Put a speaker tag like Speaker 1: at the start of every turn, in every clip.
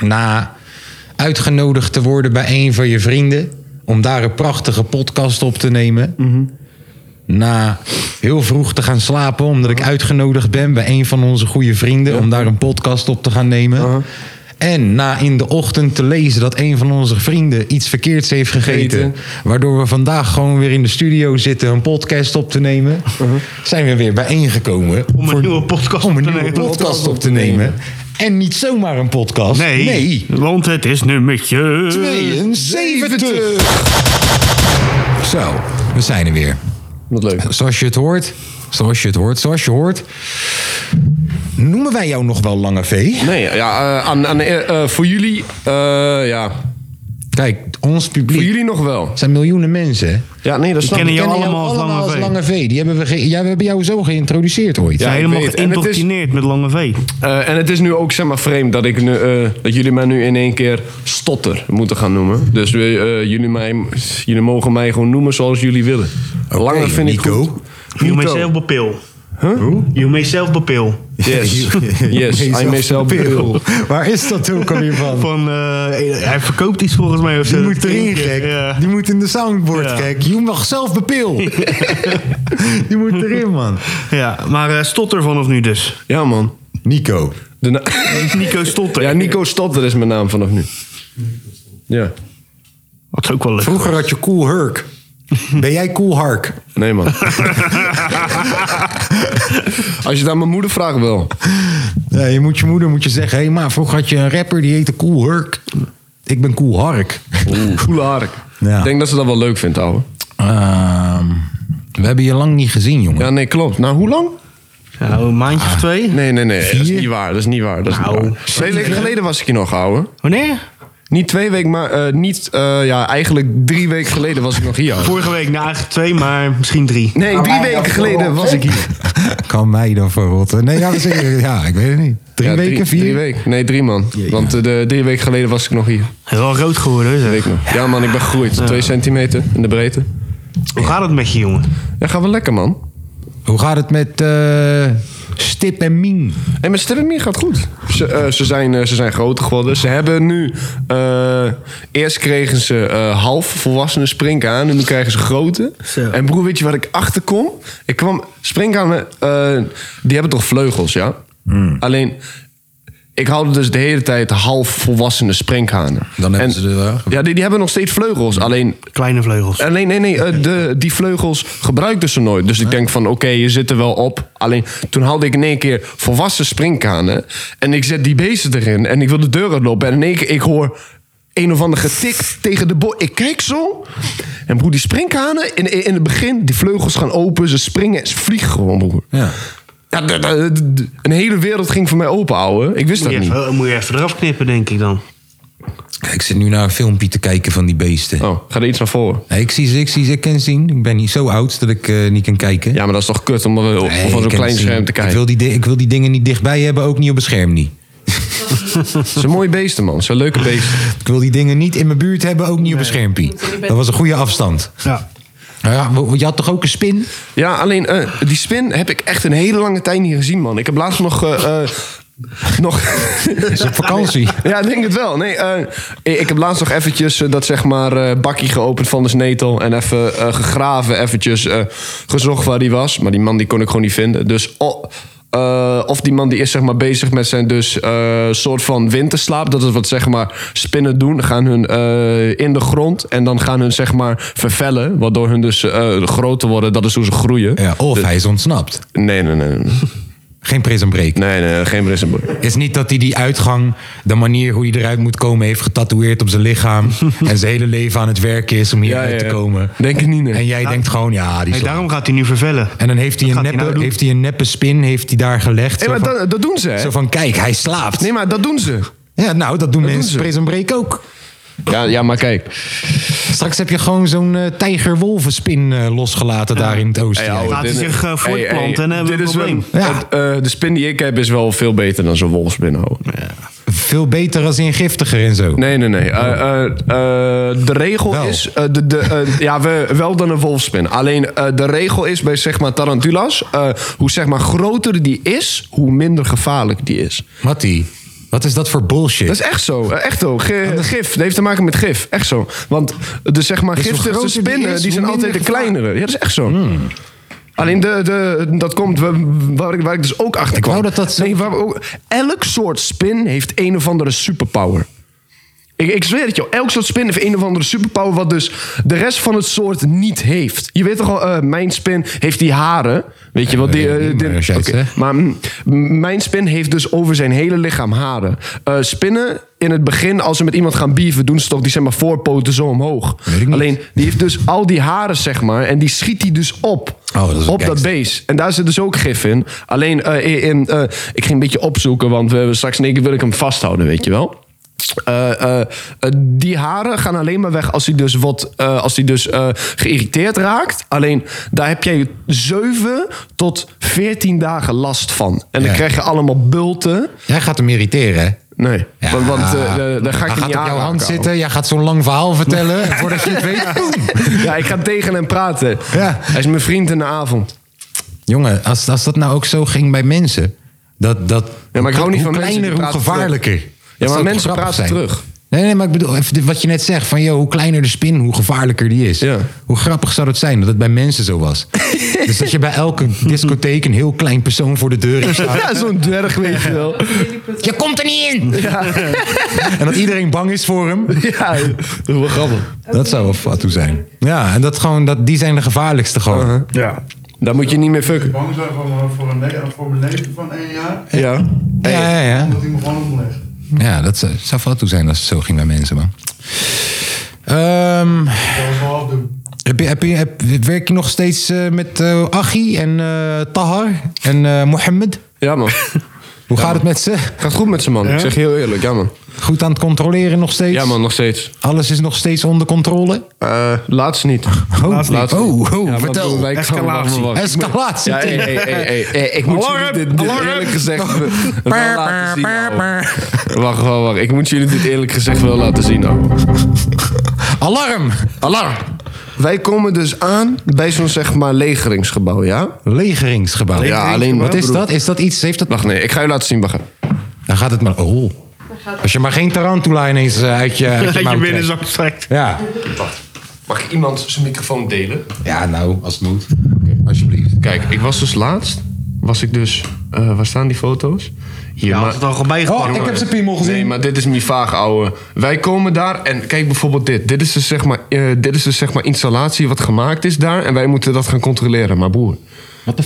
Speaker 1: Na uitgenodigd te worden bij een van je vrienden om daar een prachtige podcast op te nemen.
Speaker 2: Mhm.
Speaker 1: Na heel vroeg te gaan slapen omdat ik uitgenodigd ben bij een van onze goede vrienden om daar een podcast op te gaan nemen. En na in de ochtend te lezen dat een van onze vrienden iets verkeerds heeft gegeten.
Speaker 3: Gegeten.
Speaker 1: Waardoor we vandaag gewoon weer in de studio zitten een podcast op te nemen. Zijn we weer bijeengekomen
Speaker 2: Om een nieuwe podcast
Speaker 1: om een
Speaker 2: te
Speaker 1: nieuwe
Speaker 2: nemen.
Speaker 1: podcast op te nemen. En niet zomaar een podcast.
Speaker 2: Nee, want het is nummertje...
Speaker 1: 72. Zo, we zijn er weer.
Speaker 3: Wat leuk.
Speaker 1: Zoals je het hoort, zoals je het hoort, zoals je hoort. Noemen wij jou nog wel Lange V?
Speaker 3: Nee, ja, eh, aan, aan, eh, eh, voor jullie, eh, ja,
Speaker 1: Kijk, ons
Speaker 3: voor
Speaker 1: publiek
Speaker 3: jullie nog wel.
Speaker 1: zijn miljoenen mensen. hè?
Speaker 3: Ja, nee, dat snap
Speaker 2: kennen
Speaker 3: ik.
Speaker 2: jou
Speaker 1: Kennen jou
Speaker 2: allemaal als Lange
Speaker 1: als
Speaker 2: V.
Speaker 1: Lange V. Die hebben we, ge- ja, we hebben jou zo geïntroduceerd ooit.
Speaker 3: Ja,
Speaker 2: Ja,
Speaker 3: ik
Speaker 2: helemaal
Speaker 3: weet het. En het is-
Speaker 2: geïndoctrineerd met Lange V.
Speaker 3: Eh, en het is nu ook, zeg maar, vreemd dat, ik nu, eh, dat jullie mij nu in één keer stotter moeten gaan noemen. Dus eh, eh, jullie, mij, jullie mogen mij gewoon noemen zoals jullie willen. Langer vind ik
Speaker 1: Nico.
Speaker 3: goed.
Speaker 2: You may self bepil. Huh? You may self bepil.
Speaker 3: Yes, yes, I myself Bill.
Speaker 1: Waar is dat ook alweer van?
Speaker 2: Van, eh, hij verkoopt iets volgens mij of zo.
Speaker 1: Die moet erin, gek.
Speaker 2: Ja.
Speaker 1: Die moet in de soundboard,
Speaker 2: Ja.
Speaker 1: gek. Je mag zelf bepil. Die moet erin, man.
Speaker 2: ja, maar eh, stotter vanaf nu dus.
Speaker 3: Ja, man.
Speaker 1: Nico.
Speaker 3: De na-
Speaker 2: Nico Stotter.
Speaker 3: ja, Nico Stotter is mijn naam vanaf nu. Ja,
Speaker 2: Had ook wel leuk.
Speaker 1: Vroeger had je Cool Herc. Ben jij Cool Hark?
Speaker 3: nee, man. Als je het aan mijn moeder vraagt, wel.
Speaker 1: Nee, je moet je moeder moet je zeggen... Hé hey, ma, vroeger had je een rapper die heette Cool Herc. Ik ben Cool Hark.
Speaker 3: Coole hark.
Speaker 1: Ja.
Speaker 3: Ik denk dat ze dat wel leuk vindt, ouwe.
Speaker 1: Ehm, we hebben je lang niet gezien, jongen.
Speaker 3: Ja, nee, klopt. Nou, hoe lang?
Speaker 2: Nou, een maandje of twee.
Speaker 3: Nee, nee, nee. Dat is
Speaker 1: Vier?
Speaker 3: niet waar. Dat is niet waar. Dat is
Speaker 2: Nou.
Speaker 3: niet waar. Twee weken geleden was ik hier nog, ouwe.
Speaker 2: Wanneer?
Speaker 3: Niet twee weken, maar eh, niet... eh, ja, eigenlijk drie weken geleden was ik nog hier, ouwe.
Speaker 2: Vorige week, nou eigenlijk twee, maar misschien drie.
Speaker 3: Nee, drie weken geleden was ik hier.
Speaker 1: Kan mij dan verrotten. Nee, ja, dat is- ja, ik weet het niet. Drie
Speaker 3: Ja,
Speaker 1: weken, vier?
Speaker 3: Drie weken. Nee, drie, man. Want eh, de, drie weken geleden was ik nog hier.
Speaker 2: Hij is wel rood geworden, hè, zeg.
Speaker 3: Weet ik nog. Ja, man, ik ben gegroeid. Twee centimeter in de breedte.
Speaker 2: Hoe gaat het met je, jongen?
Speaker 3: Ja, gaat wel lekker, man.
Speaker 1: Hoe gaat het met eh, Stip en Mien?
Speaker 3: En mijn stemming gaat goed. Ze, eh, ze, zijn, eh, ze zijn groter geworden. Ze hebben nu... eh, eerst kregen ze eh, half volwassene springkaan. En nu krijgen ze grote.
Speaker 2: Zo.
Speaker 3: En broer, weet je waar ik achter kom? Ik kwam... Springkanen, eh, die hebben toch vleugels, ja?
Speaker 1: Hmm.
Speaker 3: Alleen... Ik houde dus de hele tijd half volwassene sprinkhanen.
Speaker 1: Dan hebben ze er, eh,
Speaker 3: Ja, die, die hebben nog steeds vleugels. Alleen
Speaker 2: Kleine vleugels.
Speaker 3: Eh, nee, nee, nee. eh, de, die vleugels gebruikten ze nooit. Dus ik denk van, oké, je zit er wel op. Alleen toen haalde ik in één keer volwassen springkanen. En ik zet die beesten erin. En ik wil de deur uitlopen. En in één keer, ik hoor een of ander getik tegen de bo. Ik kijk zo. En broer, die springkanen in, in, in het begin, die vleugels gaan open. Ze springen en ze vliegen gewoon, broer.
Speaker 1: Ja.
Speaker 3: Ja, d- d- d- een hele wereld ging voor mij open, ouwe. Ik wist
Speaker 2: Moet
Speaker 3: dat
Speaker 2: je,
Speaker 3: niet.
Speaker 2: even, moet je even eraf knippen, denk ik dan.
Speaker 1: Ik zit nu naar een filmpje te kijken van die beesten.
Speaker 3: Oh, ga er iets naar voren.
Speaker 1: Nee, ik zie ze, ik zie ze, ik kan zien. Ik ben niet zo oud dat ik eh, niet kan kijken.
Speaker 3: Ja, maar dat is toch kut om er op,
Speaker 1: Nee,
Speaker 3: op
Speaker 1: ik
Speaker 3: zo'n
Speaker 1: kan
Speaker 3: klein
Speaker 1: het zien.
Speaker 3: scherm te
Speaker 1: Ik
Speaker 3: kijken.
Speaker 1: wil, die, di- ik wil die dingen niet dichtbij hebben, ook niet op het scherm niet.
Speaker 3: Ze zijn mooie beesten, man. Ze zijn leuke beesten.
Speaker 1: Ik wil die dingen niet in mijn buurt hebben, ook niet op het schermpie. Dat was een goede afstand.
Speaker 2: Ja.
Speaker 1: Nou ja, we- je had toch ook een spin?
Speaker 3: Ja, alleen eh, die spin heb ik echt een hele lange tijd niet gezien, man. Ik heb laatst nog. eh, eh, nog
Speaker 1: Dat is op vakantie.
Speaker 3: ja, ik denk het wel. Nee, eh, ik heb laatst nog eventjes eh, dat zeg maar eh, bakkie geopend van de snetel. En even eh, gegraven, eventjes eh, gezocht waar die was. Maar die man die kon ik gewoon niet vinden. Dus oh, eh, of die man die is zeg maar bezig met zijn dus eh, soort van winterslaap. Dat is wat zeg maar spinnen doen. Gaan hun eh, in de grond en dan gaan hun zeg maar vervellen. Waardoor hun dus eh, groter worden. Dat is hoe ze groeien.
Speaker 1: Ja, of hij is ontsnapt.
Speaker 3: Nee, nee, nee. nee.
Speaker 1: Geen prison break.
Speaker 3: Nee, nee, geen Brissenboer.
Speaker 1: is niet dat hij die uitgang, de manier hoe hij eruit moet komen, heeft getatoeëerd op zijn lichaam. en zijn hele leven aan het werken is om hier
Speaker 3: Ja,
Speaker 1: uit
Speaker 3: ja,
Speaker 1: te
Speaker 3: ja.
Speaker 1: komen.
Speaker 3: Denk ik niet, nee.
Speaker 1: En jij denkt gewoon, ja, die
Speaker 2: Hey,
Speaker 1: slaat.
Speaker 2: daarom gaat hij nu vervellen.
Speaker 1: En dan heeft hij, een
Speaker 2: gaat hij
Speaker 1: neppe,
Speaker 2: nou doen?
Speaker 1: heeft hij een neppe spin heeft hij daar gelegd.
Speaker 3: Nee,
Speaker 1: zo,
Speaker 3: maar
Speaker 1: van,
Speaker 3: dat, dat doen ze, hè?
Speaker 1: zo van, kijk, hij slaapt.
Speaker 3: Nee, maar dat doen ze.
Speaker 1: ja, nou, dat doen mensen
Speaker 3: ze.
Speaker 1: in Prison Break ook.
Speaker 3: Ja, ja maar kijk.
Speaker 1: Straks heb je gewoon zo'n eh, tijgerwolvenspin eh, losgelaten daar in het oosten.
Speaker 3: Hey, ouwe,
Speaker 2: Gaat hij
Speaker 3: dit-
Speaker 2: zich, eh, voortplanten en dan hebben we
Speaker 3: dit
Speaker 2: een
Speaker 3: is wel-
Speaker 2: probleem.
Speaker 1: Ja.
Speaker 3: het, eh, de spin die ik heb is wel veel beter dan zo'n wolfspin, ouwe.
Speaker 1: Veel beter als ingiftiger en zo.
Speaker 3: Nee, nee, nee. Eh, eh, eh, de regel
Speaker 1: Wel.
Speaker 3: is... eh, de, de, eh, ja, we, wel dan een wolfspin. Alleen eh, de regel is bij zeg maar tarantulas... eh, hoe zeg maar groter die is, hoe minder gevaarlijk die is.
Speaker 1: Mattie, wat is dat voor bullshit?
Speaker 3: Dat is echt zo. Eh, Echt zo. Ge- gif. Dat heeft te maken met gif. Echt zo. Want de zeg maar
Speaker 1: Dus hoe
Speaker 3: giftige
Speaker 1: groter die
Speaker 3: spinnen,
Speaker 1: is,
Speaker 3: die zijn
Speaker 1: hoe
Speaker 3: altijd de
Speaker 1: minder Hmm. gevaar.
Speaker 3: kleinere. Ja, dat is echt zo. Alleen de, de, dat komt we- waar ik, waar ik dus ook achter kwam.
Speaker 1: wou dat dat zo-
Speaker 3: Nee, waar we ook- elk soort spin heeft een of andere superpower. Ik, ik zweer het jou. Elk soort spin heeft een of andere superpower... wat dus de rest van het soort niet heeft. Je weet toch wel, eh, mijn spin heeft die haren. Weet je wat die...
Speaker 1: weet ik
Speaker 3: eh,
Speaker 1: niet,
Speaker 3: dit-
Speaker 1: maar als jij het
Speaker 3: oké.
Speaker 1: zegt.
Speaker 3: Maar mm, m- mijn spin heeft dus over zijn hele lichaam haren. Eh, spinnen in het begin, als ze met iemand gaan bieven, doen ze toch die zeg maar, voorpoten zo omhoog.
Speaker 1: Weet ik niet.
Speaker 3: Alleen die heeft dus al die haren, zeg maar, en die schiet hij dus op.
Speaker 1: Oh, dat is een
Speaker 3: op dat
Speaker 1: gangster.
Speaker 3: beest. En daar zit dus ook gif in. Alleen, eh, in, eh, ik ging een beetje opzoeken, want we hebben straks in één keer wil ik hem vasthouden, weet je wel. Eh, eh, eh, die haren gaan alleen maar weg als hij dus, wat, eh, als hij dus eh, geïrriteerd raakt. Alleen daar heb jij 7 tot 14 dagen last van. En dan
Speaker 1: Ja.
Speaker 3: krijg je allemaal bulten.
Speaker 1: Jij gaat hem irriteren, hè?
Speaker 3: Nee,
Speaker 1: Ja.
Speaker 3: want, want eh, eh, daar ga
Speaker 1: Hij
Speaker 3: ik je
Speaker 1: gaat
Speaker 3: niet
Speaker 1: op jouw
Speaker 3: aanraken,
Speaker 1: hand
Speaker 3: ouwe.
Speaker 1: zitten, jij gaat zo'n lang verhaal vertellen. en voordat je het weet, boem.
Speaker 3: Ja, ik ga tegen hem praten.
Speaker 1: Ja.
Speaker 3: Hij is mijn vriend in de avond.
Speaker 1: Jongen, als, als dat nou ook zo ging bij mensen. Dat, dat,
Speaker 3: Ja, maar ik hou niet
Speaker 1: hoe
Speaker 3: van mensen die
Speaker 1: kleiner, hoe
Speaker 3: praten
Speaker 1: gevaarlijker.
Speaker 3: terug.
Speaker 1: Dat
Speaker 3: maar
Speaker 1: zou toch
Speaker 3: mensen
Speaker 1: grappig
Speaker 3: praten terug.
Speaker 1: Nee, nee, maar ik bedoel, even dit- wat je net zegt. Van, joh, hoe kleiner de spin, hoe gevaarlijker die is.
Speaker 3: Ja.
Speaker 1: Hoe grappig zou dat zijn dat het bij mensen zo was. dus dat je bij elke discotheek een heel klein persoon voor de deur hebt staan.
Speaker 3: Ja, zo'n dwerg weet je wel.
Speaker 1: Je komt er niet in! en dat iedereen bang is voor hem.
Speaker 3: Ja, dat is wel grappig.
Speaker 1: Dat zou wel fatu zijn. Ja, en dat gewoon, dat, die zijn de gevaarlijkste gewoon.
Speaker 3: Uh-huh.
Speaker 4: Ja.
Speaker 3: Daar moet je niet mee fucken.
Speaker 4: Bang zijn voor, voor, een, le- voor mijn leven van één jaar.
Speaker 3: Ja.
Speaker 1: Ja, ja, ja.
Speaker 4: Omdat hij me gewoon omlegt.
Speaker 1: Ja, dat zou, zou fout toe zijn als het zo ging bij mensen, man. Ehm,
Speaker 4: Dat was wel afdoen.
Speaker 1: heb je, heb je, heb- werk je nog steeds eh, met eh Achi en eh, Tahar en eh, Mohammed?
Speaker 3: Ja, man.
Speaker 1: Hoe gaat het met ze?
Speaker 3: Gaat goed met ze, man. Ik zeg je heel eerlijk. Ja, man.
Speaker 1: Goed aan het controleren nog steeds?
Speaker 3: Ja, man, nog steeds.
Speaker 1: Alles is nog steeds onder controle?
Speaker 3: Eh laatst niet.
Speaker 1: Oh,
Speaker 3: Laatst niet.
Speaker 1: oh, oh,
Speaker 3: Ja, want
Speaker 1: vertel.
Speaker 3: toen wij kwamen,
Speaker 2: Escalatie.
Speaker 3: wacht, wacht.
Speaker 1: Escalatie.
Speaker 3: Ja, hey, hey, hey, hey, hey, ik moet
Speaker 2: Alarm,
Speaker 3: jullie dit, dit
Speaker 2: alarm.
Speaker 3: eerlijk gezegd wel
Speaker 1: Paar,
Speaker 3: laten zien.
Speaker 1: paar,
Speaker 3: ouwe.
Speaker 1: paar.
Speaker 3: Wacht, wacht, wacht. Ik moet jullie dit eerlijk gezegd wel laten zien. ouwe.
Speaker 1: Alarm.
Speaker 3: Alarm! Wij komen dus aan bij zo'n zeg maar legeringsgebouw, ja?
Speaker 1: Legeringsgebouw.
Speaker 3: Ja, alleen
Speaker 1: Wat is
Speaker 3: broer.
Speaker 1: dat? Is dat iets? Heeft dat...
Speaker 3: Wacht, nee, ik ga je laten zien, wacht.
Speaker 1: Dan gaat het maar... Oh. Als je maar geen tarantula ineens eh, uit je, uit je,
Speaker 2: Dat je
Speaker 1: mouw trekt.
Speaker 2: binnenzak strekt.
Speaker 1: Ja.
Speaker 3: Mag ik iemand zijn microfoon delen?
Speaker 1: Ja, nou, als het moet. Alsjeblieft.
Speaker 3: Kijk, ik was dus laatst, was ik dus, eh, waar staan die foto's? Hier,
Speaker 2: Ja,
Speaker 3: maar-
Speaker 2: had het al gewoon
Speaker 1: Oh,
Speaker 2: bijgepakt.
Speaker 1: ik heb zijn piemel gezien.
Speaker 3: eh, Nee, maar dit is niet vaag, ouwe. Wij komen daar en kijk bijvoorbeeld dit. Dit is dus zeg maar, eh, dit is dus zeg maar installatie wat gemaakt is daar. En wij moeten dat gaan controleren, maar boer.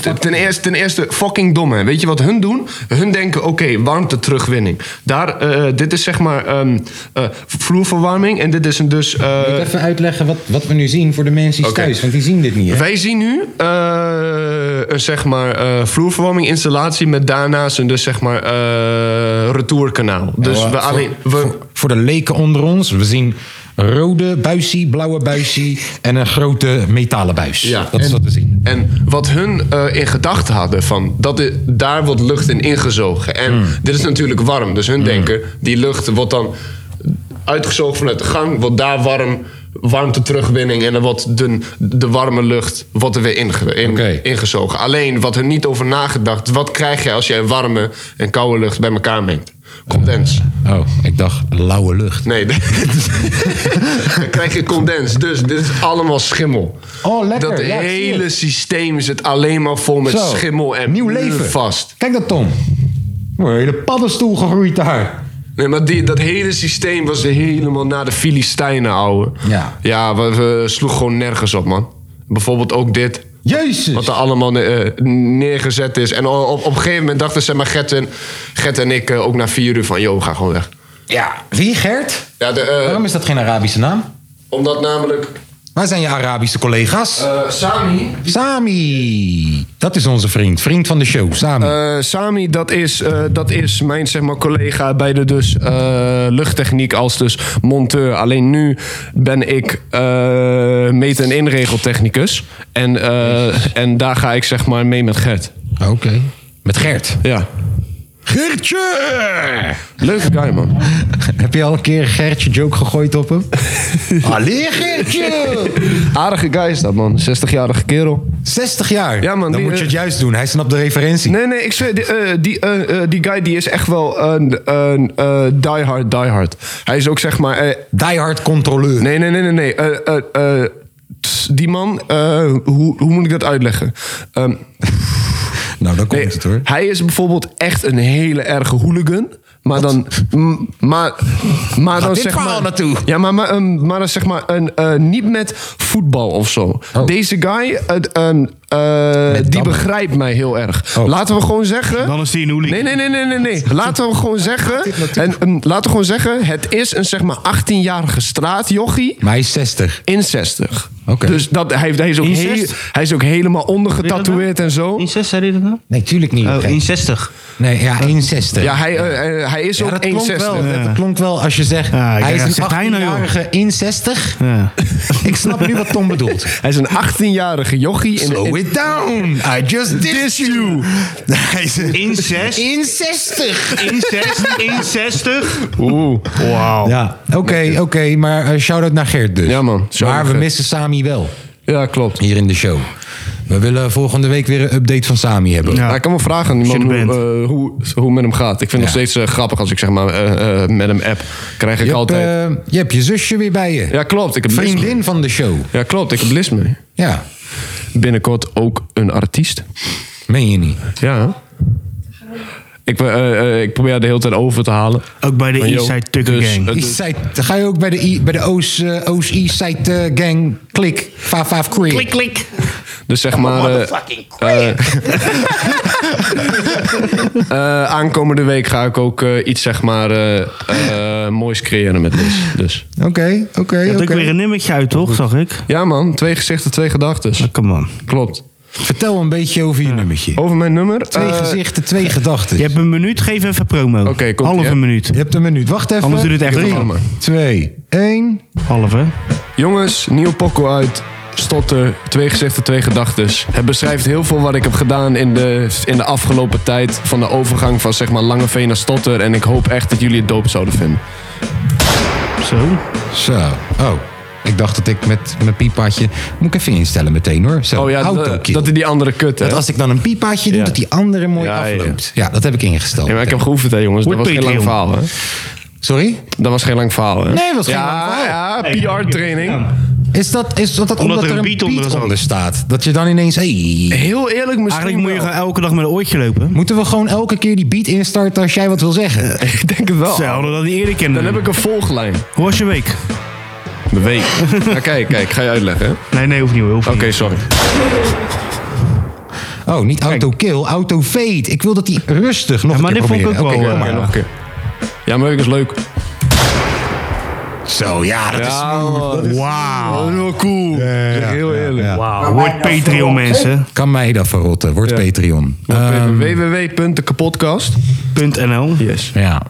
Speaker 3: Ten- Ten eerste, ten eerste, fucking dom, hè. Weet je wat hun doen? Hun denken, oké, warmte terugwinning. Daar, eh, dit is zeg maar ehm, eh, vloerverwarming. En dit is een dus... eh,
Speaker 1: Even uitleggen wat, wat we nu zien voor de mensen
Speaker 3: Oké.
Speaker 1: thuis, want die zien dit niet. Hè?
Speaker 3: Wij zien nu eh, een zeg maar, eh vloerverwarming installatie met daarnaast een dus, zeg maar, eh, retourkanaal. Dus
Speaker 1: Voor-
Speaker 3: we alleen. We,
Speaker 1: voor, voor de leken onder ons, we zien rode buisie, blauwe buisie en een grote metalen buis.
Speaker 3: Ja.
Speaker 1: Dat is
Speaker 3: En-
Speaker 1: wat we zien.
Speaker 3: en wat hun eh, in gedachten hadden, van, dat i- daar wordt lucht in ingezogen. En dit is natuurlijk warm. Dus hun denken, die lucht wordt dan uitgezogen vanuit de gang, wordt daar warm. Warmte terugwinning en dan wordt de, de warme lucht wordt er weer inge, in,
Speaker 1: Oké.
Speaker 3: ingezogen. Alleen wat er niet over nagedacht. Wat krijg je als jij warme en koude lucht bij elkaar mengt? Condens.
Speaker 1: Oh, ik dacht lauwe lucht.
Speaker 3: Nee, dat- dan krijg je condens. Dus dit is allemaal schimmel.
Speaker 1: Oh, lekker.
Speaker 3: Dat
Speaker 1: Ja, ik zie
Speaker 3: hele
Speaker 1: het.
Speaker 3: systeem zit alleen maar vol met
Speaker 1: Zo,
Speaker 3: schimmel en
Speaker 1: nieuw leven.
Speaker 3: vast.
Speaker 1: Kijk dat Tom. Oh, Een hele paddenstoel gegroeid daar.
Speaker 3: Nee, maar die, dat hele systeem was helemaal naar de Filistijnen, ouwe.
Speaker 1: Ja.
Speaker 3: Ja, we, we sloegen gewoon nergens op, man. Bijvoorbeeld ook dit.
Speaker 1: Jezus!
Speaker 3: Wat er allemaal eh, neergezet is. En op, op een gegeven moment dachten zeg maar, Gert, en, Gert en ik eh, ook na vier uur van... ...joh, we gaan gewoon weg.
Speaker 1: Ja. Wie, Gert?
Speaker 3: Ja, de, eh,
Speaker 1: Waarom is dat geen Arabische naam?
Speaker 3: omdat namelijk
Speaker 1: Waar zijn je Arabische collega's?
Speaker 3: eh, Sami...
Speaker 1: Sami. Dat is onze vriend. Vriend van de show, Sami.
Speaker 3: Eh, Sami, dat is, eh, dat is mijn zeg maar, collega bij de dus, eh, luchttechniek als dus monteur. Alleen nu ben ik eh meet- en inregeltechnicus. En, eh, en daar ga ik zeg maar mee met Gert.
Speaker 1: Oké. Met Gert.
Speaker 3: Ja.
Speaker 1: Gertje!
Speaker 3: Leuke guy, man.
Speaker 1: Heb je al een keer een Gertje joke gegooid op hem? Ah, Allee Gertje!
Speaker 3: Aardige guy is dat, man. 60-jarige kerel.
Speaker 1: 60 jaar.
Speaker 3: Ja, man,
Speaker 1: Dan
Speaker 3: die,
Speaker 1: moet je het
Speaker 3: eh,
Speaker 1: juist doen. Hij snapt de referentie.
Speaker 3: Nee, nee, ik zweer, die, eh, die, eh, eh, die guy die is echt wel een, een eh, diehard, diehard. Hij is ook zeg maar eh,
Speaker 1: Die hard controleur.
Speaker 3: Nee, nee, nee, nee. nee. Eh, eh, eh, tss, die man, eh, hoe, hoe moet ik dat uitleggen? Ehm,
Speaker 1: Nou, dan komt
Speaker 3: nee,
Speaker 1: het hoor.
Speaker 3: hij is bijvoorbeeld echt een hele erge hooligan. Maar dan, m, maar, maar dan
Speaker 1: dit
Speaker 3: zeg
Speaker 1: verhaal
Speaker 3: maar,
Speaker 1: naartoe?
Speaker 3: Ja, maar, maar, ehm, maar dan zeg maar een, eh, niet met voetbal of zo.
Speaker 1: Oh.
Speaker 3: Deze guy, eh, ehm, eh, die
Speaker 1: dammen.
Speaker 3: begrijpt mij heel erg.
Speaker 1: Oh.
Speaker 3: Laten we gewoon zeggen.
Speaker 2: Dan is hij een hooligan.
Speaker 3: Nee, nee, nee, nee, nee, nee. Laten we gewoon zeggen. En, ehm, laten we gewoon zeggen, het is een zeg maar 18-jarige straatjochie
Speaker 1: Maar hij is 60.
Speaker 3: in 60.
Speaker 1: Oké.
Speaker 3: Dus dat, hij, heeft- hij, is ook
Speaker 2: In
Speaker 3: heel-
Speaker 2: 60?
Speaker 3: hij is ook helemaal ondergetatoeëerd en zo.
Speaker 2: In 60, zei hij dat nou?
Speaker 1: Nee, tuurlijk niet.
Speaker 2: Oh,
Speaker 1: gek.
Speaker 2: in 60.
Speaker 1: Nee, ja, 61.
Speaker 3: Ja, hij, eh, eh, hij is
Speaker 1: Ja,
Speaker 3: ook
Speaker 1: dat klonk
Speaker 3: 61.
Speaker 1: wel. Dat klonk wel als je zegt,
Speaker 2: Ja, ik
Speaker 1: hij
Speaker 2: dacht,
Speaker 1: is een
Speaker 2: zegt hij nou, joh?
Speaker 1: 18-jarige in 60.
Speaker 2: Ja.
Speaker 1: Ik snap nu wat Tom bedoelt.
Speaker 3: Hij is een 18-jarige jochie. In, in-
Speaker 1: Slow it down. I just did you. Hij is een-
Speaker 2: In 6.
Speaker 1: in 60.
Speaker 2: In 60. In 60.
Speaker 3: Oeh.
Speaker 2: Wauw.
Speaker 1: Ja, oké, oké. maar eh, shout-out naar Geert dus.
Speaker 3: Ja, man. Shout-out
Speaker 1: maar we
Speaker 3: Geert.
Speaker 1: missen Sami wel
Speaker 3: Ja, klopt.
Speaker 1: hier in de show. We willen volgende week weer een update van Sami hebben.
Speaker 2: Ja.
Speaker 3: Maar Nou, ik kan wel vragen aan die
Speaker 2: Als je
Speaker 3: man hoe,
Speaker 2: er
Speaker 3: eh, hoe, hoe met hem gaat. Ik vind het nog
Speaker 1: Ja.
Speaker 3: steeds eh, grappig als ik zeg maar eh, eh, met hem app. Krijg ik
Speaker 1: Je, hebt,
Speaker 3: altijd...
Speaker 1: eh, je hebt je zusje weer bij je.
Speaker 3: ja, klopt. Ik heb bliss mee.
Speaker 1: Vriendin van de show.
Speaker 3: Ja, klopt. Ik heb bliss mee.
Speaker 1: Ja,
Speaker 3: Binnenkort ook een artiest.
Speaker 1: meen je niet.
Speaker 3: Ja. Ik, eh, eh, ik probeer haar de hele tijd over te halen.
Speaker 2: Ook bij de
Speaker 3: Maar yo,
Speaker 2: Eastside Tucker
Speaker 3: dus,
Speaker 2: Gang.
Speaker 3: eh,
Speaker 1: Eastside, dan ga je ook bij de, I- bij de Oost, eh, Oost Eastside eh, Gang klik, 55 Creek.
Speaker 5: Klik, klik.
Speaker 3: Dus zeg maar. eh,
Speaker 5: Fucking
Speaker 3: eh, eh, aankomende week ga ik ook eh, iets zeg maar eh, eh, moois creëren met Liz. Dus.
Speaker 1: Oké, oké,
Speaker 2: Je had ook
Speaker 1: oké.
Speaker 2: weer een nummertje uit, toch? Zag ik.
Speaker 3: Ja man, twee gezichten, twee gedachten.
Speaker 2: Come on.
Speaker 3: Klopt.
Speaker 1: Vertel een beetje over je nummertje.
Speaker 3: Over mijn nummer.
Speaker 1: Twee
Speaker 3: eh,
Speaker 1: gezichten, twee gedachten.
Speaker 2: Oh, Je hebt een minuut, geef even promo.
Speaker 3: Oké, komt-ie,
Speaker 2: Halve
Speaker 3: hè?
Speaker 2: minuut.
Speaker 1: Je hebt een minuut. Wacht even.
Speaker 2: Anders doe je het echt
Speaker 1: Drie,
Speaker 2: nog allemaal.
Speaker 1: twee, één.
Speaker 2: Halve.
Speaker 3: Jongens, nieuw pokko uit. Stotter, twee gezichten, twee gedachten. Het beschrijft heel veel wat ik heb gedaan in de, in de afgelopen tijd. Van de overgang van zeg maar Langeveen naar Stotter. En ik hoop echt dat jullie het doop zouden vinden.
Speaker 2: Zo.
Speaker 1: Zo. Oh. Ik dacht dat ik met mijn piepaatje... Moet ik even instellen meteen hoor. Zo,
Speaker 3: Oh ja,
Speaker 1: houd
Speaker 3: dat-
Speaker 1: ook je.
Speaker 3: dat is die andere kut. hè?
Speaker 1: Dat als ik dan een piepaatje doe,
Speaker 3: Ja.
Speaker 1: dat die andere mooi
Speaker 3: Ja, ja, ja.
Speaker 1: afloopt. Ja. dat heb ik ingesteld.
Speaker 3: Ja, maar ik heb geoefend, hè, jongens. Dat
Speaker 2: Goed
Speaker 3: was geen lang
Speaker 2: punt,
Speaker 3: verhaal, hè?
Speaker 1: Sorry?
Speaker 3: Dat was geen lang verhaal, hè?
Speaker 1: Nee, dat was geen
Speaker 3: Ja,
Speaker 1: lang verhaal.
Speaker 3: Ja, PR-training.
Speaker 1: Is dat, is dat, dat omdat, er een beat onder,
Speaker 2: zat.
Speaker 1: staat? Dat je dan ineens... Hey,
Speaker 3: Heel eerlijk, misschien
Speaker 2: Eigenlijk moet je
Speaker 3: wel.
Speaker 2: gewoon elke dag met een oortje lopen.
Speaker 1: moeten we gewoon elke keer die beat instarten als jij wat wil zeggen?
Speaker 3: Ik denk het wel.
Speaker 2: Ze hadden dat niet eerder
Speaker 3: Dan
Speaker 2: kennen.
Speaker 3: heb ik een volglijn.
Speaker 2: Hoe was je week?
Speaker 3: Mijn week. ja, kijk, kijk. Ga je uitleggen, hè? Oké,
Speaker 2: Nee, nee, hoeft niet. Hoeft niet.
Speaker 3: sorry.
Speaker 1: Oh, niet auto-kill, auto-fade. Ik wil dat die rustig nog
Speaker 2: Ja, maar
Speaker 1: een keer
Speaker 2: dit vond ik
Speaker 1: proberen.
Speaker 2: ook
Speaker 1: Oké,
Speaker 2: wel,
Speaker 1: kom
Speaker 3: Ja,
Speaker 1: maar.
Speaker 3: nog een keer. Ja, mijn week is leuk.
Speaker 1: Zo, ja, dat is...
Speaker 2: Wauw.
Speaker 3: wel cool. Zeg heel eerlijk.
Speaker 2: Wauw. Word Patreon, mensen.
Speaker 1: Kan mij dat verrotten. Word Patreon. Ehm,
Speaker 3: www.dekapodcast.
Speaker 2: .nl.
Speaker 3: Yes.
Speaker 1: ja,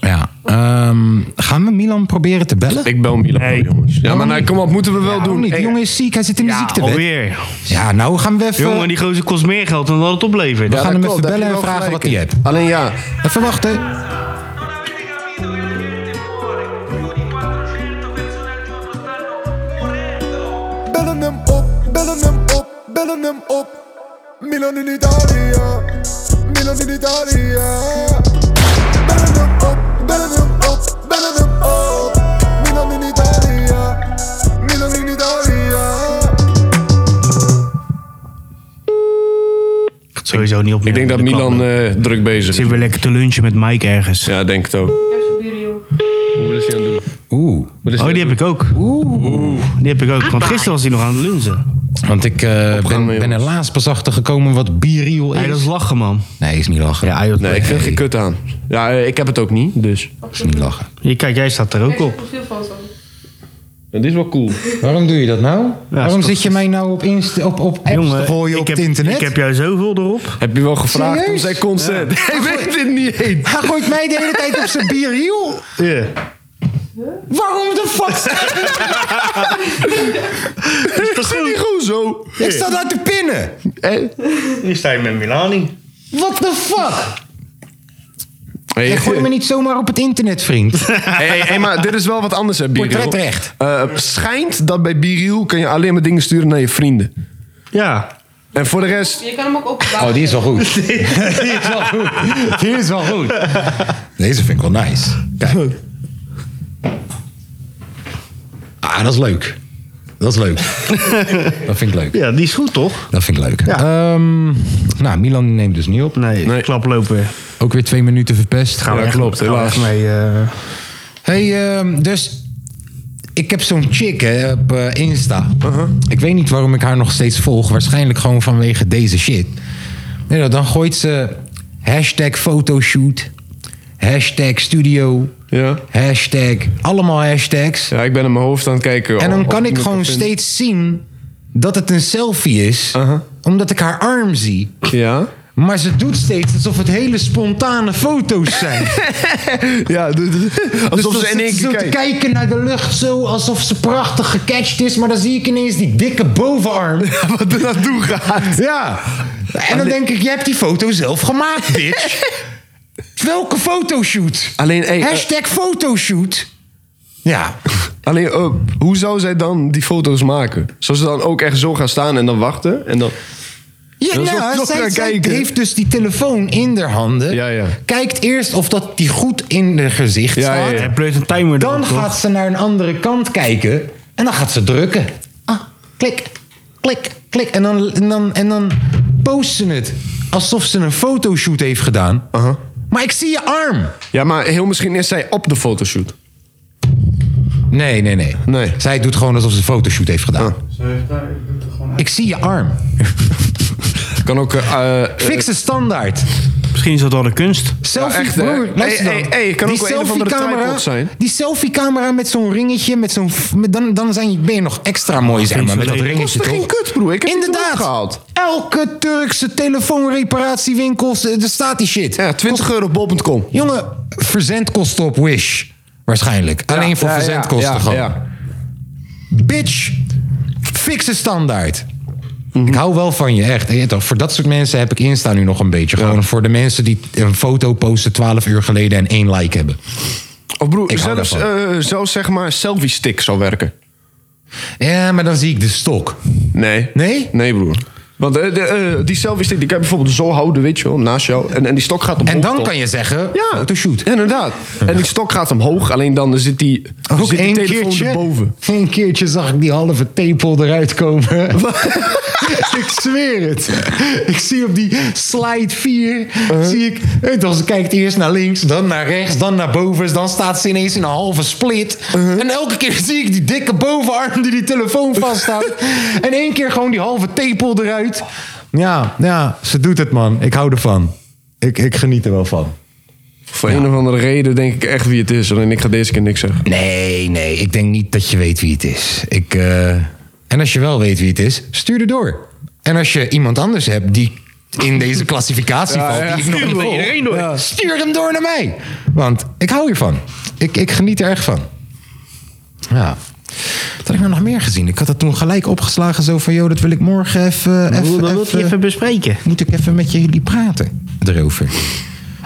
Speaker 1: ja. Ehm, gaan we Milan proberen te bellen?
Speaker 3: Ik bel Milan,
Speaker 2: Nee.
Speaker 3: jongens. Ja, maar nou, kom op, moeten we wel
Speaker 1: Doe
Speaker 3: doen.
Speaker 1: niet. Die
Speaker 3: Hey,
Speaker 1: jongen is ziek. Hij zit in de ziektewet.
Speaker 2: alweer.
Speaker 1: Ja, nou gaan we even...
Speaker 2: Jongen, die gozer kost meer geld dan dat het oplevert.
Speaker 1: we gaan
Speaker 3: dat
Speaker 1: hem even
Speaker 3: klopt, daar
Speaker 1: bellen
Speaker 3: heb
Speaker 1: en
Speaker 3: je wel
Speaker 1: vragen wat
Speaker 3: gelijk
Speaker 1: hij
Speaker 3: in.
Speaker 1: hebt.
Speaker 3: Alleen ja,
Speaker 1: Even wachten.
Speaker 6: Bellen hem op, bellen hem op, bellen hem op. Milan in Italia, Milan in Italia. Bellen hem op, bellen hem op, bellen hem op. Milan in Italia, Milan in Italia.
Speaker 2: Gaat sowieso niet opnemen.
Speaker 3: ik denk dat
Speaker 2: De
Speaker 3: Milan
Speaker 2: klap.
Speaker 3: eh, druk bezig
Speaker 2: Zitten
Speaker 3: is.
Speaker 2: we lekker te lunchen met Mike ergens.
Speaker 3: Ja, denk het ook. Hoe is hij aan het doen?
Speaker 1: Oeh.
Speaker 3: Wat is hij aan
Speaker 2: Oh,
Speaker 3: het
Speaker 2: die heb ik ook. Oeh. Die heb ik ook. Want gisteren was hij nog aan het lunchen.
Speaker 1: Want ik eh, ben,
Speaker 3: jongens.
Speaker 1: ben er laatst pas achter gekomen wat biriel is.
Speaker 5: Hey, dat is lachen, man.
Speaker 1: Nee, is niet lachen.
Speaker 5: Ja, joh,
Speaker 3: Nee, ik vind
Speaker 1: Nee.
Speaker 3: geen kut aan. Ja, eh, ik heb het ook niet, dus.
Speaker 1: Is niet lachen.
Speaker 2: Je, kijk, jij staat er ook op.
Speaker 7: profiel
Speaker 3: Dat is wel cool.
Speaker 1: Waarom doe je dat nou? Waarom
Speaker 2: is toch-
Speaker 1: zit je mij nou op, Insta, op, op apps te gooien
Speaker 2: ik
Speaker 1: op
Speaker 2: heb,
Speaker 1: het internet?
Speaker 2: Ik heb jou zoveel erop.
Speaker 3: Heb je wel gevraagd om
Speaker 1: Serieus?
Speaker 3: zijn consent? Hij weet het niet eens.
Speaker 1: Hij gooit mij de hele tijd op zijn biriel.
Speaker 2: Ja.
Speaker 1: Waarom de fuck?
Speaker 3: Dat is niet goed zo.
Speaker 1: Ik sta daar te pinnen.
Speaker 3: Eh?
Speaker 2: Nu sta je met Milani.
Speaker 1: What the fuck?
Speaker 3: Hey,
Speaker 1: Je gooit me niet zomaar op het internet, vriend.
Speaker 3: hey, hey, hey, maar dit is wel wat anders, hè, Biriel.
Speaker 1: Portretrecht.
Speaker 3: Eh, schijnt dat bij Biriel kan je alleen maar dingen sturen naar je vrienden.
Speaker 2: Ja.
Speaker 3: En voor de rest...
Speaker 7: Je kan hem ook opbouwen.
Speaker 1: Oh, die is wel goed. Die is wel goed. Die is wel goed. Deze vind ik wel nice. Kijk. Ah, dat is leuk. Dat is leuk. Dat vind ik leuk.
Speaker 2: ja, die is goed, toch?
Speaker 1: Dat vind ik leuk. Ehm, nou, Milan neemt dus niet op.
Speaker 2: Nee,
Speaker 3: Nee.
Speaker 2: klap lopen.
Speaker 1: Ook weer twee minuten verpest.
Speaker 2: Gaan we
Speaker 3: Ja,
Speaker 2: echt-
Speaker 3: klopt,
Speaker 2: gaan we
Speaker 3: helaas.
Speaker 2: echt Mee, eh,
Speaker 1: Hey, ehm, dus ik heb zo'n chick hè, op eh, Insta.
Speaker 3: Uh-huh.
Speaker 1: Ik weet niet waarom ik haar nog steeds volg. Waarschijnlijk gewoon vanwege deze shit. Nee, nou, dan gooit ze hashtag fotoshoot, hashtag studio,
Speaker 3: Ja.
Speaker 1: hashtag allemaal hashtags.
Speaker 3: Ja, ik ben in mijn hoofd aan het kijken.
Speaker 1: En
Speaker 3: of-
Speaker 1: dan
Speaker 3: of
Speaker 1: kan ik
Speaker 3: iemand
Speaker 1: gewoon
Speaker 3: dat vindt.
Speaker 1: steeds zien dat het een selfie is,
Speaker 3: Uh-huh.
Speaker 1: omdat ik haar arm zie.
Speaker 3: Ja?
Speaker 1: Maar ze doet steeds alsof het hele spontane foto's zijn.
Speaker 3: Ja, d- d-
Speaker 1: Dus
Speaker 3: alsof
Speaker 1: dan
Speaker 3: ze in
Speaker 1: zit
Speaker 3: één
Speaker 1: zo
Speaker 3: keer
Speaker 1: te
Speaker 3: kijken.
Speaker 1: kijken naar de lucht zo, alsof ze prachtig gecatcht is. Maar dan zie ik ineens die dikke bovenarm.
Speaker 3: Wat er naartoe gaat.
Speaker 1: Ja. En dan denk ik, je hebt die foto zelf gemaakt, bitch. Welke fotoshoot?
Speaker 3: Alleen, hey, eh,
Speaker 1: Hashtag fotoshoot. Ja.
Speaker 3: alleen eh, hoe zou zij dan die foto's maken? Zou ze dan ook echt zo gaan staan en dan wachten? En dan...
Speaker 1: Ja,
Speaker 3: Dat is wel
Speaker 1: nou,
Speaker 3: toch
Speaker 1: zij,
Speaker 3: gaan
Speaker 1: zij
Speaker 3: kijken.
Speaker 1: heeft dus die telefoon in haar handen.
Speaker 3: Ja, ja.
Speaker 1: Kijkt eerst of dat die goed in haar gezicht
Speaker 3: Ja,
Speaker 1: staat.
Speaker 3: ja, ja.
Speaker 2: hij pleurt een timer
Speaker 1: Dan
Speaker 2: erop, toch?
Speaker 1: gaat ze naar een andere kant kijken en dan gaat ze drukken. Ah, klik, klik, klik. En dan, en dan, en dan post ze het alsof ze een fotoshoot heeft gedaan. Maar ik zie je arm.
Speaker 3: Ja, maar heel misschien is zij op de fotoshoot.
Speaker 1: Nee, nee, nee.
Speaker 3: Nee. Ah.
Speaker 1: Zij doet gewoon alsof ze een fotoshoot heeft gedaan.
Speaker 4: Ze heeft daar, ik doe het er gewoon uit.
Speaker 1: Ik zie je arm.
Speaker 3: Kan ook... eh, eh,
Speaker 1: Fixe standaard.
Speaker 2: Misschien is dat wel de kunst.
Speaker 1: Selfie,
Speaker 3: echt, hè?
Speaker 1: broer, luister
Speaker 3: Hey,
Speaker 1: dan.
Speaker 3: hey, hey, kan
Speaker 1: Die
Speaker 3: ook wel een of andere
Speaker 1: selfiecamera-
Speaker 3: tripod zijn.
Speaker 1: Die selfie-camera met zo'n ringetje, met zo'n, f- met- dan, dan zijn, je- ben je nog extra mooi, zeg
Speaker 2: vind
Speaker 1: maar,
Speaker 2: ik
Speaker 1: met
Speaker 2: zo
Speaker 1: Oh, dat
Speaker 2: lelijk.
Speaker 1: ringetje,
Speaker 3: dat is
Speaker 1: eh, toch?
Speaker 3: geen kut, broer. Ik heb
Speaker 1: Inderdaad.
Speaker 3: het gehaald.
Speaker 1: Elke Turkse telefoonreparatiewinkel, eh, er staat die shit.
Speaker 3: Ja, 20 euro bol.com.
Speaker 1: Jongen, verzendkosten op Wish. Waarschijnlijk. Alleen voor
Speaker 3: Ja, ja,
Speaker 1: verzendkosten
Speaker 3: ja,
Speaker 1: gewoon.
Speaker 3: ja.
Speaker 1: Bitch, fixe standaard.
Speaker 3: Mhm.
Speaker 1: Ik hou wel van je, echt. Je weet toch, voor dat soort mensen heb ik Insta nu nog een beetje. Gewoon voor de mensen die een foto posten 12 uur geleden en één like hebben.
Speaker 3: Of broer,
Speaker 1: Ik hou
Speaker 3: zelfs, eh, zelfs zeg maar selfie stick zou werken.
Speaker 1: Ja, maar dan zie ik de stok.
Speaker 3: Nee.
Speaker 1: Nee?
Speaker 3: Nee, broer. Want eh, de, eh, die selfie stick die kan je bijvoorbeeld zo houden, weet je wel, naast jou. En, en die stok gaat omhoog.
Speaker 1: En dan
Speaker 3: toch?
Speaker 1: kan je zeggen,
Speaker 3: Ja,
Speaker 1: fotoshoot.
Speaker 3: Ja, inderdaad. En die stok gaat omhoog, alleen dan zit die,
Speaker 1: Ook
Speaker 3: Oh, zit die
Speaker 1: één
Speaker 3: telefoon
Speaker 1: keertje,
Speaker 3: erboven.
Speaker 1: één keertje zag ik die halve tepel eruit komen. ik zweer het. Ik zie op die slide 4,
Speaker 3: Uh-huh.
Speaker 1: zie ik, weet je, ze kijkt eerst naar links, dan naar rechts, dan naar boven. Dan staat ze ineens in een halve split.
Speaker 3: Uh-huh.
Speaker 1: En elke keer zie ik die dikke bovenarm die die telefoon vasthoudt. en één keer gewoon die halve tepel eruit. Ja, ja, ze doet het man. Ik hou ervan. Ik, ik geniet er wel van.
Speaker 3: Voor een of andere reden denk ik echt wie het is. Alleen ik ga deze keer niks zeggen.
Speaker 1: Nee, nee, ik denk niet dat je weet wie het is. Ik, eh, En als je wel weet wie het is, stuur er door. En als je iemand anders hebt die in deze klassificatie valt, die ik nog niet volg, ja, stuur hem door naar mij. Want ik hou hiervan. Ik, ik geniet er echt van. Ja. Wat had ik nou nog meer gezien? Ik had dat toen gelijk opgeslagen zo van... joh, dat wil ik morgen even...
Speaker 2: Broer,
Speaker 1: even-
Speaker 2: dat wil ik Nou, je
Speaker 1: even-
Speaker 2: even bespreken.
Speaker 1: moet ik even met jullie praten erover.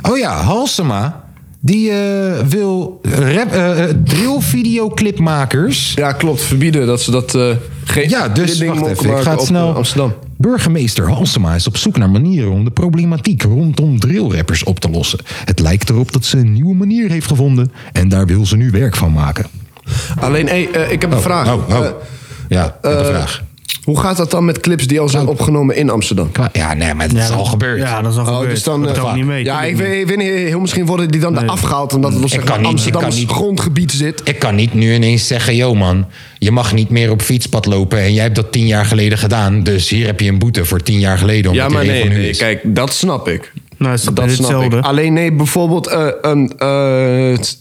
Speaker 1: Oh ja, Halsema. Die eh, wil rap, eh, eh, drill-videoclipmakers.
Speaker 3: Ja, klopt. Verbieden dat ze dat... eh geen,
Speaker 1: Ja,
Speaker 3: dit
Speaker 1: dus
Speaker 3: ding
Speaker 1: wacht
Speaker 3: mogen
Speaker 1: even. Ik
Speaker 3: maken
Speaker 1: ga het
Speaker 3: op,
Speaker 1: snel.
Speaker 3: eh, Amsterdam.
Speaker 1: Burgemeester Halsema is op zoek naar manieren om de problematiek rondom drillrappers op te lossen. Het lijkt erop dat ze een nieuwe manier heeft gevonden en daar wil ze nu werk van maken.
Speaker 3: Alleen, hey, eh, ik heb een vraag.
Speaker 1: Oh, oh.
Speaker 3: Eh,
Speaker 1: ja, ik heb een
Speaker 3: eh,
Speaker 1: vraag.
Speaker 3: Hoe gaat dat dan met clips die al
Speaker 1: Oh.
Speaker 3: zijn opgenomen in Amsterdam?
Speaker 1: Qua- Ja, nee, maar dat is al gebeurd.
Speaker 2: Ja, dat is al
Speaker 3: Oh,
Speaker 2: gebeurd.
Speaker 3: dus dan,
Speaker 2: dat
Speaker 3: eh,
Speaker 2: ook niet mee.
Speaker 3: Ja, ik
Speaker 2: tuurlijk
Speaker 3: weet, ik weet niet. Heel misschien worden die dan
Speaker 2: Nee.
Speaker 3: eraf gehaald omdat het op zeg
Speaker 1: kan
Speaker 3: maar,
Speaker 1: niet, ik
Speaker 3: Amsterdams
Speaker 1: kan niet.
Speaker 3: grondgebied zit.
Speaker 1: Ik kan niet nu ineens zeggen, yo man, je mag niet meer op fietspad lopen en jij hebt dat tien jaar geleden gedaan, dus hier heb je een boete voor tien jaar geleden. Omdat
Speaker 3: Ja, maar
Speaker 1: die
Speaker 3: nee,
Speaker 1: regel nu
Speaker 3: nee,
Speaker 1: is.
Speaker 3: Kijk, dat snap ik.
Speaker 2: Nou, het is
Speaker 3: Dat snap ik.
Speaker 2: hetzelfde.
Speaker 3: Alleen nee, bijvoorbeeld eh, een, eh, t-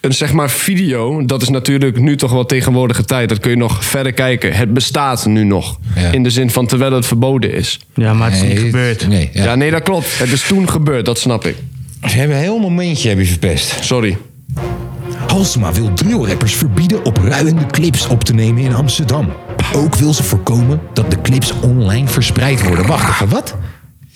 Speaker 3: een zeg maar video. Dat is natuurlijk nu toch wel tegenwoordige tijd. Dat kun je nog verder kijken. Het bestaat nu nog.
Speaker 1: Ja.
Speaker 3: In de zin van terwijl het verboden is.
Speaker 2: Ja, maar het is niet
Speaker 1: Nee,
Speaker 2: gebeurd.
Speaker 1: Nee,
Speaker 3: Ja.
Speaker 1: ja.
Speaker 3: nee, dat klopt. Het is toen gebeurd. Dat snap ik.
Speaker 1: Ze hebben een heel momentje heb je verpest.
Speaker 3: Sorry.
Speaker 5: Halsema wil drillrappers verbieden op ruiende clips op te nemen in Amsterdam. Ook wil ze voorkomen dat de clips online verspreid worden.
Speaker 1: Worden, wacht even, wat?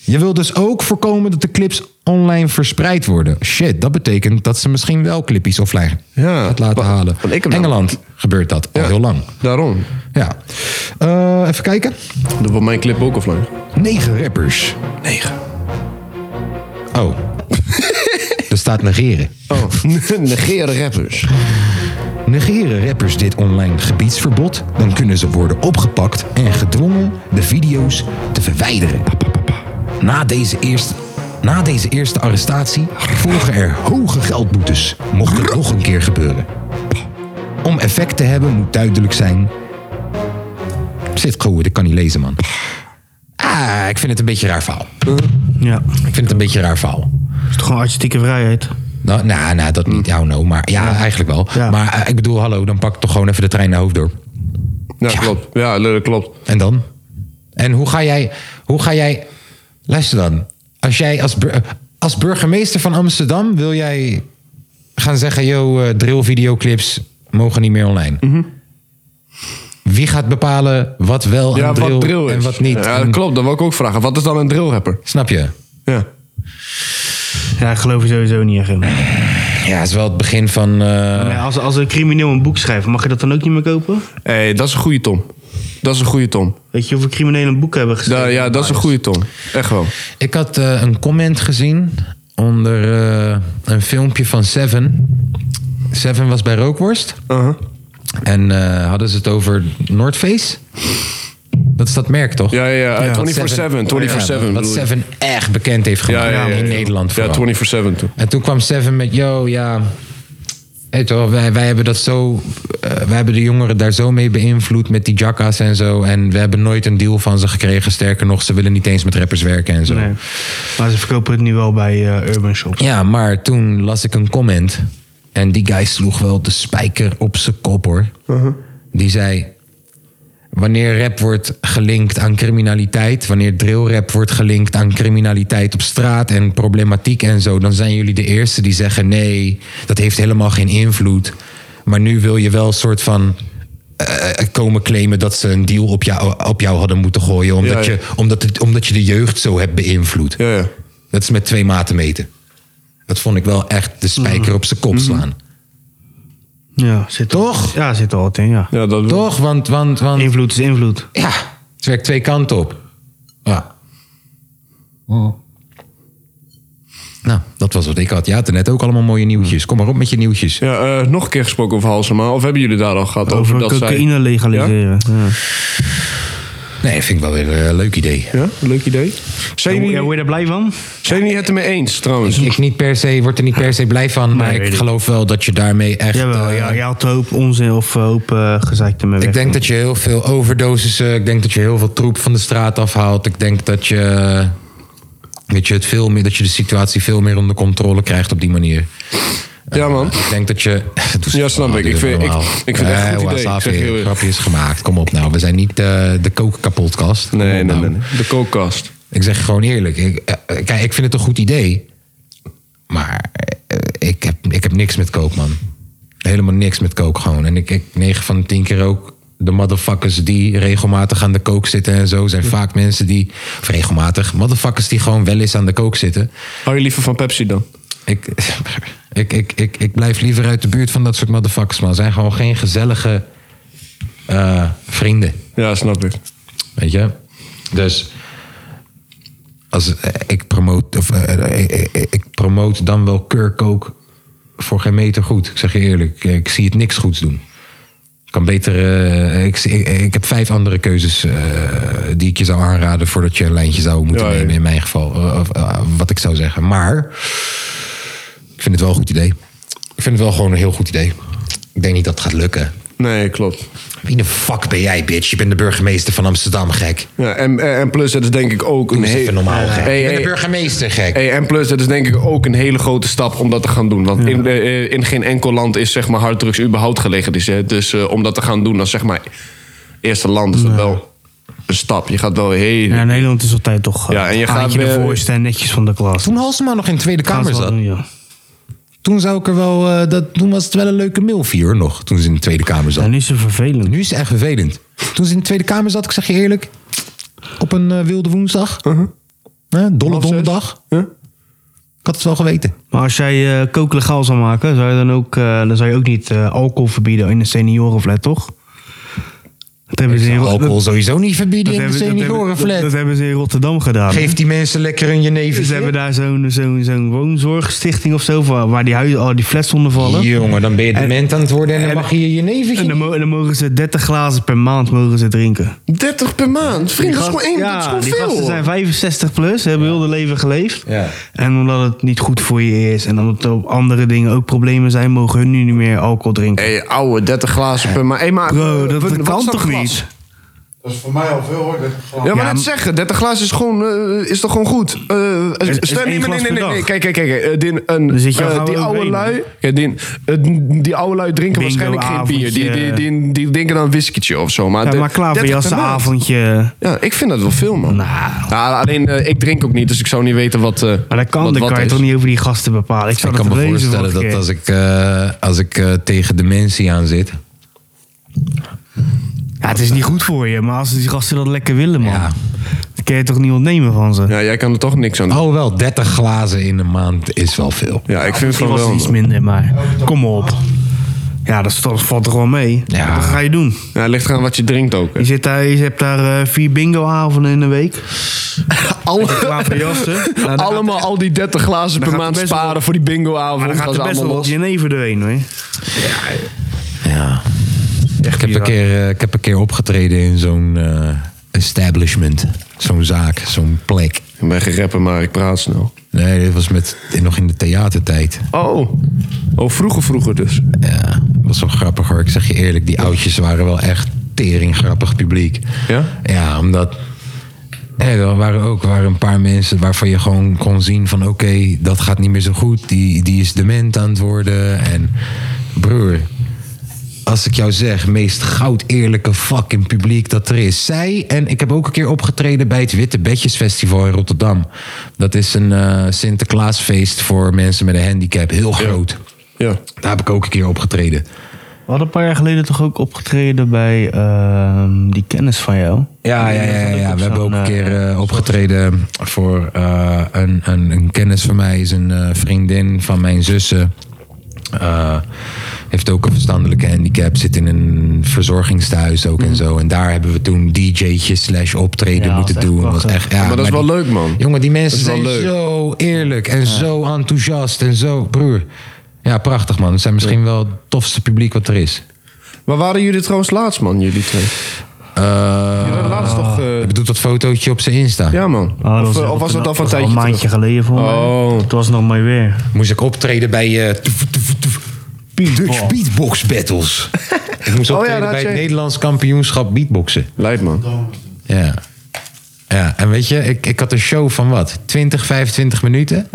Speaker 1: Je wil dus ook voorkomen dat de clips online verspreid worden. Shit, dat betekent dat ze misschien wel clippies offline
Speaker 3: Ja,
Speaker 1: gaat laten
Speaker 3: wat-
Speaker 1: halen.
Speaker 3: wat ik hem nou-
Speaker 1: Engeland gebeurt dat al
Speaker 3: Ja.
Speaker 1: heel lang.
Speaker 3: Daarom.
Speaker 1: Ja. Eh, even kijken.
Speaker 3: Dat wordt mijn clip ook offline.
Speaker 5: Negen rappers
Speaker 3: Negen.
Speaker 1: Oh. er staat negeren.
Speaker 3: Oh. Negeren rappers.
Speaker 5: Negeren rappers dit online gebiedsverbod, dan kunnen ze worden opgepakt en gedwongen de video's te verwijderen. Na deze eerste, na deze eerste arrestatie volgen er hoge geldboetes, mocht het nog een keer gebeuren. Om effect te hebben moet duidelijk zijn.
Speaker 1: Zit goed, ik kan niet lezen, man. Ah, ik vind het een beetje een raar verhaal.
Speaker 2: Ja. Het
Speaker 1: Ik vind het een beetje een raar verhaal.
Speaker 2: is toch gewoon artistieke vrijheid.
Speaker 1: Nou, nou, nou, dat
Speaker 3: Hmm.
Speaker 1: niet. Oh no, maar ja, eigenlijk wel.
Speaker 2: Ja.
Speaker 1: Maar eh, ik bedoel, hallo, dan pak ik toch gewoon even de trein naar Hoofddorp.
Speaker 3: Ja, klopt. Ja, dat klopt.
Speaker 1: En dan? En hoe ga jij... Hoe ga jij luister dan. Als jij als, bur- eh, als burgemeester van Amsterdam... wil jij gaan zeggen... yo, eh, drillvideoclips mogen niet meer online.
Speaker 3: Mhm.
Speaker 1: Wie gaat bepalen wat wel
Speaker 3: Ja,
Speaker 1: een drill,
Speaker 3: wat drill is.
Speaker 1: en wat niet?
Speaker 3: Ja, dat
Speaker 1: En-
Speaker 3: klopt. Dat wil ik ook vragen. Wat is dan een drillrapper?
Speaker 1: Snap je?
Speaker 3: Ja.
Speaker 2: Ja, ik geloof er sowieso niet echt in.
Speaker 3: Eh.
Speaker 1: Ja, het is wel het begin van... eh,
Speaker 2: Maar ja, als, als een crimineel een boek schrijft, mag je dat dan ook niet meer kopen?
Speaker 3: Hé, dat is een goede Tom. Dat is een goede Tom.
Speaker 2: Weet je hoeveel criminelen een boek hebben
Speaker 3: Da-
Speaker 2: geschreven?
Speaker 3: ja, dat is een goede Tom. Echt wel.
Speaker 1: Ik had eh, een comment gezien onder eh, een filmpje van Seven. Seven was bij Rookworst.
Speaker 3: Uh-huh.
Speaker 1: En eh, hadden ze het over North Face. Dat is dat merk, toch?
Speaker 3: Ja, ja, ja.
Speaker 1: Wat
Speaker 3: 24-7. 24-7.
Speaker 1: Ja, Wat
Speaker 3: bedoel ik.
Speaker 1: Seven echt bekend heeft
Speaker 3: Ja,
Speaker 1: gemaakt
Speaker 3: ja, ja,
Speaker 1: in
Speaker 3: ja.
Speaker 1: Nederland
Speaker 3: Ja,
Speaker 1: vooral.
Speaker 3: 24-7 toen.
Speaker 1: En toen kwam Seven met, yo, ja... Hey, toch, wij, wij hebben dat zo... eh, wij hebben de jongeren daar zo mee beïnvloed met die jacka's en zo. En we hebben nooit een deal van ze gekregen. Sterker nog, ze willen niet eens met rappers werken en zo.
Speaker 2: Nee. Maar ze verkopen het nu wel bij eh, Urban Shops.
Speaker 1: Ja, maar toen las ik een comment. En die guy sloeg wel de spijker op zijn kop hoor.
Speaker 3: Uh-huh.
Speaker 1: Die zei. Wanneer rap wordt gelinkt aan criminaliteit, wanneer drillrap wordt gelinkt aan criminaliteit op straat en problematiek en zo, dan zijn jullie de eerste die zeggen: nee, dat heeft helemaal geen invloed. Maar nu wil je wel een soort van eh, komen claimen dat ze een deal op jou, op jou hadden moeten gooien, omdat,
Speaker 3: Ja, ja.
Speaker 1: Je, omdat, het, omdat je de jeugd zo hebt beïnvloed.
Speaker 3: Ja, ja.
Speaker 1: Dat is met twee maten meten. Dat vond ik wel echt de
Speaker 2: Mhm.
Speaker 1: spijker op zijn kop slaan.
Speaker 2: Ja, zit er-
Speaker 1: Toch?
Speaker 2: Ja, zit er al wat in, ja.
Speaker 3: ja dat
Speaker 1: Toch? Want, want, want
Speaker 2: Invloed is invloed.
Speaker 1: ja, het werkt twee kanten op. Ja.
Speaker 2: Oh.
Speaker 1: Nou, dat was wat ik had. Je had er net ook allemaal mooie nieuwtjes. Kom maar op met je nieuwtjes.
Speaker 3: Ja, eh, nog een keer gesproken over Halsema. Of hebben jullie daar al gehad over,
Speaker 2: Over
Speaker 3: dat
Speaker 2: cocaïne
Speaker 3: zij...
Speaker 2: legaliseren. Ja?
Speaker 1: Nee, vind ik wel weer een leuk idee.
Speaker 3: Ja, leuk idee. Zijn
Speaker 2: Ja,
Speaker 3: jullie,
Speaker 2: word je daar blij van?
Speaker 3: zijn jullie het ermee eens trouwens?
Speaker 1: Ik niet per se, word er niet per se blij van, maar
Speaker 2: Nee, weet
Speaker 1: ik
Speaker 2: ik.
Speaker 1: geloof wel dat je daarmee echt...
Speaker 2: Jawel,
Speaker 3: Nou,
Speaker 1: eh,
Speaker 2: ja. Je haalt een hoop onzin of een hoop eh gezeik ermee weg.
Speaker 1: Ik denk dat je heel veel overdosissen. Ik denk dat je heel veel troep van de straat afhaalt. Ik denk dat je. Dat je, het veel meer, dat je de situatie veel meer onder controle krijgt op die manier.
Speaker 3: Ja man.
Speaker 1: Ik denk dat je. Doe ze
Speaker 3: Ja, snap
Speaker 1: normaal,
Speaker 3: ik. Ik
Speaker 1: doe ze
Speaker 3: vind- ik-
Speaker 1: normaal.
Speaker 3: ik vind het echt een
Speaker 1: Eh,
Speaker 3: goed
Speaker 1: was
Speaker 3: idee.
Speaker 1: af,
Speaker 3: Ik zeg
Speaker 1: hier.
Speaker 3: heel eerlijk.
Speaker 1: Grapje is gemaakt. Kom op nou. We zijn niet eh, de kookkapotkast. Kom
Speaker 3: Nee,
Speaker 1: op
Speaker 3: nee,
Speaker 1: nou.
Speaker 3: nee. nee. De kookkast.
Speaker 1: Ik zeg gewoon eerlijk. Ik, eh, eh, kijk, ik vind het een goed idee. Maar eh, ik, heb, ik heb niks met kook, man. Helemaal niks met kook gewoon. En ik, ik 9 van de 10 keer ook. De motherfuckers die regelmatig aan de kook zitten en zo zijn vaak mensen die. Of regelmatig. Motherfuckers die gewoon wel eens aan de kook zitten.
Speaker 3: Hou je liever van Pepsi dan?
Speaker 1: Ik, ik, ik, ik, ik blijf liever uit de buurt van dat soort motherfuckers, man. Zijn gewoon geen gezellige eh, vrienden.
Speaker 3: Ja, snap ik.
Speaker 1: Weet je? Dus als eh, ik promote, of, eh, eh, eh, ik promote dan wel kurkook voor geen meter goed. Ik zeg je eerlijk, eh, ik zie het niks goeds doen. Kan beter, eh, ik, ik, ik heb vijf andere keuzes eh, die ik je zou aanraden voordat je een lijntje zou moeten
Speaker 3: Ja, ja.
Speaker 1: nemen. In mijn geval, Eh, of, eh, wat ik zou zeggen. Maar ik vind het wel een goed idee. Ik vind het wel gewoon een heel goed idee. Ik denk niet dat het gaat lukken.
Speaker 3: Nee, klopt.
Speaker 1: Wie de fuck ben jij, bitch? Je bent de burgemeester van Amsterdam, gek.
Speaker 3: Ja, en, en plus, dat is denk ik ook een
Speaker 1: Doe eens
Speaker 3: hele...
Speaker 1: even normaal, gek.
Speaker 3: Hey,
Speaker 1: Eh, je bent de
Speaker 3: hey.
Speaker 1: burgemeester, gek.
Speaker 3: Hey, en plus, dat is denk ik ook een hele grote stap om dat te gaan doen. Want in, eh, eh, in geen enkel land is zeg maar, harddrugs überhaupt gelegaliseerd. Dus eh, om dat te gaan doen als zeg maar, eerste land is dat wel een stap. Je gaat wel heel...
Speaker 2: Ja, Nederland is altijd toch. eh,
Speaker 3: Ja, en je
Speaker 2: het
Speaker 3: gaat
Speaker 2: haantje
Speaker 3: weer-
Speaker 2: de voorste en netjes van de klas.
Speaker 1: Toen Halsema nog in de Tweede
Speaker 2: Gaan ze
Speaker 1: Kamer
Speaker 2: wel
Speaker 1: zat.
Speaker 2: doen, ja.
Speaker 1: Toen zou ik er wel. eh, dat, toen was het wel een leuke milfie hoor nog. Toen ze in de Tweede Kamer zat.
Speaker 2: Dan is ze vervelend.
Speaker 1: Nu is ze echt vervelend. Toen ze in de Tweede Kamer zat, ik zeg je eerlijk. Op een eh, wilde woensdag. Eh, dolle
Speaker 3: Half zes.
Speaker 1: donderdag.
Speaker 3: Ja.
Speaker 1: Ik had het wel geweten.
Speaker 2: Maar als jij eh kook legaal zou maken, zou je dan ook, eh, dan zou je ook niet eh, alcohol verbieden in de seniorenflat, toch? Dat hebben ze in Ro-
Speaker 1: Alcohol
Speaker 2: dat-
Speaker 1: sowieso niet verbieden
Speaker 2: dat
Speaker 1: in de
Speaker 2: hebben- dat hebben- dat- Dat
Speaker 1: seniorenflat.
Speaker 2: hebben ze in Rotterdam gedaan. Dus
Speaker 1: Geef die mensen lekker een
Speaker 2: Ze hebben
Speaker 1: jenever.
Speaker 2: daar zo'n zo'n zo'n woonzorgstichting of zo, waar waar die huizen, al die flats onder vallen.
Speaker 1: Jongen, dan ben je dement aan het worden en dan
Speaker 2: en-
Speaker 1: mag je je
Speaker 2: En dan,
Speaker 1: jenevertje.
Speaker 2: mo- en dan mogen ze 30 glazen per maand mogen ze drinken.
Speaker 3: 30 per maand? Vriend, dat is gewoon één, dat is gewoon
Speaker 2: die
Speaker 3: veel.
Speaker 2: gasten
Speaker 3: hoor.
Speaker 2: zijn 65 plus, hebben heel hun leven geleefd.
Speaker 1: Ja.
Speaker 2: En omdat het niet goed voor je is en omdat er op andere dingen ook problemen zijn, mogen hun nu niet meer alcohol drinken.
Speaker 3: Hé, ouwe, 30 glazen per maand. Hey, maar,
Speaker 2: Bro,
Speaker 3: eh,
Speaker 2: dat,
Speaker 3: wat-
Speaker 2: dat
Speaker 3: wat
Speaker 2: kan
Speaker 3: is dat
Speaker 2: toch
Speaker 3: glas?
Speaker 2: niet?
Speaker 4: Dat is voor mij al veel hoor. Dat ik gewoon-
Speaker 3: Ja, maar
Speaker 2: Ja,
Speaker 3: net
Speaker 2: m-
Speaker 3: zeggen, 30 glazen is, gewoon, eh, is toch gewoon goed? Eh,
Speaker 2: is
Speaker 3: stel-
Speaker 2: één
Speaker 3: nee, nee,
Speaker 2: glas
Speaker 3: nee,
Speaker 2: per
Speaker 3: nee, nee.
Speaker 2: dag.
Speaker 3: Kijk, kijk, kijk. eh, die, een,
Speaker 2: Dan zit je
Speaker 3: eh,
Speaker 2: gauw
Speaker 3: die
Speaker 2: overheen,
Speaker 3: oude
Speaker 2: hè?
Speaker 3: lui, ja, die, eh, die oude lui drinken
Speaker 2: Bingo
Speaker 3: waarschijnlijk geen bier. Die, die,
Speaker 2: avondje.
Speaker 3: die, die drinken dan een whiskietje of zo. Maar,
Speaker 2: Ja,
Speaker 3: de-
Speaker 2: maar
Speaker 3: 30 per
Speaker 2: klaverjassen,
Speaker 3: maand.
Speaker 2: avondje.
Speaker 3: Ja, ik vind dat wel veel, man.
Speaker 2: Nou.
Speaker 3: Ja, alleen, eh, ik drink ook niet, dus ik zou niet weten wat eh
Speaker 2: Maar dat kan,
Speaker 3: wat,
Speaker 2: dat
Speaker 3: wat
Speaker 2: kan je
Speaker 3: is.
Speaker 2: toch niet over die gasten bepalen. Ik
Speaker 1: Ik
Speaker 2: zou dat
Speaker 1: kan me
Speaker 2: lezen
Speaker 1: voorstellen
Speaker 2: vorige
Speaker 1: dat
Speaker 2: keer.
Speaker 1: als ik, eh, als ik eh, tegen dementie aan zit.
Speaker 2: Ja, het is niet goed voor je, maar als die gasten dat lekker willen, man.
Speaker 1: Ja.
Speaker 2: Dan kun je toch niet ontnemen van ze.
Speaker 3: Ja, jij kan er toch niks aan doen.
Speaker 1: Oh, wel 30 glazen in een maand is wel veel.
Speaker 3: Ja, ik vind van
Speaker 2: Misschien Oh. was
Speaker 3: wel.
Speaker 2: het iets
Speaker 3: man.
Speaker 2: minder, maar kom op. Ja, dat, is- dat valt er wel mee.
Speaker 1: Ja.
Speaker 2: Wat ga je doen?
Speaker 3: Ja, het ligt eraan wat je drinkt ook. hè.
Speaker 2: Je, zit daar, je hebt daar eh, vier bingoavonden in de week.
Speaker 3: Alle-
Speaker 2: Klaverjassen. Nou, dan gaat-
Speaker 3: allemaal al die 30 glazen per
Speaker 2: gaat
Speaker 3: maand
Speaker 2: er best wel-
Speaker 3: sparen voor die bingo-avond.
Speaker 2: Maar dan gaat
Speaker 3: gaan
Speaker 2: er
Speaker 3: ze
Speaker 2: best wel
Speaker 3: allemaal
Speaker 2: wat
Speaker 3: los.
Speaker 2: jenever doorheen, hoor.
Speaker 1: Ja. Ik heb,
Speaker 2: bizar.
Speaker 1: een keer, eh, ik heb een keer opgetreden in zo'n eh, establishment. Zo'n zaak, zo'n plek.
Speaker 3: Ik ben geen rapper, maar ik praat snel.
Speaker 1: Nee, dit was met, nog in de theatertijd.
Speaker 3: Oh. Oh, vroeger vroeger dus.
Speaker 1: Ja, dat was wel grappig hoor. Ik zeg je eerlijk, die oudjes waren wel echt tering grappig publiek.
Speaker 3: Ja?
Speaker 1: Ja, omdat... hè, er waren ook waren een paar mensen waarvan je gewoon kon zien van... oké, dat gaat niet meer zo goed. Die, die is dement aan het worden. En broer, als ik jou zeg... meest goud eerlijke fucking publiek dat er is. Zij en ik heb ook een keer opgetreden... bij het Witte Bedjes Festival in Rotterdam. Dat is een eh, Sinterklaasfeest voor mensen met een handicap. Heel groot.
Speaker 3: Ja.
Speaker 1: Daar heb ik ook een keer opgetreden.
Speaker 2: We hadden een paar jaar geleden toch ook opgetreden bij ehm, die kennis van jou.
Speaker 1: Ja, ja, ja, ja,
Speaker 2: Dat
Speaker 1: ja.
Speaker 2: op
Speaker 1: we hebben ook
Speaker 2: zo'n,
Speaker 1: een
Speaker 2: eh,
Speaker 1: keer eh, opgetreden voor eh, een, een, een kennis van mij, is een eh, vriendin van mijn zussen. Eh, heeft ook een verstandelijke handicap, zit in een verzorgingstehuis ook en zo. En daar hebben we toen DJ'tje slash optreden
Speaker 2: Ja,
Speaker 1: moeten
Speaker 2: was echt
Speaker 1: doen. Was
Speaker 2: prachtig.
Speaker 1: echt, ja,
Speaker 3: maar dat is wel
Speaker 1: die-
Speaker 3: leuk, man.
Speaker 1: Jongen, die mensen
Speaker 3: Dat
Speaker 1: zijn
Speaker 3: is wel leuk.
Speaker 1: zo eerlijk en zo enthousiast en zo, broer. Ja, prachtig man. Ze zijn misschien wel het tofste publiek wat er is.
Speaker 3: Waar waren jullie trouwens laatst, man, jullie twee?
Speaker 1: Eh,
Speaker 3: Jullie waren laatst toch... eh,
Speaker 1: je bedoelt dat fotootje op zijn Insta.
Speaker 3: ja, man.
Speaker 2: Ah,
Speaker 3: of,
Speaker 2: heel
Speaker 3: eh, of was dat
Speaker 2: knap.
Speaker 3: al van een
Speaker 2: was
Speaker 3: tijdje
Speaker 2: een maandje
Speaker 3: terug?
Speaker 2: geleden voor
Speaker 3: Oh.
Speaker 2: mij. Het was nog mooi weer.
Speaker 1: moest ik optreden bij eh, toef, toef, toef, Dutch Beatbox Battles. ik moest
Speaker 3: Oh ja,
Speaker 1: optreden
Speaker 3: daar had
Speaker 1: bij het
Speaker 3: je-
Speaker 1: Nederlands kampioenschap beatboxen.
Speaker 3: Lijp, man.
Speaker 1: Ja. ja, en weet je, ik, ik had een show van wat? 20, 25 minuten.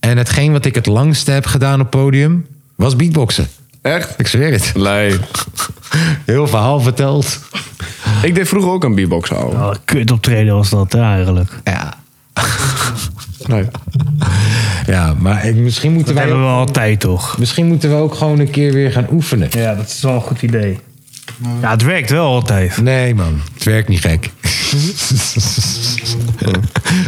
Speaker 1: En hetgeen wat ik het langste heb gedaan op podium was beatboxen.
Speaker 3: Echt?
Speaker 1: Ik zweer het.
Speaker 3: Lijp.
Speaker 1: Heel verhaal verteld.
Speaker 3: Ik deed vroeger ook aan beatboxen, ouwe.
Speaker 2: Oh, kut optreden was dat ja, eigenlijk.
Speaker 1: Ja,
Speaker 3: Lijp.
Speaker 1: ja maar ik, misschien, moeten
Speaker 2: Dat
Speaker 1: wij
Speaker 2: hebben we
Speaker 1: ook,
Speaker 2: altijd toch?
Speaker 1: misschien moeten we ook gewoon een keer weer gaan oefenen.
Speaker 2: Ja, dat is wel een goed idee. Ja, het werkt wel altijd.
Speaker 1: Nee, man. Het werkt niet gek.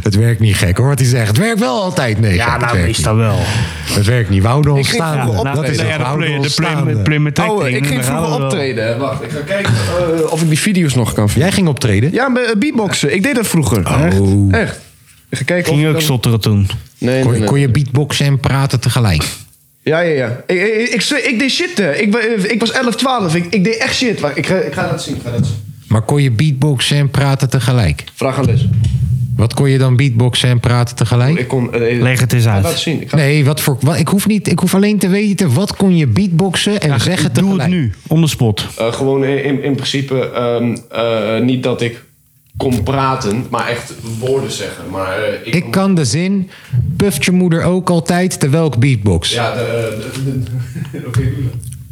Speaker 1: het werkt niet gek, hoor wat hij zegt. Het werkt wel altijd. Nee, gek,
Speaker 2: Ja,
Speaker 1: het
Speaker 2: nou
Speaker 1: werkt
Speaker 2: meestal wel.
Speaker 1: niet. Het werkt niet. We houden ons
Speaker 3: ging
Speaker 1: staande.
Speaker 3: vroeger
Speaker 1: dat is
Speaker 3: optreden.
Speaker 1: het.
Speaker 3: Ja,
Speaker 1: We houden ons staande. Oh,
Speaker 3: Ouwe, Oh, ik ging vroeger optreden. hè. Wacht, ik ga kijken eh, of ik die video's nog kan vinden.
Speaker 1: Jij ging optreden?
Speaker 3: Ja, be- eh, beatboxen. Ik deed dat vroeger. Echt?
Speaker 1: Oh.
Speaker 3: Echt. Ik ga kijken
Speaker 2: Ging
Speaker 3: of
Speaker 2: ook
Speaker 3: ik dan-
Speaker 2: zotteren toen.
Speaker 3: Nee, nee,
Speaker 1: Kon je,
Speaker 3: nee.
Speaker 1: kon je beatboxen en praten tegelijk?
Speaker 3: Ja, ja, ja. Ik, ik, ik, zweer, ik deed shit, hè. Ik, wa- ik was 11, 12. Ik, ik deed echt shit. Wacht, ik, ga, ik ga dat zien. ik ga dat zien.
Speaker 1: Maar kon je beatboxen en praten tegelijk?
Speaker 3: Vraag aan Liz.
Speaker 1: Wat kon je dan beatboxen en praten tegelijk?
Speaker 3: Ik kon... eh,
Speaker 2: Leg het eens
Speaker 3: ik ga
Speaker 2: uit.
Speaker 3: dat zien. Ik ga-
Speaker 1: Nee, wat voor, wat, ik, hoef niet, ik hoef alleen te weten wat kon je beatboxen en zeggen
Speaker 2: Doe
Speaker 1: tegelijk.
Speaker 2: het nu, on the spot.
Speaker 3: Eh, gewoon in, in, in principe ehm, eh, niet dat ik kon praten, maar echt woorden zeggen. Maar eh, ik,
Speaker 1: Ik kan de zin, puft je moeder ook altijd terwijl ik beatbox.
Speaker 3: Ja, de, eh, de- de- oké, doe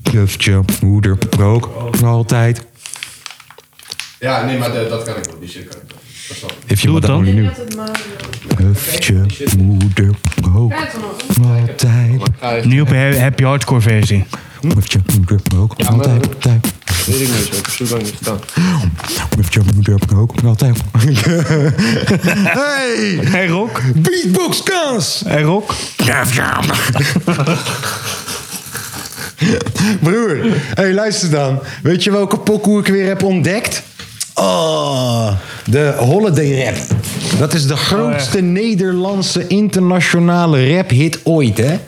Speaker 3: dat.
Speaker 1: Puft je moeder ook altijd.
Speaker 3: Ja, nee, maar de- dat kan ik wel. Die shit kan ik wel. Dat snap ik.
Speaker 1: Heeft je
Speaker 2: Doe
Speaker 1: wat
Speaker 2: het dan.
Speaker 1: aan nu?
Speaker 7: Dat het eh, Mario.
Speaker 1: Puft je moeder ook
Speaker 7: Kijk dan.
Speaker 1: altijd.
Speaker 2: Nu op een happy hardcore versie.
Speaker 1: Puft je moeder ook
Speaker 3: maar-
Speaker 1: altijd. altijd.
Speaker 3: Weet ik niet, zo. Ik heb zo lang niet gedaan.
Speaker 1: Puft je moeder ook altijd. Hey,
Speaker 2: Hey Rock,
Speaker 1: beatbox kans!
Speaker 2: hey Rock.
Speaker 1: Broer, hey, luister dan. Weet je welke pokoe ik weer heb ontdekt? Oh, de Holiday Rap. Dat
Speaker 2: Oh,
Speaker 1: is de grootste Nederlandse internationale rap-hit ooit, hè?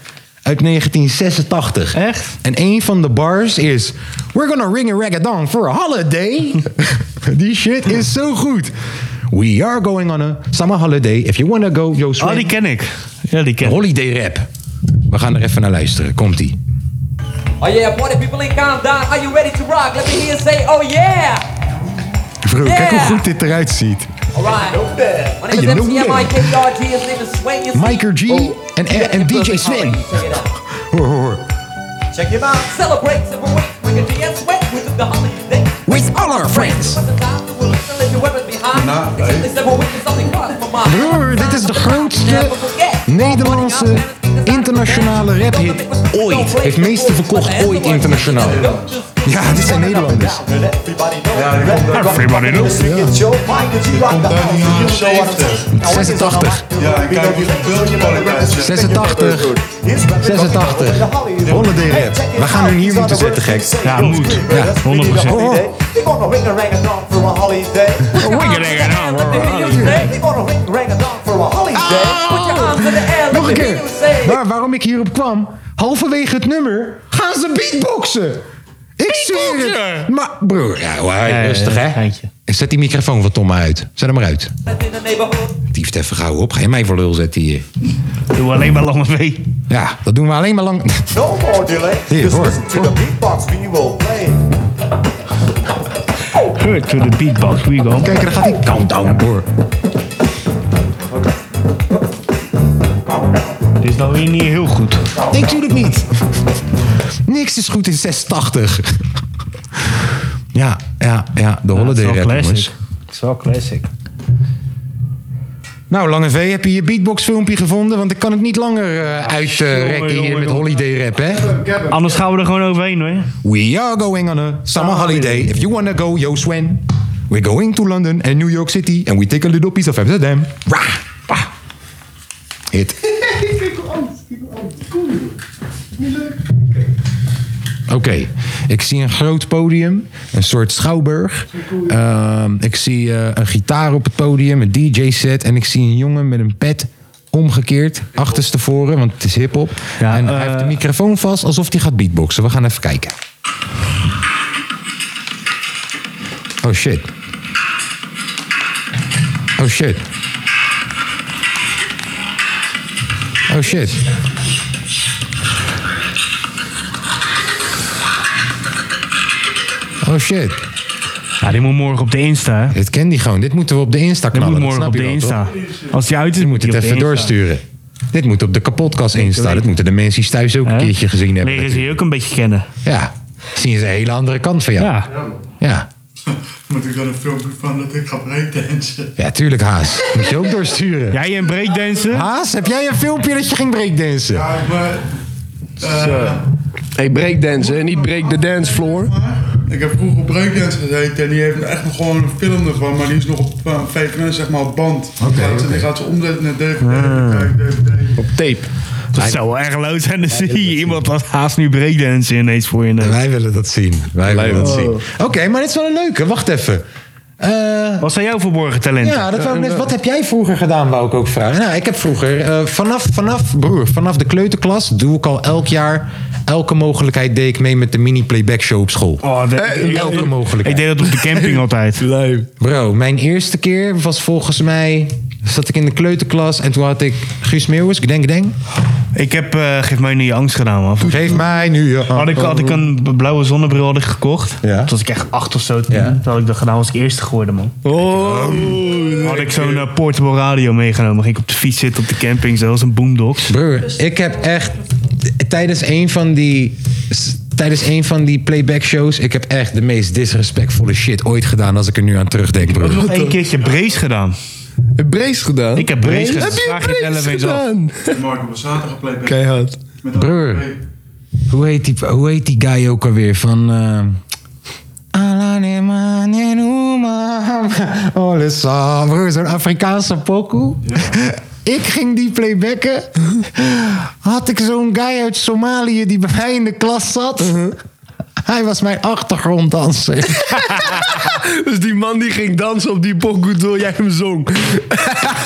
Speaker 1: Uit 1986.
Speaker 2: Echt?
Speaker 1: En een van de bars is... We're gonna ring a rag-a-dong for a holiday. Die shit is zo goed. We are going on a summer holiday. If you wanna go, yo swim.
Speaker 2: Oh, die ken ik. Ja, die ken ik.
Speaker 1: Holiday Rap. We gaan er even naar luisteren. Komt-ie.
Speaker 8: Oh yeah, party people in Countdown, are you ready to rock? Let me hear you say, oh yeah!
Speaker 1: Bro,
Speaker 8: kijk hoe goed
Speaker 1: dit eruit ziet.
Speaker 8: Alright. My name is
Speaker 1: Hey, no
Speaker 8: MC
Speaker 1: bad.
Speaker 8: MIKRG, E his name is Swain. you see.
Speaker 1: Micro G en, en, en DJ Sven.
Speaker 8: Check it out.
Speaker 1: Hoor, hoor, hoor.
Speaker 8: Check him out. Celebrate, celebrate, we can dance, sweat, we do the holiday.
Speaker 1: With all our friends.
Speaker 4: Nou,
Speaker 1: Broer, dit is de grootste Nederlandse internationale raphit ooit. Heeft meeste verkocht ooit internationaal. Ja, dit zijn Nederlanders.
Speaker 4: Everybody knows. Komt Nou, uit de jaren 70.
Speaker 1: 86,
Speaker 4: Ja, ik kijk die beeldkwaliteit. zeg.
Speaker 1: 86, 86. Holiday rap. We gaan hun hier moeten zetten, gek.
Speaker 2: Ja, moet. Ja, 100%.
Speaker 1: Hoor, hoor. Nog een keer. Maar waarom ik hierop kwam? Halverwege het nummer gaan ze beatboxen. Ik zweer het. Maar broer, ja, wauw,
Speaker 2: ja,
Speaker 1: eh, rustig
Speaker 2: ja,
Speaker 1: hè.
Speaker 2: geintje.
Speaker 1: Ik zet die microfoon van Tom maar uit. Zet hem maar uit. Dieft even gauw op. Ga je mij voor lul zetten hier.
Speaker 2: Doe alleen maar lange mee.
Speaker 1: Ja, dat doen we alleen maar lang.
Speaker 4: No more delay. Dus
Speaker 1: Hier, hoor.
Speaker 4: beatbox we will play.
Speaker 2: Hurt to the beatbox, we go.
Speaker 1: Kijk, daar gaat die countdown door.
Speaker 2: Dit is nou weer niet heel goed.
Speaker 1: Ik doe het niet. Niks is goed in 86. Ja, ja, ja. De
Speaker 2: Het is
Speaker 1: holiday
Speaker 2: wel
Speaker 1: rap, jongens.
Speaker 2: classic. Het is wel classic.
Speaker 1: Nou, Lange V, heb je je beatboxfilmpje gevonden? Want ik kan het niet langer eh uitrekken
Speaker 2: jongen,
Speaker 1: hier
Speaker 2: jongen,
Speaker 1: met
Speaker 2: jongen.
Speaker 1: holiday rap, hè?
Speaker 2: Anders gaan we er gewoon overheen hoor.
Speaker 1: We are going on a summer holiday. If you wanna go, yo Sven. We're going to London and New York City. And we take a little piece of Amsterdam. Rah, rah. Hit. Oké, ik zie een groot podium, een soort schouwburg. Ehm, ik zie eh, een gitaar op het podium, een DJ-set. En ik zie een jongen met een pet omgekeerd, achterstevoren, want het is hip-hop.
Speaker 2: Ja,
Speaker 1: en hij
Speaker 2: eh,
Speaker 1: heeft de microfoon vast alsof hij gaat beatboxen. We gaan even kijken. Oh shit. Oh shit. Oh shit. Oh shit.
Speaker 2: Ja, dit moet morgen op de Insta hè.
Speaker 1: Dit kent die gewoon. Dit moeten we op de Insta
Speaker 2: Dit
Speaker 1: knallen.
Speaker 2: moet
Speaker 1: Nou, dat
Speaker 2: morgen
Speaker 1: snap
Speaker 2: op
Speaker 1: je
Speaker 2: de
Speaker 1: wel,
Speaker 2: Insta.
Speaker 1: toch?
Speaker 2: Als die uit is,
Speaker 1: Je moet
Speaker 2: die
Speaker 1: het
Speaker 2: op de
Speaker 1: even
Speaker 2: Insta.
Speaker 1: doorsturen. Dit moet op de kapotkast Insta. Dat moeten de mensen thuis ook een
Speaker 2: Hè?
Speaker 1: keertje gezien hebben.
Speaker 2: Leren ze je ook een beetje kennen.
Speaker 1: natuurlijk. Ja. Zien ze een hele andere kant van jou.
Speaker 2: Ja.
Speaker 1: Ja,
Speaker 4: Moet ik dan een filmpje van dat ik ga breakdansen?
Speaker 1: ja tuurlijk Haas. Moet je ook doorsturen.
Speaker 2: Jij en breakdansen?
Speaker 1: Haas, heb jij een filmpje dat je ging breakdansen?
Speaker 4: Ja, maar... eh,
Speaker 3: Hey, breakdance, hè? Niet break the dance floor.
Speaker 4: Ik heb vroeger op breakdance gezeten en die heeft echt nog gewoon een film ervan, maar die is nog op eh, VPN zeg maar op band. Die
Speaker 1: Oké, Ah.
Speaker 4: gaat ze-
Speaker 1: oké.
Speaker 4: Die gaat ze omzetten naar DVD. Kijk, DVD.
Speaker 3: Tape.
Speaker 2: Dat zou wel erg leuk zijn. Dan zie je iemand als haast nu breakdansen ineens voor je neus.
Speaker 1: Wij willen dat zien. Wij willen dat zien. Oké, maar dit is wel een leuke. Wacht even. Eh,
Speaker 2: Wat zijn jouw verborgen talenten?
Speaker 1: ja, dat wou ik
Speaker 2: eh,
Speaker 1: net, wat heb jij vroeger gedaan, wou ik ook vragen. Nou, ik heb vroeger, eh, vanaf, vanaf, broer, vanaf de kleuterklas doe ik al elk jaar, elke mogelijkheid deed ik mee met de mini-playback show op school.
Speaker 2: Oh, de-
Speaker 1: elke
Speaker 2: ik-
Speaker 1: Eh, mogelijkheid.
Speaker 2: Ik deed dat op de camping altijd.
Speaker 1: Bro, mijn eerste keer was volgens mij, zat ik in de kleuterklas en toen had ik Guus Meeuwis, ik denk, denk.
Speaker 2: Ik heb eh, Geef mij nu je angst gedaan, man.
Speaker 1: Geef mij nu je
Speaker 2: Had ik, had ik een blauwe zonnebril had ik gekocht.
Speaker 1: Ja.
Speaker 2: Toen was ik echt acht of zo. Toen
Speaker 1: Ja.
Speaker 2: Toen had ik dat gedaan, was ik eerste geworden, man.
Speaker 1: Oh.
Speaker 2: had ik zo'n eh, portable radio meegenomen. Ging ik op de fiets zitten op de camping. Zo was een boomdox.
Speaker 1: Broer, ik heb echt tijdens een van die s- tijdens een van die playback shows, ik heb echt de meest disrespectvolle shit ooit gedaan als ik er nu aan terugdenk, broer.
Speaker 2: Nog één keertje brace gedaan.
Speaker 3: Heb brace gedaan?
Speaker 2: Ik heb brace gedaan.
Speaker 3: Heb je
Speaker 2: Vraag je het
Speaker 3: brace
Speaker 2: zelf eens af.
Speaker 3: gedaan?
Speaker 4: Marco was zaterdag playback.
Speaker 3: Keihard.
Speaker 4: Met
Speaker 1: Broer.
Speaker 4: André.
Speaker 1: Hoe heet die, hoe heet die guy ook alweer? Van. eh, Alanema nenuma, ole sa. Oh, Broer, Zo'n Afrikaanse pokoe. Ik ging die playbacken. Had ik zo'n guy uit Somalië die bij mij in de klas zat.
Speaker 3: Mhm.
Speaker 1: Hij was mijn achtergronddanser.
Speaker 3: Dus die man die ging dansen op die pokoe door jij hem zong.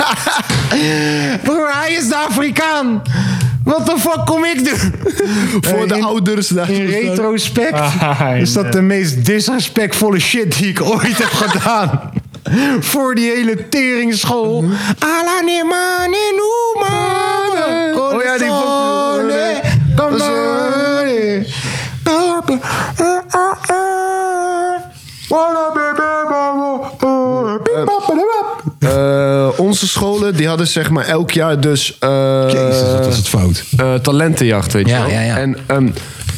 Speaker 1: Broer, hij is de Afrikaan. Wat de fuck kom ik doen? Eh,
Speaker 3: Voor de
Speaker 1: in-
Speaker 3: ouders. daar.
Speaker 1: In retrospect
Speaker 3: Ah.
Speaker 1: is dat de meest disrespectvolle shit die ik ooit heb gedaan. Voor die hele teringschool. Ala ne mane noema.
Speaker 3: Oh ja, die
Speaker 1: Kone,
Speaker 3: Dat is,
Speaker 1: kone. Kone.
Speaker 3: Eh, onze scholen die hadden zeg maar elk jaar dus eh,
Speaker 5: Jezus, wat was het fout.
Speaker 3: eh, talentenjacht, weet
Speaker 1: Ja,
Speaker 3: je wel.
Speaker 1: ja, ja.
Speaker 3: En ehm,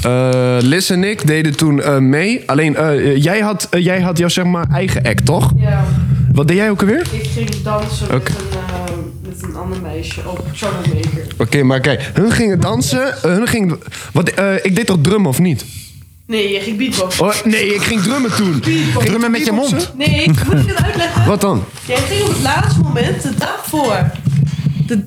Speaker 3: eh, Liz en ik deden toen eh, mee. Alleen eh, jij, had, eh, jij had jouw zeg maar eigen act, toch?
Speaker 7: Ja,
Speaker 3: Wat deed jij ook alweer? Oké,
Speaker 7: ik ging dansen met,
Speaker 3: Oké.
Speaker 7: een, eh, met een ander meisje op Troublemaker.
Speaker 3: maar kijk, hun gingen dansen. eh, hun gingen, wat, eh, ik deed toch drummen of niet?
Speaker 7: Nee, je ging beatboxen.
Speaker 3: Oh, nee, ik ging drummen toen. Drummen met Oh, je mond.
Speaker 7: Nee, moet ik het uitleggen?
Speaker 3: Wat dan?
Speaker 7: Jij ging op het laatste moment, de dag voor. De,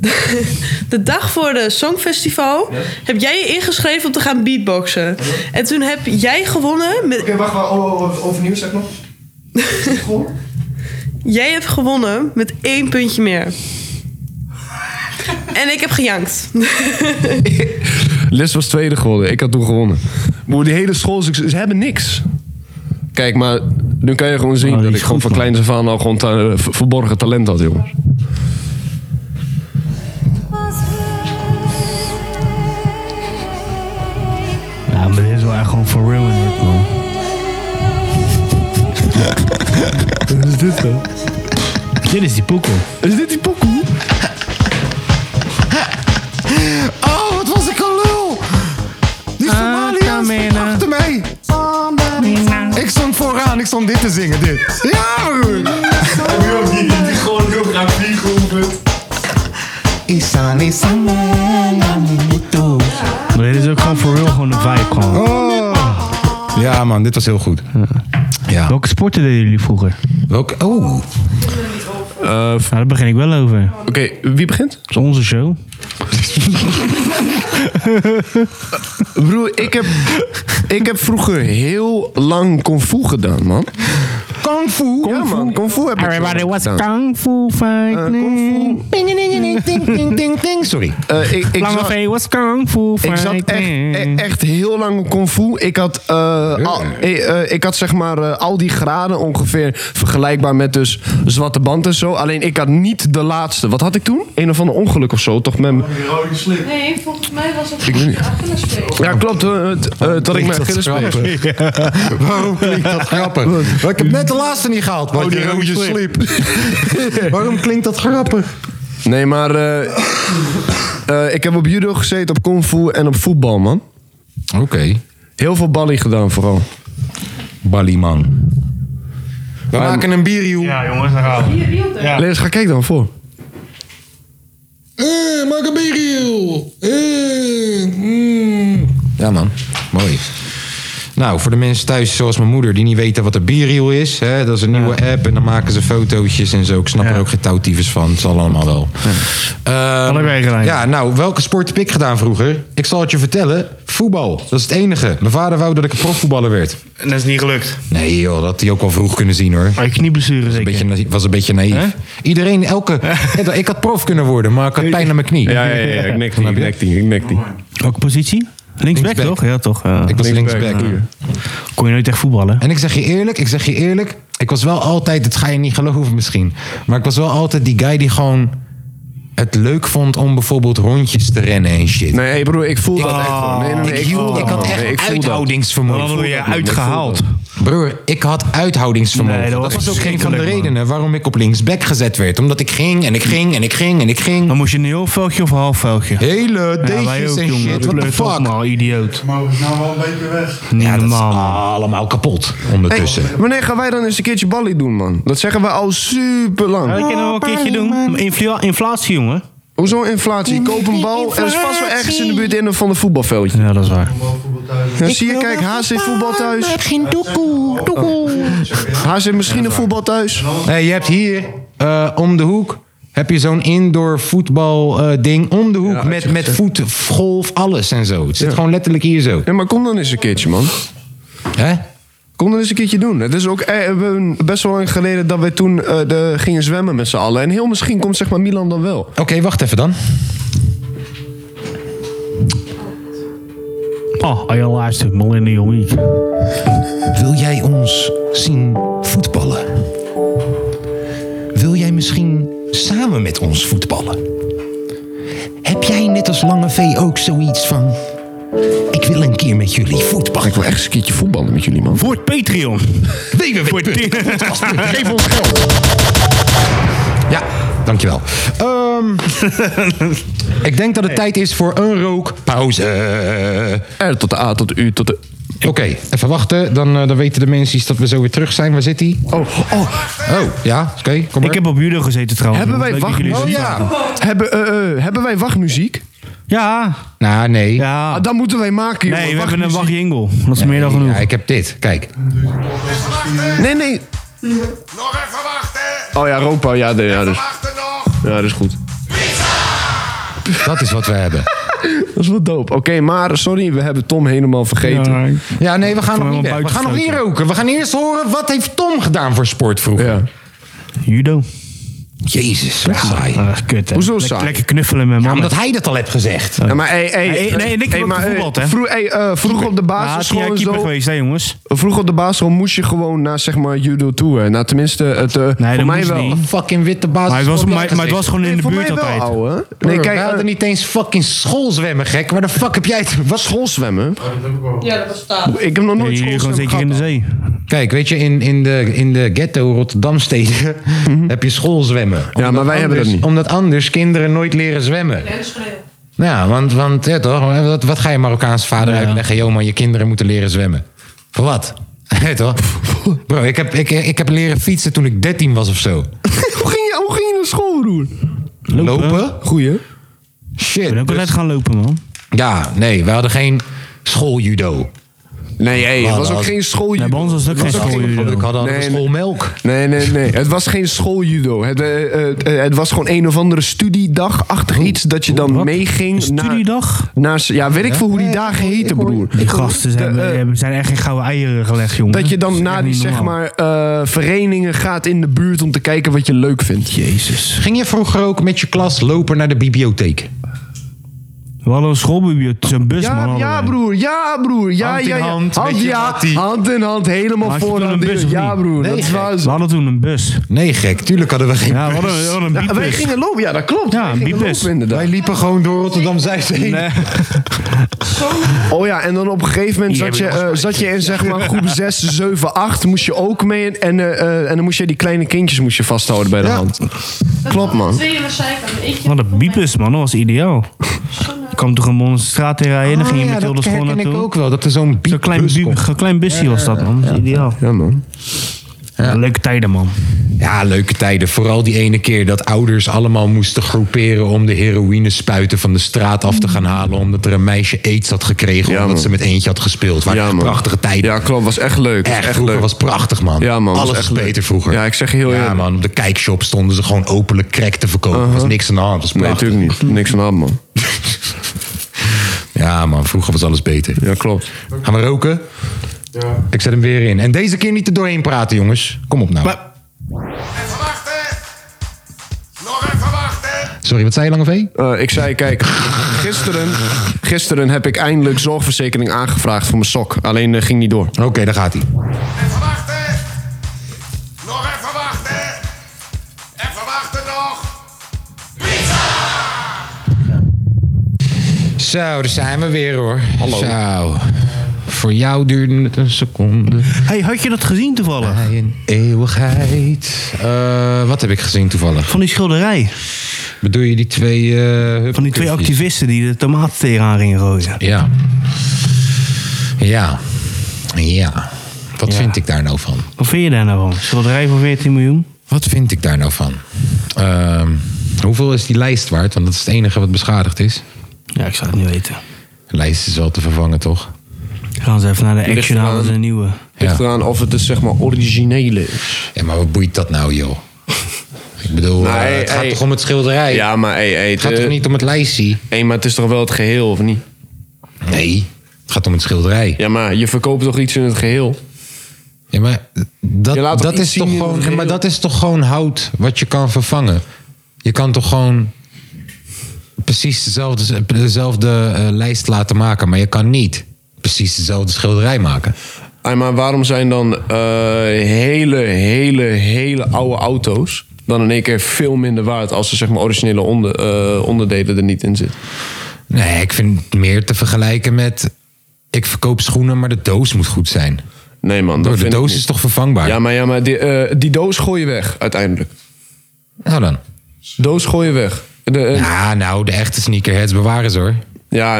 Speaker 7: de dag voor de Songfestival heb jij je ingeschreven om te gaan beatboxen. En toen heb jij gewonnen. Met,
Speaker 3: wacht, oh, overnieuw zeg nog.
Speaker 7: jij hebt gewonnen met één puntje meer. En ik heb gejankt.
Speaker 3: Les was tweede geworden. Ik had toen gewonnen. Maar die hele school, ze ze hebben niks. Kijk, maar nu kan je gewoon zien
Speaker 2: Oh, die
Speaker 3: dat
Speaker 2: is
Speaker 3: ik gewoon
Speaker 2: goed,
Speaker 3: van
Speaker 2: man.
Speaker 3: kleins af aan al gewoon ta- ver- verborgen talent had, jongens.
Speaker 2: Ja, maar dit is wel echt gewoon for real in dit, man. Wat is dit dan? Dit is die poekel.
Speaker 3: Is dit die pokoe?
Speaker 1: Oh, wat was ik een lul. Die
Speaker 5: Ah,
Speaker 1: Somaliërs
Speaker 2: Atamena.
Speaker 1: achter mij. Ik stond vooraan, ik stond dit te zingen, dit. Ja, broer.
Speaker 4: Nu ook die, die gewoon heel graag vliegen hoeven.
Speaker 1: Isan, Isan,
Speaker 2: Maar dit is ook gewoon for real, gewoon een vibe gewoon.
Speaker 1: Oh.
Speaker 5: Ja man, dit was heel goed.
Speaker 2: Welke sporten deden jullie vroeger?
Speaker 5: Welke? Oh,
Speaker 2: Nou, daar begin ik wel over.
Speaker 3: Oké, wie begint?
Speaker 2: Dat is onze show.
Speaker 3: Broer, ik heb, ik heb vroeger heel lang kung fu gedaan, man.
Speaker 1: Kung Fu.
Speaker 3: Ja, man, kung fu heb ik Eh, Everybody was
Speaker 2: Kung Fu fighting.
Speaker 1: Sorry.
Speaker 3: eh, ik, ik
Speaker 2: Lange
Speaker 3: zat-
Speaker 2: V was Kung Fu
Speaker 3: Ik zat echt, e-
Speaker 2: fighting.
Speaker 3: echt heel lang op kung fu. Ik had, eh, al, eh, eh, ik had zeg maar eh, al die graden ongeveer vergelijkbaar met dus zwarte band en zo. Alleen ik had niet de laatste. Wat had ik toen? Een of ander ongeluk of zo, toch? Met... m-
Speaker 4: Die rode slip.
Speaker 7: Nee, volgens mij was het
Speaker 3: weet niet.
Speaker 7: een Achillespees.
Speaker 3: Ja, klopt. eh, het- eh, dat ik mijn Achilles
Speaker 1: grappig. Waarom klinkt dat grappig? Oh, Want Ik heb net de laatste niet gehaald. want
Speaker 3: die
Speaker 1: je
Speaker 3: rode
Speaker 1: roodje
Speaker 3: slip.
Speaker 1: sliep. Waarom klinkt dat grappig?
Speaker 3: Nee, maar eh, eh, ik heb op judo gezeten, op kung fu en op voetbal, man.
Speaker 5: oké.
Speaker 3: Heel veel balie gedaan vooral.
Speaker 5: Ballyman.
Speaker 1: We maken een bierjoe.
Speaker 2: Ja, jongens, daar gaan we.
Speaker 7: Hier, wielden.
Speaker 2: Ja.
Speaker 3: Lees, ga kijk dan voor.
Speaker 5: maak een bierjoe. Ja man, mooi.
Speaker 1: Nou, voor de mensen thuis, zoals mijn moeder, die niet weten wat een B-reel is. Hè, dat is een nieuwe app en dan maken ze fotootjes en zo. Ik snap er ook geen touwtyfus van. Het zal allemaal wel. Ehm,
Speaker 2: Alle wegen leiden.
Speaker 1: Ja, nou, welke sport heb ik gedaan vroeger? Ik zal het je vertellen. Voetbal. Dat is het enige. Mijn vader wou dat ik een profvoetballer werd.
Speaker 2: En dat is niet gelukt.
Speaker 1: Nee joh, dat had hij ook wel vroeg kunnen zien hoor.
Speaker 2: Maar je knieblessure zeker.
Speaker 1: Beetje, na- was een beetje naïef.
Speaker 2: Hè?
Speaker 1: Iedereen, elke... Ja, ik had prof kunnen worden, maar ik had pijn aan mijn knie.
Speaker 3: Ja, ja, ja, ik nek die, ik nek die, ik nek die.
Speaker 2: Welke positie? Linksback
Speaker 1: Linksback.
Speaker 2: toch? Ja, toch. eh.
Speaker 1: Ik was linksback.
Speaker 2: Kon je nooit echt voetballen.
Speaker 1: En ik zeg je eerlijk, ik zeg je eerlijk. Ik was wel altijd, dat ga je niet geloven misschien. Maar ik was wel altijd die guy die gewoon het leuk vond om bijvoorbeeld rondjes te rennen en shit.
Speaker 3: Nee, hey broer, ik voel dat echt gewoon. Nee, nee, nee,
Speaker 1: ik,
Speaker 3: ik,
Speaker 1: hield-
Speaker 3: voel dat,
Speaker 1: ik had
Speaker 3: man.
Speaker 1: echt
Speaker 3: Nee, ik voel dat.
Speaker 1: uithoudingsvermogen.
Speaker 2: Dan word je uitgehaald.
Speaker 1: Broer, ik had uithoudingsvermogen.
Speaker 2: Nee, dat
Speaker 1: dat was,
Speaker 2: was
Speaker 1: ook een van de
Speaker 2: verschrikkelijk, man.
Speaker 1: redenen waarom ik op linksback gezet werd. Omdat ik ging en ik ging en ik ging en ik ging.
Speaker 2: Dan moest je een heel veldje of een half veldje.
Speaker 1: Hele
Speaker 2: Ja, wij
Speaker 1: deegjes
Speaker 2: ook,
Speaker 1: en
Speaker 2: jongen.
Speaker 1: shit. What the
Speaker 2: Pleut
Speaker 1: fuck?
Speaker 2: allemaal, idioot.
Speaker 4: Maar we zijn nou wel een beetje weg.
Speaker 2: Niet
Speaker 1: Ja, dat is
Speaker 2: normaal, man.
Speaker 1: allemaal kapot ondertussen.
Speaker 3: Hey, wanneer gaan wij dan eens een keertje ballie doen, man? Dat zeggen we al super
Speaker 2: Ja,
Speaker 3: lang.
Speaker 2: dat kunnen we wel een keertje doen. Maar infla- inflatie, jongen.
Speaker 3: Hoezo inflatie? Koop een bal en er is vast wel ergens in de buurt in van een voetbalveldje.
Speaker 2: Ja, dat is waar.
Speaker 3: Ja, zie je, kijk, HC voetbal thuis.
Speaker 1: geen doekoe.
Speaker 3: HC misschien een voetbal thuis.
Speaker 1: Nee, je hebt hier eh, om de hoek. Heb je zo'n indoor voetbal eh, ding om de hoek met, met voet, golf, alles en zo. Het zit gewoon letterlijk hier zo.
Speaker 3: Ja, maar kom dan eens een keertje, man.
Speaker 1: Hè?
Speaker 3: Kom dan eens een keertje doen. Het is ook eh, we hebben best wel lang geleden dat wij toen eh, de, gingen zwemmen met z'n allen. En heel misschien komt zeg maar Milan dan wel.
Speaker 1: Oké, wacht even dan.
Speaker 2: Oh, al je laatste millennial week.
Speaker 1: Wil jij ons zien voetballen? Wil jij misschien samen met ons voetballen? Heb jij net als Lange V ook zoiets van... Ik wil een keer met jullie voetballen.
Speaker 3: Ik wil echt eens een keertje voetballen met jullie, man.
Speaker 2: Voor het Patreon.
Speaker 3: Geef ons geld.
Speaker 1: Ja, dankjewel. Ehm, ik denk dat het tijd is voor een rookpauze.
Speaker 3: R tot de A tot de U tot de...
Speaker 1: Oké, even wachten. Dan, eh, dan weten de mensen iets dat we zo weer terug zijn. Waar zit hij?
Speaker 3: Oh, oh.
Speaker 1: Oh, ja. Oké, kom maar.
Speaker 2: Ik heb op judo gezeten trouwens.
Speaker 3: Hebben wij
Speaker 2: Leuk dat
Speaker 3: wacht...
Speaker 2: jullie
Speaker 3: Oh,
Speaker 2: het zien.
Speaker 3: ja. hebben, eh, eh, hebben wij wachtmuziek?
Speaker 2: Ja.
Speaker 1: Nou, nee.
Speaker 2: Ja.
Speaker 3: Ah, dan moeten wij maken, jongen.
Speaker 2: Nee, we hebben een
Speaker 3: wachtmuziek.
Speaker 2: wachtjingle. Dat is meer dan genoeg.
Speaker 1: Ja, ik heb dit. Kijk.
Speaker 3: Nee, nee.
Speaker 9: Nog even wachten!
Speaker 3: Oh ja, Ropa. Ja, nee, ja, dus,
Speaker 9: Wachten nog!
Speaker 3: ja, dat is goed.
Speaker 1: Dat is wat we hebben.
Speaker 3: Dat is wel dope. Oké, maar sorry, we hebben Tom helemaal vergeten. Ja.
Speaker 1: Ja, nee, we gaan nog
Speaker 2: me
Speaker 1: niet
Speaker 2: wel
Speaker 1: weg. We gaan nog niet
Speaker 2: buitengesloten.
Speaker 1: roken. We gaan eerst horen wat heeft Tom gedaan voor sport vroeger.
Speaker 2: Judo.
Speaker 1: Jezus, wat saai.
Speaker 2: Ah, dat is kut, hè.
Speaker 3: Hoezo
Speaker 2: Lek-
Speaker 3: saai?
Speaker 2: Lekker knuffelen met
Speaker 1: Ja,
Speaker 2: mannen.
Speaker 1: omdat hij dat al heeft gezegd.
Speaker 3: Ja, maar hey, hey,
Speaker 2: Nee, nee, en ik heb ook
Speaker 3: maar,
Speaker 2: gevoetbald, hè.
Speaker 3: vroeg, hey, eh, vroeg op de
Speaker 2: Ah, had hij
Speaker 3: basisschool en
Speaker 2: keeper
Speaker 3: zo.
Speaker 2: geweest, hè jongens?
Speaker 3: Vroeg op de basisschool moest je gewoon naar zeg maar judo toe. Hè. Nou, tenminste, het, eh, voor
Speaker 2: dat
Speaker 3: mij
Speaker 2: moest
Speaker 3: wel.
Speaker 2: niet.
Speaker 1: Fucking witte basis.
Speaker 2: Maar het was, maar, maar het was gewoon in
Speaker 3: Nee,
Speaker 2: de
Speaker 3: voor
Speaker 2: buurt
Speaker 3: mij wel,
Speaker 2: altijd.
Speaker 3: ouwe.
Speaker 1: Nee,
Speaker 3: Nee,
Speaker 1: kijk,
Speaker 3: kijk,
Speaker 1: wij
Speaker 3: eh,
Speaker 1: hadden niet eens fucking schoolzwemmen, gek. Waar de fuck heb jij het? Wat
Speaker 3: schoolzwemmen.
Speaker 7: Ja, dat bestaat.
Speaker 3: Ik heb nog nooit
Speaker 2: Nee, hier gewoon
Speaker 3: schoolzwemmen
Speaker 2: zeker in de
Speaker 3: gehad.
Speaker 2: zee.
Speaker 1: Kijk, weet je, in, in, de, in de ghetto Rotterdamsteden heb je schoolzwemmen. Omdat
Speaker 3: maar wij hebben dat
Speaker 1: anders-
Speaker 3: niet.
Speaker 1: Omdat anders kinderen nooit leren zwemmen. Nou Ja, want, want ja, toch, wat, wat ga je Marokkaanse vader uitleggen? Joh, man, je kinderen moeten leren zwemmen. Voor wat? Ja, toch? Bro, ik heb, ik, ik heb leren fietsen toen ik 13 was of zo.
Speaker 3: hoe, ging je, hoe ging je naar school, broer?
Speaker 1: Lopen?
Speaker 3: Goeie. hè?
Speaker 2: Ik ben
Speaker 1: Shit.
Speaker 2: ook
Speaker 1: dus-
Speaker 2: altijd gaan lopen, man.
Speaker 1: ja, nee, we hadden geen schooljudo.
Speaker 3: Nee, hey, het was
Speaker 1: dat
Speaker 3: ook
Speaker 1: was-
Speaker 3: geen
Speaker 2: Nou, Nee, bij
Speaker 3: schooljudo.
Speaker 2: ons was het ook geen
Speaker 1: Ik
Speaker 2: schooljudo.
Speaker 1: had al
Speaker 3: Nee, nee.
Speaker 1: schoolmelk.
Speaker 3: Nee, nee, nee. Het was geen schooljudo. Het, eh, eh, eh, het was gewoon een of andere studiedagachtig iets dat je dan meeging.
Speaker 2: Een
Speaker 3: naar-
Speaker 2: studiedag?
Speaker 3: Naar, s- ja, weet ik veel hoe die dagen heten, broer.
Speaker 2: Die gasten zijn,
Speaker 3: De, eh,
Speaker 2: hebben- zijn echt geen gouden eieren gelegd, jongen.
Speaker 3: Dat je
Speaker 2: is
Speaker 3: dan
Speaker 2: echt
Speaker 3: naar die
Speaker 2: niet
Speaker 3: zeg
Speaker 2: normaal.
Speaker 3: maar, eh, verenigingen gaat in de buurt om te kijken wat je leuk vindt.
Speaker 2: Jezus.
Speaker 1: Ging je vroeger ook met je klas lopen naar de bibliotheek?
Speaker 2: We hadden een schoolbibliotheek, zo'n bus, man.
Speaker 3: Ja,
Speaker 2: hadden
Speaker 3: ja
Speaker 2: wij.
Speaker 3: broer, ja broer, ja,
Speaker 2: Hand in
Speaker 3: ja, ja.
Speaker 2: hand,
Speaker 3: hand,
Speaker 2: weet je,
Speaker 3: ja,
Speaker 2: hattie.
Speaker 3: hand in hand, helemaal
Speaker 2: Had je
Speaker 3: voor
Speaker 2: toen
Speaker 3: aan
Speaker 2: een bus
Speaker 3: de
Speaker 2: of
Speaker 3: Ja
Speaker 2: niet?
Speaker 3: broer,
Speaker 1: Nee,
Speaker 3: dat
Speaker 1: gek.
Speaker 3: was...
Speaker 2: We hadden toen een bus.
Speaker 1: Nee, gek. Tuurlijk hadden we geen.
Speaker 2: Ja, we hadden, we hadden een
Speaker 3: Ja, wij
Speaker 2: bietbus.
Speaker 3: gingen lopen, ja dat klopt.
Speaker 2: Ja,
Speaker 3: Wij
Speaker 2: een
Speaker 3: gingen
Speaker 2: biepbus.
Speaker 3: lopen, inderdaad.
Speaker 1: Wij liepen gewoon door Rotterdam Zuid heen.
Speaker 2: Nee.
Speaker 3: Oh ja, en dan op een gegeven moment
Speaker 2: Hier
Speaker 3: zat je,
Speaker 2: hebben we
Speaker 3: eh,
Speaker 2: nog
Speaker 3: zat je in zeg maar groep 6, 7, 8. Moest je ook mee. En, eh, eh, en dan moest je die kleine kindjes moest je vasthouden bij de hand. Klopt, man.
Speaker 7: Twee uur zijkant. Eentje.
Speaker 2: Wat een biepus, man. Dat was ideaal. Je kwam toch gewoon de straat in rijden, dan ging je
Speaker 1: Ah,
Speaker 2: met
Speaker 1: ja,
Speaker 2: heel de
Speaker 1: dat
Speaker 2: school
Speaker 1: herken ik
Speaker 2: naartoe.
Speaker 1: ook wel. Dat er zo'n
Speaker 2: Zo'n klein,
Speaker 1: biepbus
Speaker 2: bu-
Speaker 1: komt.
Speaker 2: zo'n klein busje was dat, man. Dat is ideaal.
Speaker 3: Ja, man.
Speaker 2: Leuke tijden, man.
Speaker 1: Ja, leuke tijden. Vooral die ene keer dat ouders allemaal moesten groeperen om de heroïnespuiten van de straat af te gaan halen. Omdat er een meisje aids had gekregen
Speaker 3: Ja,
Speaker 1: omdat
Speaker 3: man.
Speaker 1: ze met eentje had gespeeld. Waren
Speaker 3: Ah, Ja,
Speaker 1: echt
Speaker 3: man.
Speaker 1: prachtige tijden.
Speaker 3: Ja, klopt. Was echt leuk.
Speaker 1: Echt,
Speaker 3: echt
Speaker 1: vroeger
Speaker 3: leuk.
Speaker 1: was prachtig, man.
Speaker 3: Ja, man, was
Speaker 1: Alles
Speaker 3: echt
Speaker 1: was beter
Speaker 3: leuk.
Speaker 1: vroeger.
Speaker 3: Ja, ik zeg je heel
Speaker 1: Ja,
Speaker 3: eerlijk. Uh-huh.
Speaker 1: man. Op de kijkshop stonden ze gewoon openlijk crack te verkopen. Er was niks aan de hand. Was
Speaker 3: Nee,
Speaker 1: prachtig.
Speaker 3: natuurlijk niet. Niks aan de hand, man.
Speaker 1: Ja, man. Vroeger was alles beter.
Speaker 3: Ja, klopt.
Speaker 1: Gaan we roken? Ik zet hem weer in. En deze keer niet er doorheen praten, jongens. Kom op nou.
Speaker 2: Maar-
Speaker 9: Even wachten. Nog even wachten.
Speaker 1: Sorry, wat zei je, Lange V?
Speaker 3: Eh, ik zei, kijk, gisteren, gisteren heb ik eindelijk zorgverzekering aangevraagd voor mijn sok. Alleen eh, ging niet door.
Speaker 1: Oké, daar gaat hij.
Speaker 9: Even wachten. Nog even wachten. Even wachten nog. Pizza!
Speaker 1: Zo, daar zijn we weer hoor. Hallo. Zo. Voor jou duurde het een seconde.
Speaker 2: Hey, had je dat gezien toevallig?
Speaker 1: Bij een eeuwigheid. Eh, wat heb ik gezien toevallig?
Speaker 2: Van die schilderij.
Speaker 1: Bedoel je die twee... eh,
Speaker 2: Van die twee
Speaker 1: huppiekutjes?
Speaker 2: activisten die de tomaten tegenaan gingen gooien.
Speaker 1: Ja. Ja. Ja. Wat
Speaker 2: Ja.
Speaker 1: vind ik daar nou van?
Speaker 2: Wat vind je daar nou van? Schilderij voor 14 miljoen?
Speaker 1: Wat vind ik daar nou van? Ehm, hoeveel is die lijst waard? Want dat is het enige wat beschadigd is.
Speaker 2: Ja, ik zou het niet weten.
Speaker 1: De lijst is wel te vervangen, toch?
Speaker 2: Gaan ze even naar de
Speaker 3: Ligt
Speaker 2: Action
Speaker 3: eraan.
Speaker 2: halen, ze een nieuwe.
Speaker 3: Ligt
Speaker 1: Ja.
Speaker 3: eraan of het dus zeg maar originele is.
Speaker 1: Ja, maar wat boeit dat nou, joh? Ik bedoel,
Speaker 3: Nou,
Speaker 1: eh,
Speaker 3: hey,
Speaker 1: het gaat
Speaker 3: hey.
Speaker 1: toch om het schilderij?
Speaker 3: Ja, maar hey, hey, eh,
Speaker 1: Het gaat toch niet om het lijstje?
Speaker 3: maar het is toch wel het geheel, of niet?
Speaker 1: Nee, het gaat om het schilderij.
Speaker 3: Ja, maar je verkoopt toch iets in het geheel?
Speaker 1: Ja, maar
Speaker 3: Je laat
Speaker 1: dat,
Speaker 3: toch
Speaker 1: dat,
Speaker 3: iets
Speaker 1: is
Speaker 3: zien
Speaker 1: toch
Speaker 3: in het
Speaker 1: gewoon, ja,
Speaker 3: geheel?
Speaker 1: maar dat is toch gewoon hout wat je kan vervangen? Je kan toch gewoon precies dezelfde, dezelfde eh, lijst laten maken, maar je kan niet precies dezelfde schilderij maken.
Speaker 3: Hey, maar waarom zijn dan eh, hele, hele, hele oude auto's dan in één keer veel minder waard als er zeg maar originele onder, eh, onderdelen er niet in zitten?
Speaker 1: Nee, ik vind het meer te vergelijken met... ik verkoop schoenen, maar de doos moet goed zijn.
Speaker 3: Nee man, dat
Speaker 1: Door Oh, de
Speaker 3: vind ik
Speaker 1: doos
Speaker 3: niet.
Speaker 1: is toch vervangbaar?
Speaker 3: Ja, maar, ja, maar die, eh, die doos gooi je weg uiteindelijk.
Speaker 1: Nou dan.
Speaker 3: Doos gooi je weg. De, eh, ja.
Speaker 1: Ja, nou, de echte sneakerheads bewaren ze hoor.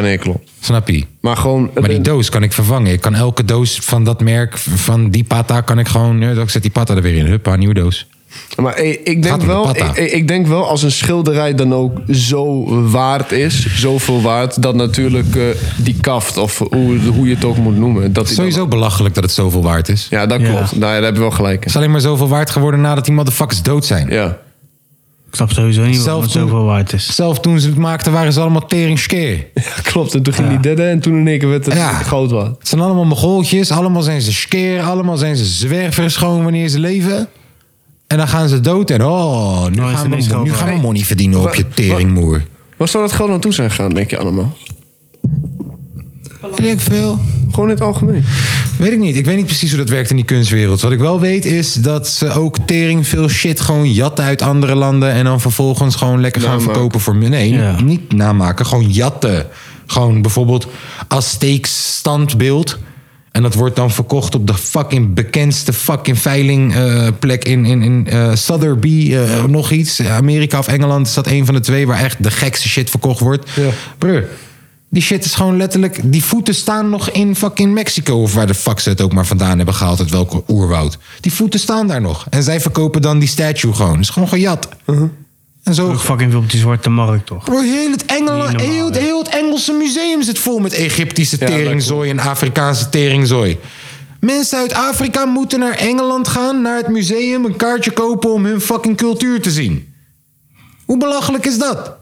Speaker 3: nee, klopt.
Speaker 1: Snap je?
Speaker 3: Maar gewoon... eh,
Speaker 1: Maar die
Speaker 3: de-
Speaker 1: doos kan ik vervangen. Ik kan elke doos van dat merk, van die pata, kan ik gewoon... ja, Ik zet die pata er weer in. Huppa, nieuwe doos.
Speaker 3: Maar eh, ik
Speaker 1: Gaat om
Speaker 3: denk,
Speaker 1: de
Speaker 3: wel,
Speaker 1: patta.
Speaker 3: ik, ik- ik denk wel, als een schilderij dan ook zo waard is, zoveel waard, dat natuurlijk eh, die kaft, of hoe, hoe je het ook moet noemen. Dat die dan-
Speaker 1: Sowieso belachelijk dat het zoveel waard is.
Speaker 3: ja, dat
Speaker 2: Ja.
Speaker 3: klopt. Daar, daar heb je wel gelijk in.
Speaker 1: Het is alleen maar zoveel waard geworden nadat die motherfuckers dood zijn.
Speaker 3: Ja.
Speaker 2: Ik snap sowieso niet waarom
Speaker 1: Zelf
Speaker 2: het
Speaker 1: doen.
Speaker 2: zoveel waard is.
Speaker 1: Zelf toen ze het maakten waren ze allemaal teringscheer.
Speaker 3: ja, klopt. En toen ging die derde en toen in één keer werd het
Speaker 1: Ja.
Speaker 3: groot waard.
Speaker 1: Het zijn allemaal mogoltjes, allemaal zijn ze skeer, allemaal zijn ze zwervers gewoon wanneer ze leven. En dan gaan ze dood en oh, nu
Speaker 2: is het
Speaker 1: gaan we,
Speaker 2: ineens
Speaker 1: mon- nu
Speaker 2: geld
Speaker 1: gaan we
Speaker 2: waard.
Speaker 1: money verdienen op je
Speaker 3: Wa-
Speaker 1: teringmoer.
Speaker 3: Waar zou dat geld naartoe zijn gegaan, denk je allemaal?
Speaker 1: Weet ik veel.
Speaker 3: Gewoon in het algemeen.
Speaker 1: Weet ik niet. Ik weet niet precies hoe dat werkt in die kunstwereld. Wat ik wel weet is dat ze ook tering veel shit gewoon jatten uit andere landen. En dan vervolgens gewoon lekker gaan
Speaker 3: Namaken.
Speaker 1: verkopen voor... Nee,
Speaker 2: Ja.
Speaker 1: niet namaken. Gewoon jatten. Gewoon bijvoorbeeld Azteeks standbeeld. En dat wordt dan verkocht op de fucking bekendste fucking veilingplek in, in, in eh, Sotheby. eh, nog iets. Amerika of Engeland is dat een van de twee waar echt de gekste shit verkocht wordt.
Speaker 3: Ja.
Speaker 1: Broer, die shit is gewoon letterlijk... Die voeten staan nog in fucking Mexico... of waar de fuck ze het ook maar vandaan hebben gehaald... uit welke oerwoud. Die voeten staan daar nog. En zij verkopen dan die statue gewoon. is gewoon gejat. En zo...
Speaker 2: Ook fucking veel op die zwarte markt, toch?
Speaker 1: Bro, heel het, Engel,
Speaker 2: Niet normaal,
Speaker 1: heel, het,
Speaker 2: hè?
Speaker 1: heel het Engelse museum zit vol met Egyptische
Speaker 3: Ja, dat
Speaker 1: teringzooi en Afrikaanse teringzooi. Mensen uit Afrika moeten naar Engeland gaan, naar het museum, een kaartje kopen om hun fucking cultuur te zien. Hoe belachelijk is dat?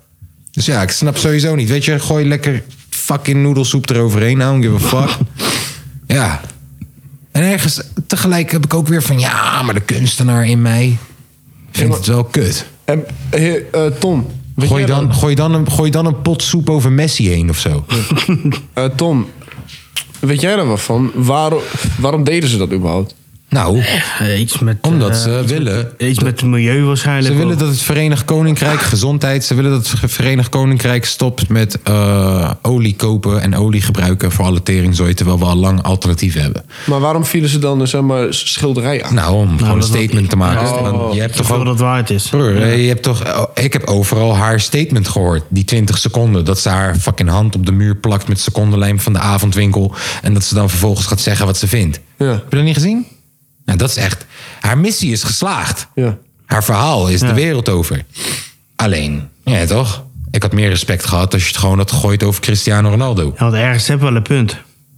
Speaker 1: Dus ja, ik snap sowieso niet. Weet je, gooi lekker fucking noedelsoep eroverheen. I don't give a fuck. ja. En ergens tegelijk heb ik ook weer van... Ja, maar de kunstenaar in mij vindt het wel kut.
Speaker 3: En heer, eh, Tom. weet
Speaker 1: Gooi
Speaker 3: jij
Speaker 1: dan, gooi, dan een, gooi dan een pot soep over Messi heen of zo.
Speaker 3: Eh, Tom, weet jij daar wat van? Waarom, waarom deden ze dat überhaupt?
Speaker 1: Nou,
Speaker 2: Eh, iets met,
Speaker 1: omdat
Speaker 2: eh,
Speaker 1: ze willen.
Speaker 2: Iets met het milieu waarschijnlijk.
Speaker 1: Ze willen
Speaker 2: ook.
Speaker 1: dat het Verenigd Koninkrijk gezondheid. Ze willen dat het Verenigd Koninkrijk stopt met eh, olie kopen en olie gebruiken voor alle teringzooi. Terwijl we al lang alternatieven hebben.
Speaker 3: Maar waarom vielen ze dan eh, zeg maar, schilderij aan?
Speaker 1: Nou, om gewoon een
Speaker 2: dat-
Speaker 1: statement te maken. Want je hebt toch
Speaker 2: Zoveel
Speaker 1: ook-
Speaker 2: dat waard is.
Speaker 1: Broer, je hebt toch, oh, ik heb overal haar statement gehoord. Die 20 seconden. Dat ze haar fucking hand op de muur plakt met secondenlijm van de avondwinkel. En dat ze dan vervolgens gaat zeggen wat ze vindt.
Speaker 3: Ja.
Speaker 1: Heb je dat niet gezien? Nou, dat is echt. Haar missie is geslaagd.
Speaker 3: Ja.
Speaker 1: Haar verhaal is de wereld over. Alleen, ja toch? Ik had meer respect gehad als je het gewoon had gegooid over Cristiano Ronaldo.
Speaker 2: Ja, want ergens hebben we wel een punt.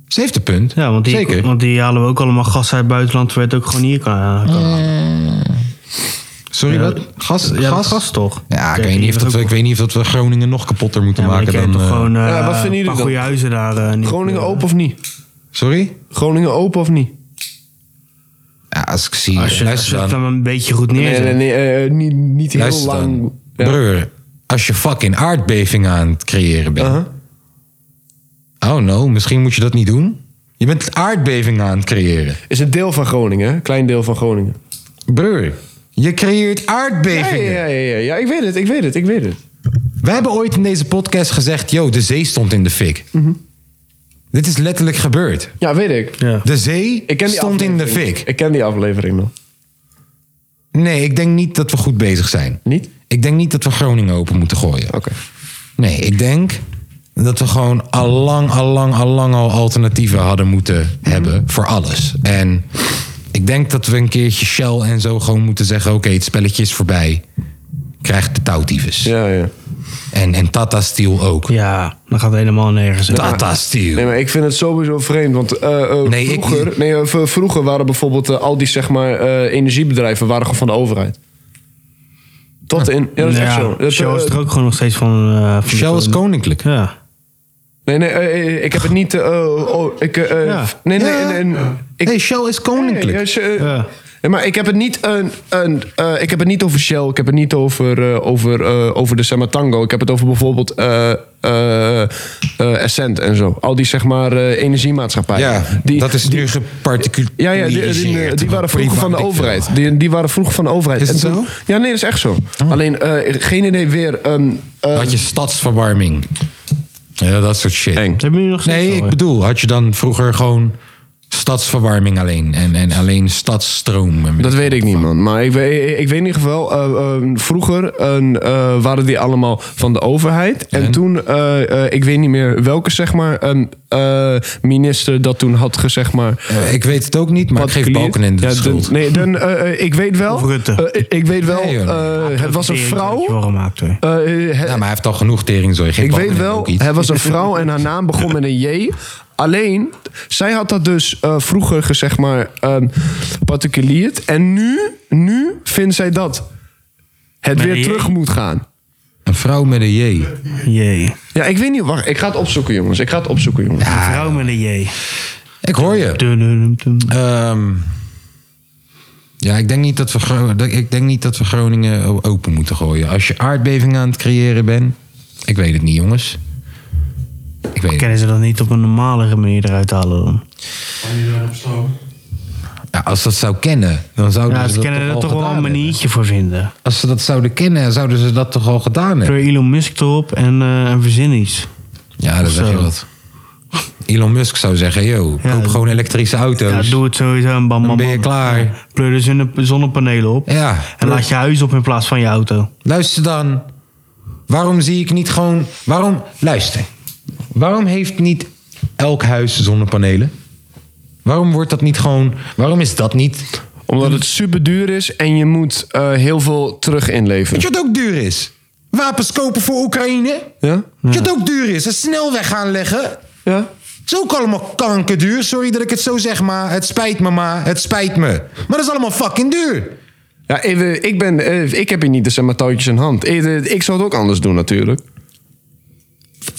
Speaker 1: Ze heeft een punt.
Speaker 2: Ja, want die,
Speaker 1: Zeker.
Speaker 2: Want die halen we ook allemaal gas uit het buitenland. Waar het ook gewoon hier kan. kan
Speaker 1: Sorry,
Speaker 2: ja,
Speaker 1: wat? Gas?
Speaker 2: ja, dat
Speaker 1: gas?
Speaker 2: gas toch?
Speaker 1: Ja, ik
Speaker 2: Kijk,
Speaker 1: weet,
Speaker 2: hier
Speaker 1: niet of
Speaker 2: is
Speaker 1: dat,
Speaker 2: ook-
Speaker 1: we- ik weet niet of dat we Groningen nog kapotter moeten
Speaker 2: Ja, maar
Speaker 1: maken
Speaker 2: dan
Speaker 1: dan...
Speaker 2: krijg je toch
Speaker 1: eh,
Speaker 2: gewoon eh,
Speaker 3: Ja, wat vinden jullie
Speaker 2: een paar
Speaker 3: dan?
Speaker 2: goede huizen daar. eh, niet,
Speaker 3: Groningen
Speaker 2: eh,
Speaker 3: open of niet?
Speaker 1: Sorry?
Speaker 3: Groningen open of niet?
Speaker 1: Ja, als ik zie...
Speaker 2: Als je, als je
Speaker 1: luister
Speaker 2: het
Speaker 1: dan.
Speaker 2: dan een beetje goed neerzet.
Speaker 3: Nee, nee, nee, eh, niet, niet heel
Speaker 1: Luister
Speaker 3: lang.
Speaker 1: dan.
Speaker 3: Ja.
Speaker 1: Broer, als je fucking aardbeving aan het creëren bent...
Speaker 3: Uh-huh.
Speaker 1: Oh no, misschien moet je dat niet doen. Je bent aardbeving aan het creëren.
Speaker 3: Is een deel van Groningen, hè? Klein deel van Groningen.
Speaker 1: Broer, je creëert
Speaker 3: Ja,
Speaker 1: aardbevingen.
Speaker 3: ja, ja, ja, ja, ik weet het, ik weet het, ik weet het.
Speaker 1: We hebben ooit in deze podcast gezegd... Yo, de zee stond in de fik. Dit is letterlijk gebeurd.
Speaker 3: Ja, weet ik.
Speaker 2: Ja.
Speaker 1: De zee
Speaker 3: ik ken die
Speaker 1: stond in de
Speaker 3: aflevering.
Speaker 1: fik.
Speaker 3: Ik ken die aflevering nog.
Speaker 1: Nee, ik denk niet dat we goed bezig zijn.
Speaker 3: Niet?
Speaker 1: Ik denk niet dat we Groningen open moeten gooien.
Speaker 3: Oké.
Speaker 1: Nee, ik denk dat we gewoon allang, allang, allang al alternatieven hadden moeten
Speaker 3: Mhm.
Speaker 1: hebben voor alles. En ik denk dat we een keertje Shell en zo gewoon moeten zeggen... oké, het spelletje is voorbij. Krijgt de touwtyfus.
Speaker 3: Ja, ja.
Speaker 1: En, en Tata Steel ook.
Speaker 2: Ja, dan gaat het helemaal nergens. heen.
Speaker 1: Tata
Speaker 3: Nee,
Speaker 1: Steel.
Speaker 3: maar ik vind het sowieso vreemd. Want eh, eh,
Speaker 1: Nee, ik
Speaker 3: vroeger,
Speaker 1: niet.
Speaker 3: nee, eh, v- vroeger waren bijvoorbeeld eh, al die zeg maar, eh, energiebedrijven waren gewoon van de overheid. Tot in. Ja, dat is
Speaker 2: Nou
Speaker 3: echt
Speaker 2: ja,
Speaker 3: zo. Dat,
Speaker 2: Shell is
Speaker 3: eh,
Speaker 2: er ook gewoon nog steeds van. eh, van de
Speaker 1: Shell is
Speaker 2: koning.
Speaker 1: koninklijk.
Speaker 2: Ja.
Speaker 3: Nee, nee, eh, eh, ik heb het niet. eh, oh, oh, ik, eh, eh,
Speaker 2: Ja.
Speaker 3: Nee, nee,
Speaker 1: Ja.
Speaker 3: nee. nee, ik,
Speaker 1: Nee, Shell is koninklijk.
Speaker 3: Nee, dus, eh, ja, ze-
Speaker 2: Ja.
Speaker 3: Nee, maar ik heb het niet een, een eh, ik heb het niet over Shell, ik heb het niet over, eh, over, eh, over de Sematango. Ik heb het over bijvoorbeeld eh eh, eh, Essent en zo. Al die zeg maar eh, energiemaatschappijen.
Speaker 1: Ja,
Speaker 3: die,
Speaker 1: dat is
Speaker 3: die-
Speaker 1: nu geparticuliseerd.
Speaker 3: ja, ja, die, die, die, die waren vroeger van de
Speaker 1: Privaat-
Speaker 3: overheid. Die, die waren vroeger van de overheid.
Speaker 1: Is het
Speaker 3: En
Speaker 1: zo? Oh.
Speaker 3: Ja, nee, dat is echt zo. Alleen, eh, geen idee weer... ehm, ehm,
Speaker 1: Had je stadsverwarming. Ja, dat soort shit.
Speaker 3: Eng.
Speaker 2: Hebben jullie nog steeds
Speaker 1: Nee,
Speaker 2: al,
Speaker 1: ik
Speaker 2: hè?
Speaker 1: bedoel, had je dan vroeger gewoon stadsverwarming alleen en, en alleen stadsstroom? en-
Speaker 3: Dat weet ik niet, man. Maar ik weet, ik weet in ieder geval, eh, eh, vroeger eh, eh, waren die allemaal van de overheid. En,
Speaker 1: En?
Speaker 3: toen, eh, eh, ik weet niet meer welke zeg maar, een, eh, minister dat toen had gezegd, maar.
Speaker 1: Eh, ik weet het ook niet, maar ik geef
Speaker 3: particulier.
Speaker 1: Balkenende de
Speaker 3: Ja,
Speaker 1: schuld.
Speaker 3: Nee, dan, eh, eh, ik weet wel.
Speaker 2: Of Rutte.
Speaker 3: eh, ik- ik weet wel,
Speaker 1: Nee, joh.
Speaker 3: eh, het was een
Speaker 2: Tering dat je
Speaker 3: vrouw.
Speaker 2: warm maakt, hoor.
Speaker 3: eh, eh,
Speaker 1: Ja, maar hij heeft al genoeg tering, zo.
Speaker 3: ik weet wel, hij was een vrouw en haar naam begon met een J. Alleen, zij had dat dus eh, vroeger gezegd maar ehm particulierd. En nu, nu vindt zij dat het
Speaker 2: Met een
Speaker 3: weer
Speaker 2: J.
Speaker 3: terug moet gaan.
Speaker 1: Een vrouw met een J.
Speaker 2: Jee.
Speaker 3: Ja, ik weet niet. Wacht, ik ga het opzoeken, jongens. Ik ga het opzoeken, jongens.
Speaker 2: Een vrouw met een J.
Speaker 1: Ik hoor je.
Speaker 2: Dun, dun, dun, dun.
Speaker 1: Ehm, ja, ik denk, niet dat we, Gro- dat- ik denk niet dat we Groningen o- open moeten gooien. Als je aardbeving aan het creëren bent. Ik weet het niet, jongens. Ik weet het.
Speaker 2: Kunnen ze dat niet op een normalere manier eruit
Speaker 1: Oh, dus
Speaker 2: halen dan?
Speaker 4: Kan je daarop staan?
Speaker 1: Ja, als ze dat zou kennen, dan zouden
Speaker 2: Ja, ze
Speaker 1: ze dat
Speaker 2: kunnen
Speaker 1: toch,
Speaker 2: er
Speaker 1: al
Speaker 2: toch wel
Speaker 1: gedaan
Speaker 2: een
Speaker 1: hebben.
Speaker 2: maniertje voor vinden.
Speaker 1: Als ze dat zouden kennen, zouden ze dat toch al gedaan hebben.
Speaker 2: Door Elon Musk erop en, eh en verzin iets.
Speaker 1: Ja, dat
Speaker 2: Of
Speaker 1: zeg je
Speaker 2: zo.
Speaker 1: wat. Elon Musk zou zeggen, yo,
Speaker 2: Ja,
Speaker 1: koop
Speaker 2: dat-
Speaker 1: gewoon elektrische
Speaker 2: Ja,
Speaker 1: auto's. Ja,
Speaker 2: doe het sowieso en bam, bam,
Speaker 1: Dus Dan ben je
Speaker 2: bam.
Speaker 1: klaar.
Speaker 2: Pleur de zonne- zonnepanelen op. En laat je huis op in plaats van je auto.
Speaker 1: luister dan. Waarom zie ik niet gewoon... Waarom, luister. Waarom heeft niet elk huis zonnepanelen? Waarom wordt dat niet gewoon... Waarom is dat niet...
Speaker 3: Omdat het super duur is en je moet eh, heel veel terug
Speaker 1: Weet
Speaker 3: inleveren.
Speaker 1: je wat ook duur is? Wapens kopen voor Oekraïne.
Speaker 3: Ja?
Speaker 1: Weet je wat ook duur is? Een snelweg aanleggen.
Speaker 3: Ja?
Speaker 1: Het is ook allemaal kankerduur. Sorry dat ik het zo zeg, maar het spijt me, maar het spijt me. Maar dat is allemaal fucking duur.
Speaker 3: Ja, even, ik, ben, eh, ik heb hier niet de zeg maar, touwtjes in hand. Ik, eh, ik zou het ook anders doen, natuurlijk.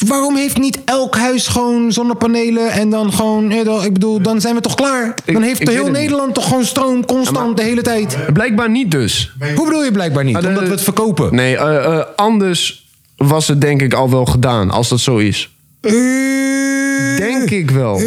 Speaker 1: Waarom heeft niet elk huis gewoon zonnepanelen en dan gewoon... eh, dan- Ik bedoel, dan zijn we toch klaar? Dan
Speaker 3: ik
Speaker 1: heeft
Speaker 3: weet
Speaker 1: heel
Speaker 3: het niet.
Speaker 1: Nederland toch gewoon stroom constant de hele tijd.
Speaker 3: Blijkbaar niet dus.
Speaker 1: Hoe bedoel je blijkbaar niet?
Speaker 3: Ah, de-
Speaker 1: Omdat we het verkopen.
Speaker 3: Nee, eh, eh, anders was het denk ik al wel gedaan, als dat zo is. Denk ik wel.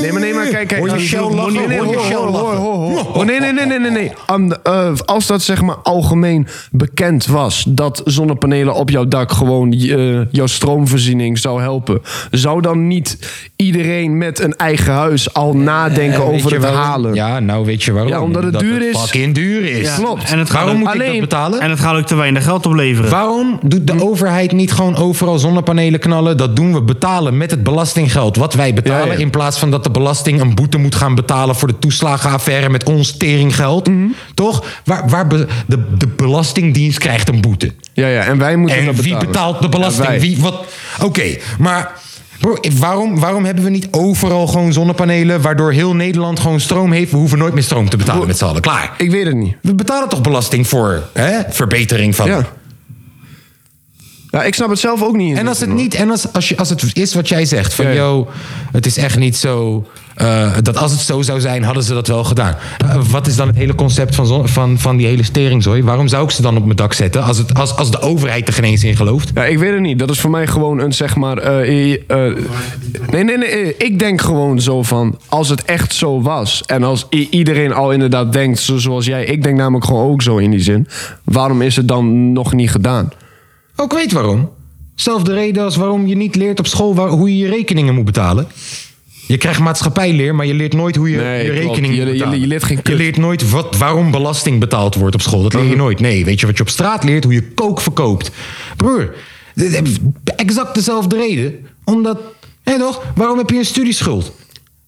Speaker 3: Nee, maar nee, maar kijk, kijk.
Speaker 1: Hoor je
Speaker 3: eh,
Speaker 1: Shell
Speaker 3: nee,
Speaker 1: lachen?
Speaker 3: nee, nee,
Speaker 1: Hoor je
Speaker 3: hoor,
Speaker 1: Shell
Speaker 3: hoor, hoor,
Speaker 1: lachen?
Speaker 3: hoor, hoor. Oh, Nee, nee, nee, nee, nee, nee. Am- eh, als dat zeg maar algemeen bekend was dat zonnepanelen op jouw dak gewoon eh, jouw stroomvoorziening zou helpen, zou dan niet iedereen met een eigen huis al nadenken
Speaker 1: Weet
Speaker 3: over
Speaker 1: je
Speaker 3: het
Speaker 1: waarom?
Speaker 3: halen?
Speaker 1: Ja, nou weet je waarom.
Speaker 3: Ja, omdat het duur is.
Speaker 1: fucking duur is.
Speaker 3: Ja, Klopt.
Speaker 2: en het gaat
Speaker 1: waarom
Speaker 2: ook-
Speaker 1: moet ik
Speaker 3: alleen-
Speaker 1: dat betalen?
Speaker 2: En het gaat ook te weinig geld opleveren.
Speaker 1: Waarom doet de overheid niet gewoon overal zonnepanelen knallen? Dat doen we betalen met het belastinggeld wat wij betalen.
Speaker 3: Ja, ja.
Speaker 1: In plaats van dat de belasting een boete moet gaan betalen voor de toeslagenaffaire met ons teringgeld.
Speaker 3: Mhm.
Speaker 1: Toch? Waar, waar be- de, de Belastingdienst krijgt een boete.
Speaker 3: Ja, ja, en wij moeten
Speaker 1: En
Speaker 3: dat
Speaker 1: wie
Speaker 3: betalen.
Speaker 1: betaalt de belasting?
Speaker 3: Ja, wij.
Speaker 1: wie, wat? Oké, maar bro, waarom, waarom hebben we niet overal gewoon zonnepanelen... waardoor heel Nederland gewoon stroom heeft? We hoeven nooit meer stroom te betalen met z'n allen. Klaar.
Speaker 3: Ik weet het niet.
Speaker 1: We betalen toch belasting voor hè? verbetering van...
Speaker 3: Ja. ja. Ik snap het zelf ook niet.
Speaker 1: En als het niet, en als, als, je, als het is wat jij zegt, van
Speaker 3: Ja, ja.
Speaker 1: yo, het is echt niet zo. eh, dat als het zo zou zijn, hadden ze dat wel gedaan. Eh, wat is dan het hele concept van, zon- van, van die hele steringzooi? Waarom zou ik ze dan op mijn dak zetten als, het, als, als de overheid er geen eens in gelooft?
Speaker 3: Ja, ik weet het niet. Dat is voor mij gewoon een zeg maar. eh, eh, eh, nee, nee, nee. eh, Ik denk gewoon zo van. Als het echt zo was. En als i- iedereen al inderdaad denkt zo- zoals jij. Ik denk namelijk gewoon ook zo in die zin. Waarom is het dan nog niet gedaan?
Speaker 1: Ook weet waarom. Zelfde reden als waarom je niet leert op school waar- hoe je je rekeningen moet betalen. Je krijgt maatschappijleer, maar je leert nooit hoe je
Speaker 3: Nee,
Speaker 1: je
Speaker 3: klopt.
Speaker 1: rekening
Speaker 3: Je-
Speaker 1: moet
Speaker 3: je-
Speaker 1: betalen.
Speaker 3: je leert geen
Speaker 1: Je
Speaker 3: kut.
Speaker 1: leert nooit wat, waarom belasting betaald wordt op school. Dat leer je nooit. Nee, weet je wat je op straat leert? Hoe je kook verkoopt. Broer, dit- dit- exact dezelfde reden. Omdat, hé toch, waarom heb je een studieschuld?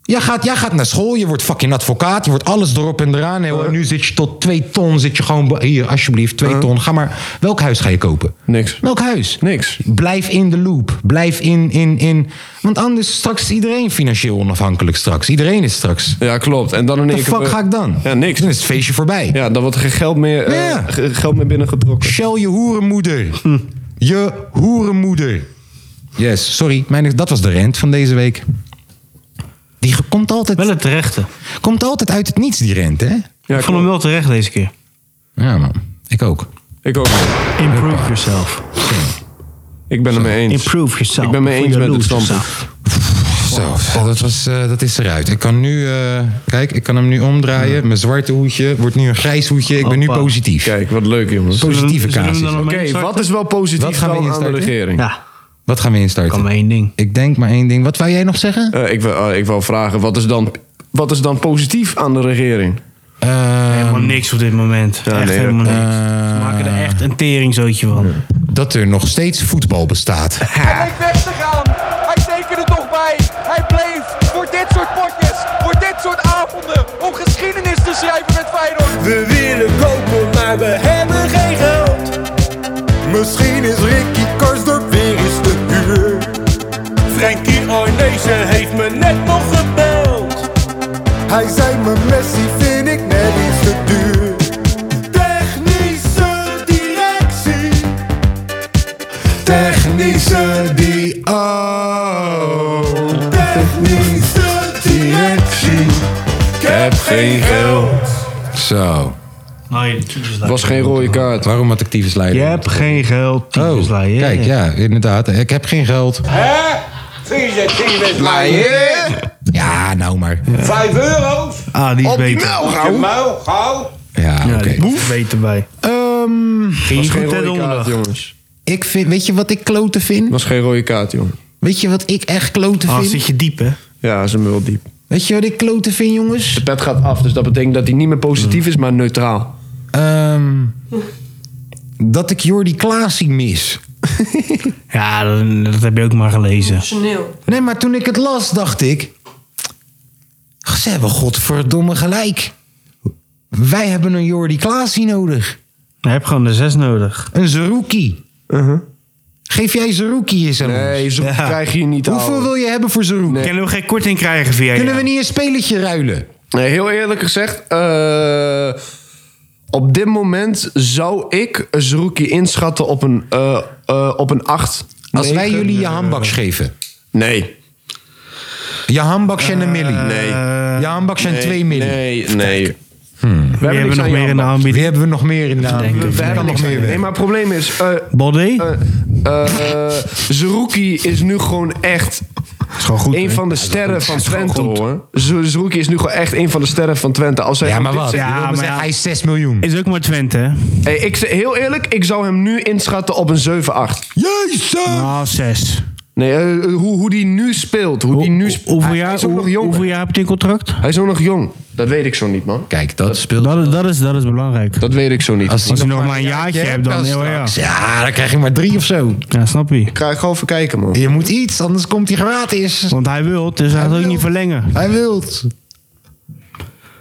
Speaker 1: Jij gaat, jij gaat naar school, je wordt fucking advocaat, je wordt alles erop en eraan. En nu zit je tot twee ton, zit je gewoon... be- Hier, alsjeblieft, twee ton. Ga maar, welk huis ga je kopen?
Speaker 3: Niks.
Speaker 1: Welk huis?
Speaker 3: Niks.
Speaker 1: Blijf in de loop. Blijf in, in, in. Want anders straks is iedereen financieel onafhankelijk straks. Iedereen is straks.
Speaker 3: Ja, klopt. En dan in
Speaker 1: De
Speaker 3: één keer-
Speaker 1: fuck ga ik eh, dan?
Speaker 3: Ja, niks.
Speaker 1: Dan is het feestje voorbij.
Speaker 3: Ja, dan wordt er geen geld meer, eh,
Speaker 1: Ja.
Speaker 3: ge- geld meer binnengetrokken.
Speaker 1: Shell je hoerenmoeder. Je hoerenmoeder. Yes, sorry. Mijn, dat was de rent van deze week. Die ge- komt altijd,
Speaker 2: Wel het terechte.
Speaker 1: komt altijd uit het niets, die rent, hè?
Speaker 3: Ja,
Speaker 2: ik vond hem wel terecht deze keer.
Speaker 1: Ja, man. Ik ook.
Speaker 3: Ik ook.
Speaker 2: Improve yourself.
Speaker 3: Ik ben het mee eens.
Speaker 2: Improve yourself.
Speaker 3: Ik ben mee eens
Speaker 2: Before you
Speaker 3: met het
Speaker 2: lose
Speaker 3: standpunt.
Speaker 2: yourself.
Speaker 1: Zo, dat, was, eh, dat is eruit. Ik kan nu, eh, kijk, ik kan hem nu omdraaien. Mijn zwarte hoedje wordt nu een grijs hoedje. Ik ben nu
Speaker 2: Hoppa.
Speaker 1: positief.
Speaker 3: Kijk, wat leuk jongens. Oké,
Speaker 1: Positieve
Speaker 2: Zullen we-
Speaker 1: kaas.
Speaker 2: zullen we
Speaker 1: is
Speaker 2: hem dan
Speaker 1: dat.
Speaker 2: nog mee starten?
Speaker 3: wat is wel
Speaker 1: Wat
Speaker 3: positief
Speaker 1: gaan we
Speaker 3: dan aan de
Speaker 1: instarten?
Speaker 3: regering?
Speaker 2: Ja,
Speaker 1: Wat gaan we instarten?
Speaker 2: kan maar één ding.
Speaker 1: Ik denk maar één ding. Wat wou jij nog zeggen?
Speaker 3: Eh, ik, wil, eh, ik wil vragen, wat is, dan, wat is dan positief aan de regering?
Speaker 1: Eh,
Speaker 2: Helemaal niks op dit moment. echt
Speaker 3: nee,
Speaker 2: helemaal niks. Ze maken er echt een teringzootje van.
Speaker 1: Dat er nog steeds voetbal bestaat.
Speaker 8: Hij leek weg te gaan. Hij tekende toch bij. Hij bleef voor dit soort potjes, voor dit soort avonden, om geschiedenis te schrijven met Feyenoord.
Speaker 6: We willen kopen, maar we hebben geen geld. Misschien is Ricky Karsdorp weer eens te huur. Frankie Arnezen heeft me net nog gebeld. Hij zei me Messi vind ik net iets te duur. Technische directie. Technische die oh. Technische directie. Ik heb geen geld.
Speaker 1: Zo.
Speaker 2: Nee,
Speaker 3: Het was geen rode kaart.
Speaker 1: Waarom had ik tyfusleider?
Speaker 2: Je hebt geen geld.
Speaker 1: Oh,
Speaker 2: tyfuslijn, ja,
Speaker 1: kijk,
Speaker 2: ja.
Speaker 1: ja, inderdaad. Ik heb geen geld. Ja, nou maar.
Speaker 9: Vijf euro's?
Speaker 2: Ah, die is beter.
Speaker 9: Je muil, gauw.
Speaker 1: Ja,
Speaker 2: Ja,
Speaker 1: oké.
Speaker 2: die is beter bij.
Speaker 1: Ehm,
Speaker 2: Ging
Speaker 3: was
Speaker 2: je
Speaker 3: geen
Speaker 2: goed
Speaker 3: rode
Speaker 2: hè,
Speaker 3: kaart,
Speaker 2: donderdag?
Speaker 3: jongens.
Speaker 1: ik vind, weet je wat ik kloten vind?
Speaker 3: was geen rode kaart, jongen.
Speaker 1: Weet je wat ik echt kloten
Speaker 2: Ah,
Speaker 1: vind?
Speaker 2: zit je diep, hè?
Speaker 3: Ja, is hem wel diep.
Speaker 1: Weet je wat ik kloten vind, jongens?
Speaker 3: De pet gaat af, dus dat betekent dat hij niet meer positief is, maar neutraal.
Speaker 1: Ehm, dat ik Jordi Klaasie mis.
Speaker 2: Ja, dat, dat heb je ook maar gelezen.
Speaker 7: Personeel.
Speaker 1: Nee, maar toen ik het las, dacht ik... Ze hebben godverdomme gelijk. Wij hebben een Jordi Klaasie nodig.
Speaker 2: Je hebt gewoon de zes nodig.
Speaker 1: Een Zerouki.
Speaker 2: Uh-huh.
Speaker 1: Geef jij Zerouki eens aan
Speaker 3: Nee,
Speaker 1: ons.
Speaker 3: zo
Speaker 2: Ja.
Speaker 3: krijg je niet
Speaker 1: Hoeveel
Speaker 3: ouwe.
Speaker 1: wil je hebben voor Zerouki?
Speaker 2: Kunnen we geen korting krijgen via
Speaker 1: Kunnen we niet een spelletje ruilen?
Speaker 3: Nee, heel eerlijk gezegd, eh, op dit moment zou ik Zerouki inschatten op een, eh eh, op een 8.
Speaker 1: Als wij jullie je handbaks geven.
Speaker 3: Nee.
Speaker 1: Je handbaks en een millie.
Speaker 3: Eh, Nee.
Speaker 1: Je handbaks en twee millie.
Speaker 3: Nee, nee. We
Speaker 2: We hebben
Speaker 3: niks
Speaker 2: nog
Speaker 3: aan
Speaker 2: meer in de
Speaker 3: Jan.
Speaker 1: Wie
Speaker 2: aanbieding.
Speaker 1: hebben we nog meer in de aanbieding?
Speaker 3: We
Speaker 1: Kan nog
Speaker 3: hebben niks aan
Speaker 1: meer
Speaker 3: Jan.
Speaker 1: weg.
Speaker 3: Nee, maar het probleem is... eh,
Speaker 2: Body?
Speaker 3: eh eh, Zerouki is nu gewoon echt
Speaker 2: is gewoon goed.
Speaker 3: een van de sterren van Twente, hoor. Ze- Zerouki is nu gewoon echt een van de sterren van Twente. Als hij
Speaker 1: Ja,
Speaker 3: goed
Speaker 1: maar
Speaker 3: is-
Speaker 1: wat?
Speaker 2: Ja,
Speaker 1: Ja,
Speaker 2: maar
Speaker 1: maar
Speaker 2: ja.
Speaker 1: Hij is 6 miljoen.
Speaker 2: Is ook maar Twente, hè?
Speaker 3: Hey, ik, zeg- heel eerlijk, ik zou hem nu inschatten op een 7-8.
Speaker 1: Jezus!
Speaker 2: Ah, zes.
Speaker 3: Nee, eh, hoe, hoe die nu speelt. Hoe die nu sp-
Speaker 2: Hoeveel
Speaker 3: Hij-
Speaker 2: jaar,
Speaker 3: hij is ook
Speaker 2: hoe-
Speaker 3: nog jong.
Speaker 2: hoeveel jaar heb je een contract?
Speaker 3: Hij is ook nog jong. Dat weet ik zo niet, man.
Speaker 1: Kijk, dat speelt...
Speaker 2: Dat, dat, is, dat is belangrijk.
Speaker 3: Dat weet ik zo niet.
Speaker 1: Als
Speaker 3: Als...
Speaker 1: hij
Speaker 2: Als je
Speaker 1: nog
Speaker 2: nog maar een jaartje hebt, dan...
Speaker 1: straks-
Speaker 2: Ja, ja.
Speaker 1: Ja, dan krijg je maar drie of zo.
Speaker 2: ja, snap je.
Speaker 3: Ga ik gewoon even kijken, man.
Speaker 1: Je moet iets, anders komt hij gratis.
Speaker 2: Want hij wil, dus hij gaat ook niet verlengen.
Speaker 1: Hij wilt.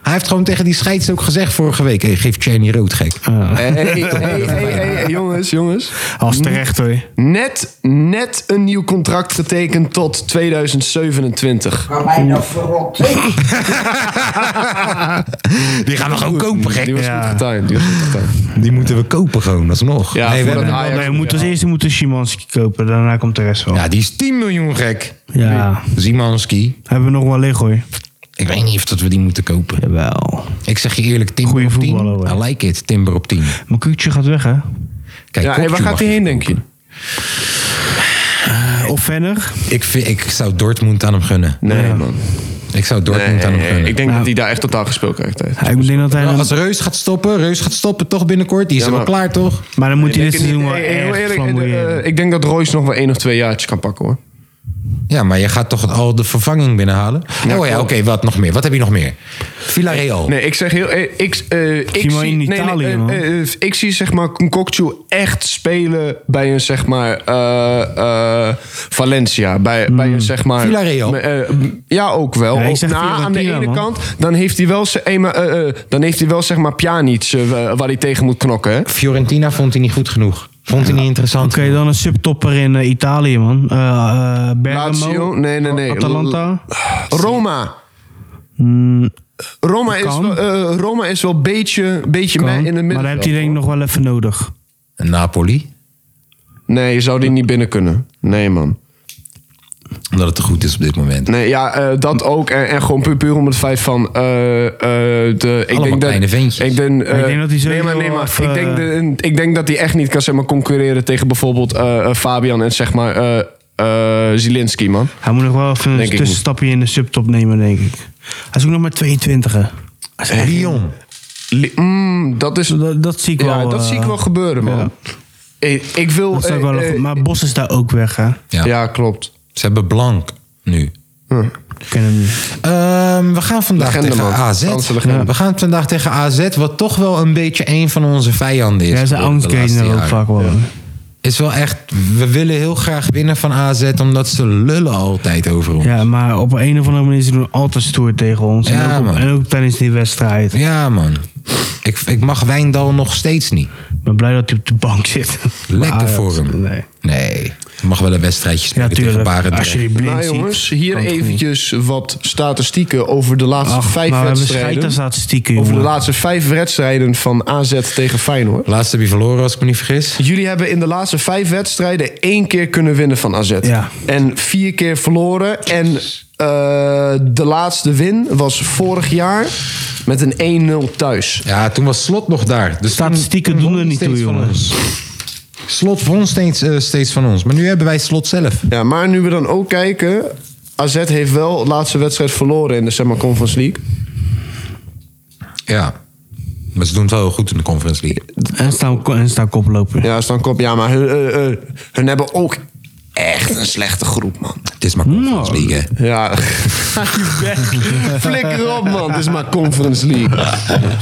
Speaker 1: Hij heeft gewoon tegen die scheids ook gezegd vorige week. Hey, geef Cheney rood, gek.
Speaker 3: Hey, hey, hey, hey, hey, eh, jongens, jongens.
Speaker 2: Als terecht hoor.
Speaker 3: Net, net een nieuw contract getekend tot 2027.
Speaker 1: Die gaan we gewoon kopen,
Speaker 3: Die was
Speaker 2: Ja.
Speaker 3: goed getimed. Die was goed getimed.
Speaker 1: Die moeten we kopen gewoon, alsnog.
Speaker 3: Ja,
Speaker 1: nee, we
Speaker 3: voordat
Speaker 1: hebben...
Speaker 3: Ajax-
Speaker 2: Nee, we moeten als eerste moeten Szymanski kopen, daarna komt de rest wel. Ja.
Speaker 1: ja, die is 10 miljoen gek. Zimanski.
Speaker 2: Hebben we nog wel liggen hoor.
Speaker 1: Ik weet niet of dat we die moeten kopen.
Speaker 2: Jawel.
Speaker 1: Ik zeg je eerlijk, Timber
Speaker 2: Goeie
Speaker 1: op 10.
Speaker 2: voetballer,
Speaker 1: I
Speaker 2: hoor.
Speaker 1: like it, Timber op 10.
Speaker 2: Mijn kuutje gaat weg hè.
Speaker 1: Kijk,
Speaker 3: Ja, hey, waar
Speaker 1: Kopje
Speaker 3: gaat
Speaker 1: mag
Speaker 3: hij
Speaker 1: je
Speaker 3: heen, denk
Speaker 1: kopen.
Speaker 3: je?
Speaker 2: Of Venner.
Speaker 1: Ik, vind, ik zou Dortmund aan hem gunnen.
Speaker 3: Nee, man. nou.
Speaker 1: Ik zou Dortmund aan hem gunnen.
Speaker 3: ik denk dat hij daar echt totaal gespeeld krijgt. hè.
Speaker 2: Ja, ik denk dat hij
Speaker 1: Nou,
Speaker 2: dan-
Speaker 1: als Reus gaat stoppen, Reus gaat stoppen toch binnenkort. Die is
Speaker 3: Ja,
Speaker 1: er wel
Speaker 3: maar-
Speaker 1: klaar, toch?
Speaker 2: Maar dan moet hij
Speaker 3: Ik
Speaker 2: dit
Speaker 3: denk
Speaker 2: seizoen
Speaker 3: niet-
Speaker 2: wel
Speaker 3: hey, hey, heel
Speaker 2: echt
Speaker 3: eerlijk,
Speaker 2: flamboyeren.
Speaker 3: eh, Ik denk dat Royce nog wel één of twee jaartjes kan pakken, hoor.
Speaker 1: Ja, maar je gaat toch al de vervanging binnenhalen? oh ja, oké, wat nog meer? Wat heb je nog meer? Villarreal.
Speaker 3: Nee, ik zeg heel. eh, Ik, eh, ik,
Speaker 2: Zie maar in
Speaker 3: nee, nee,
Speaker 2: Italië,
Speaker 3: eh,
Speaker 2: man.
Speaker 3: eh, eh, ik zie zeg maar Concoccio echt spelen bij een zeg maar eh, eh, Valencia, bij, bij een zeg maar
Speaker 1: Villarreal.
Speaker 3: Eh, eh, ja, ook wel.
Speaker 2: Hmm. Ja, ik
Speaker 3: Ook
Speaker 2: zeg
Speaker 3: na, aan de
Speaker 2: Fiorentina,
Speaker 3: ene
Speaker 2: man.
Speaker 3: kant, dan heeft hij wel, ze- eh, maar, eh, eh, dan heeft hij wel zeg maar Pjanic eh, waar hij tegen moet knokken. Hè?
Speaker 1: Fiorentina vond hij niet goed genoeg. Vond hij niet interessant.
Speaker 2: Oké, dan een subtopper in eh, Italië man. Eh eh, Bergamo.
Speaker 3: Lazio? Nee, nee, nee.
Speaker 2: Atalanta.
Speaker 3: Roma. Roma, is
Speaker 2: Hmm. Kan.
Speaker 3: wel, eh, Roma is wel een beetje, beetje
Speaker 2: Kan.
Speaker 3: me- in de
Speaker 2: maar
Speaker 3: midden.
Speaker 2: daar heb je denk ik nog wel even nodig.
Speaker 1: Napoli.
Speaker 3: Nee, je zou die niet binnen kunnen. Nee, man.
Speaker 1: Omdat het te goed is op dit moment.
Speaker 3: Nee, ja, eh, dat ook. En, en gewoon puur, puur om het feit van... eh, eh, de, ik
Speaker 1: Allemaal
Speaker 3: denk dat,
Speaker 1: kleine ventjes.
Speaker 3: Ik denk, eh,
Speaker 2: ik denk dat hij
Speaker 3: nee,
Speaker 2: sowieso eh,
Speaker 3: maar, nee,
Speaker 2: wel
Speaker 3: maar.
Speaker 2: even,
Speaker 3: Ik, denk, de- ik denk dat hij echt niet kan zeg maar, concurreren tegen bijvoorbeeld eh, eh, Fabian en zeg maar eh eh, Zielinski, man.
Speaker 2: Hij moet nog wel even
Speaker 3: Denk ik
Speaker 2: een
Speaker 3: niet.
Speaker 2: tussenstapje in de subtop nemen denk ik. Hij is ook nog maar 22 hè. Hij is echt-
Speaker 1: Lyon.
Speaker 3: Li- mm, dat is...
Speaker 2: Dat, dat zie ik
Speaker 3: ja,
Speaker 2: wel.
Speaker 3: dat
Speaker 2: eh,
Speaker 3: zie ik wel gebeuren, man.
Speaker 2: ja.
Speaker 3: Ik, ik wil...
Speaker 2: dat is ook
Speaker 3: eh,
Speaker 2: wel een
Speaker 3: eh,
Speaker 2: goed- maar Bos is daar ook weg hè.
Speaker 1: Ja.
Speaker 3: ja, klopt.
Speaker 1: Ze hebben Blank nu.
Speaker 2: Ik ken hem niet.
Speaker 1: Ehm, we gaan vandaag
Speaker 3: Legende,
Speaker 1: tegen
Speaker 3: man.
Speaker 1: AZ.
Speaker 3: Franse legende.
Speaker 1: Ja. We gaan vandaag tegen AZ, wat toch wel een beetje een van onze vijanden is.
Speaker 2: Ja, zijn
Speaker 1: geworden de laatste
Speaker 2: angstgainer ook
Speaker 1: jaren.
Speaker 2: vaak wel. hè.
Speaker 1: Is wel echt, we willen heel graag winnen van AZ, omdat ze lullen altijd over ons.
Speaker 2: Ja, maar op een of andere manier ze doen altijd stoer tegen ons.
Speaker 1: Ja,
Speaker 2: en, ook,
Speaker 1: man.
Speaker 2: en ook tijdens die wedstrijd.
Speaker 1: Ja, man. Ik, ik mag Wijndal nog steeds niet.
Speaker 2: Ik ben blij dat hij op de bank zit.
Speaker 1: Lekker
Speaker 2: Maar,
Speaker 1: voor hem.
Speaker 2: Nee.
Speaker 1: Nee. Je mag wel een wedstrijdje
Speaker 2: Ja,
Speaker 1: spelen tegen
Speaker 2: tuurlijk.
Speaker 1: Barendrecht.
Speaker 2: Als je die blind
Speaker 3: Nou
Speaker 2: ziet.
Speaker 3: jongens, hier
Speaker 2: kan het goed.
Speaker 3: eventjes wat statistieken over de laatste
Speaker 2: Ach,
Speaker 3: vijf
Speaker 2: maar we hebben
Speaker 3: wedstrijden.
Speaker 2: scheid aan statistieken,
Speaker 3: Over de
Speaker 2: jongen.
Speaker 3: laatste vijf wedstrijden van AZ tegen Feyenoord.
Speaker 1: Laatst heb je verloren, als ik me niet vergis.
Speaker 3: Jullie hebben in de laatste vijf wedstrijden één keer kunnen winnen van AZ.
Speaker 2: Ja.
Speaker 3: En vier keer verloren. En eh, de laatste win was vorig jaar met een 1-0 thuis.
Speaker 1: Ja, toen was Slot nog daar. Dus
Speaker 2: Statistieken
Speaker 1: toen- toen
Speaker 2: doen er
Speaker 1: won
Speaker 2: niet
Speaker 1: hij steeds
Speaker 2: toe,
Speaker 1: van
Speaker 2: jongens.
Speaker 1: ons. Slot won steeds, eh, steeds van ons. Maar nu hebben wij Slot zelf.
Speaker 3: Ja, maar nu we dan ook kijken... AZ heeft wel de laatste wedstrijd verloren in de zeg maar, Conference League.
Speaker 1: Ja. Maar ze doen het wel heel goed in de Conference League.
Speaker 2: En staan, en staan koploper.
Speaker 3: Ja, staan kop. Ja, maar hun, eh, eh, hun hebben ook echt een slechte groep, man.
Speaker 1: Het is maar Conference
Speaker 2: Nou.
Speaker 1: League, hè.
Speaker 3: Ja. Flikker op, man. Het is maar Conference League.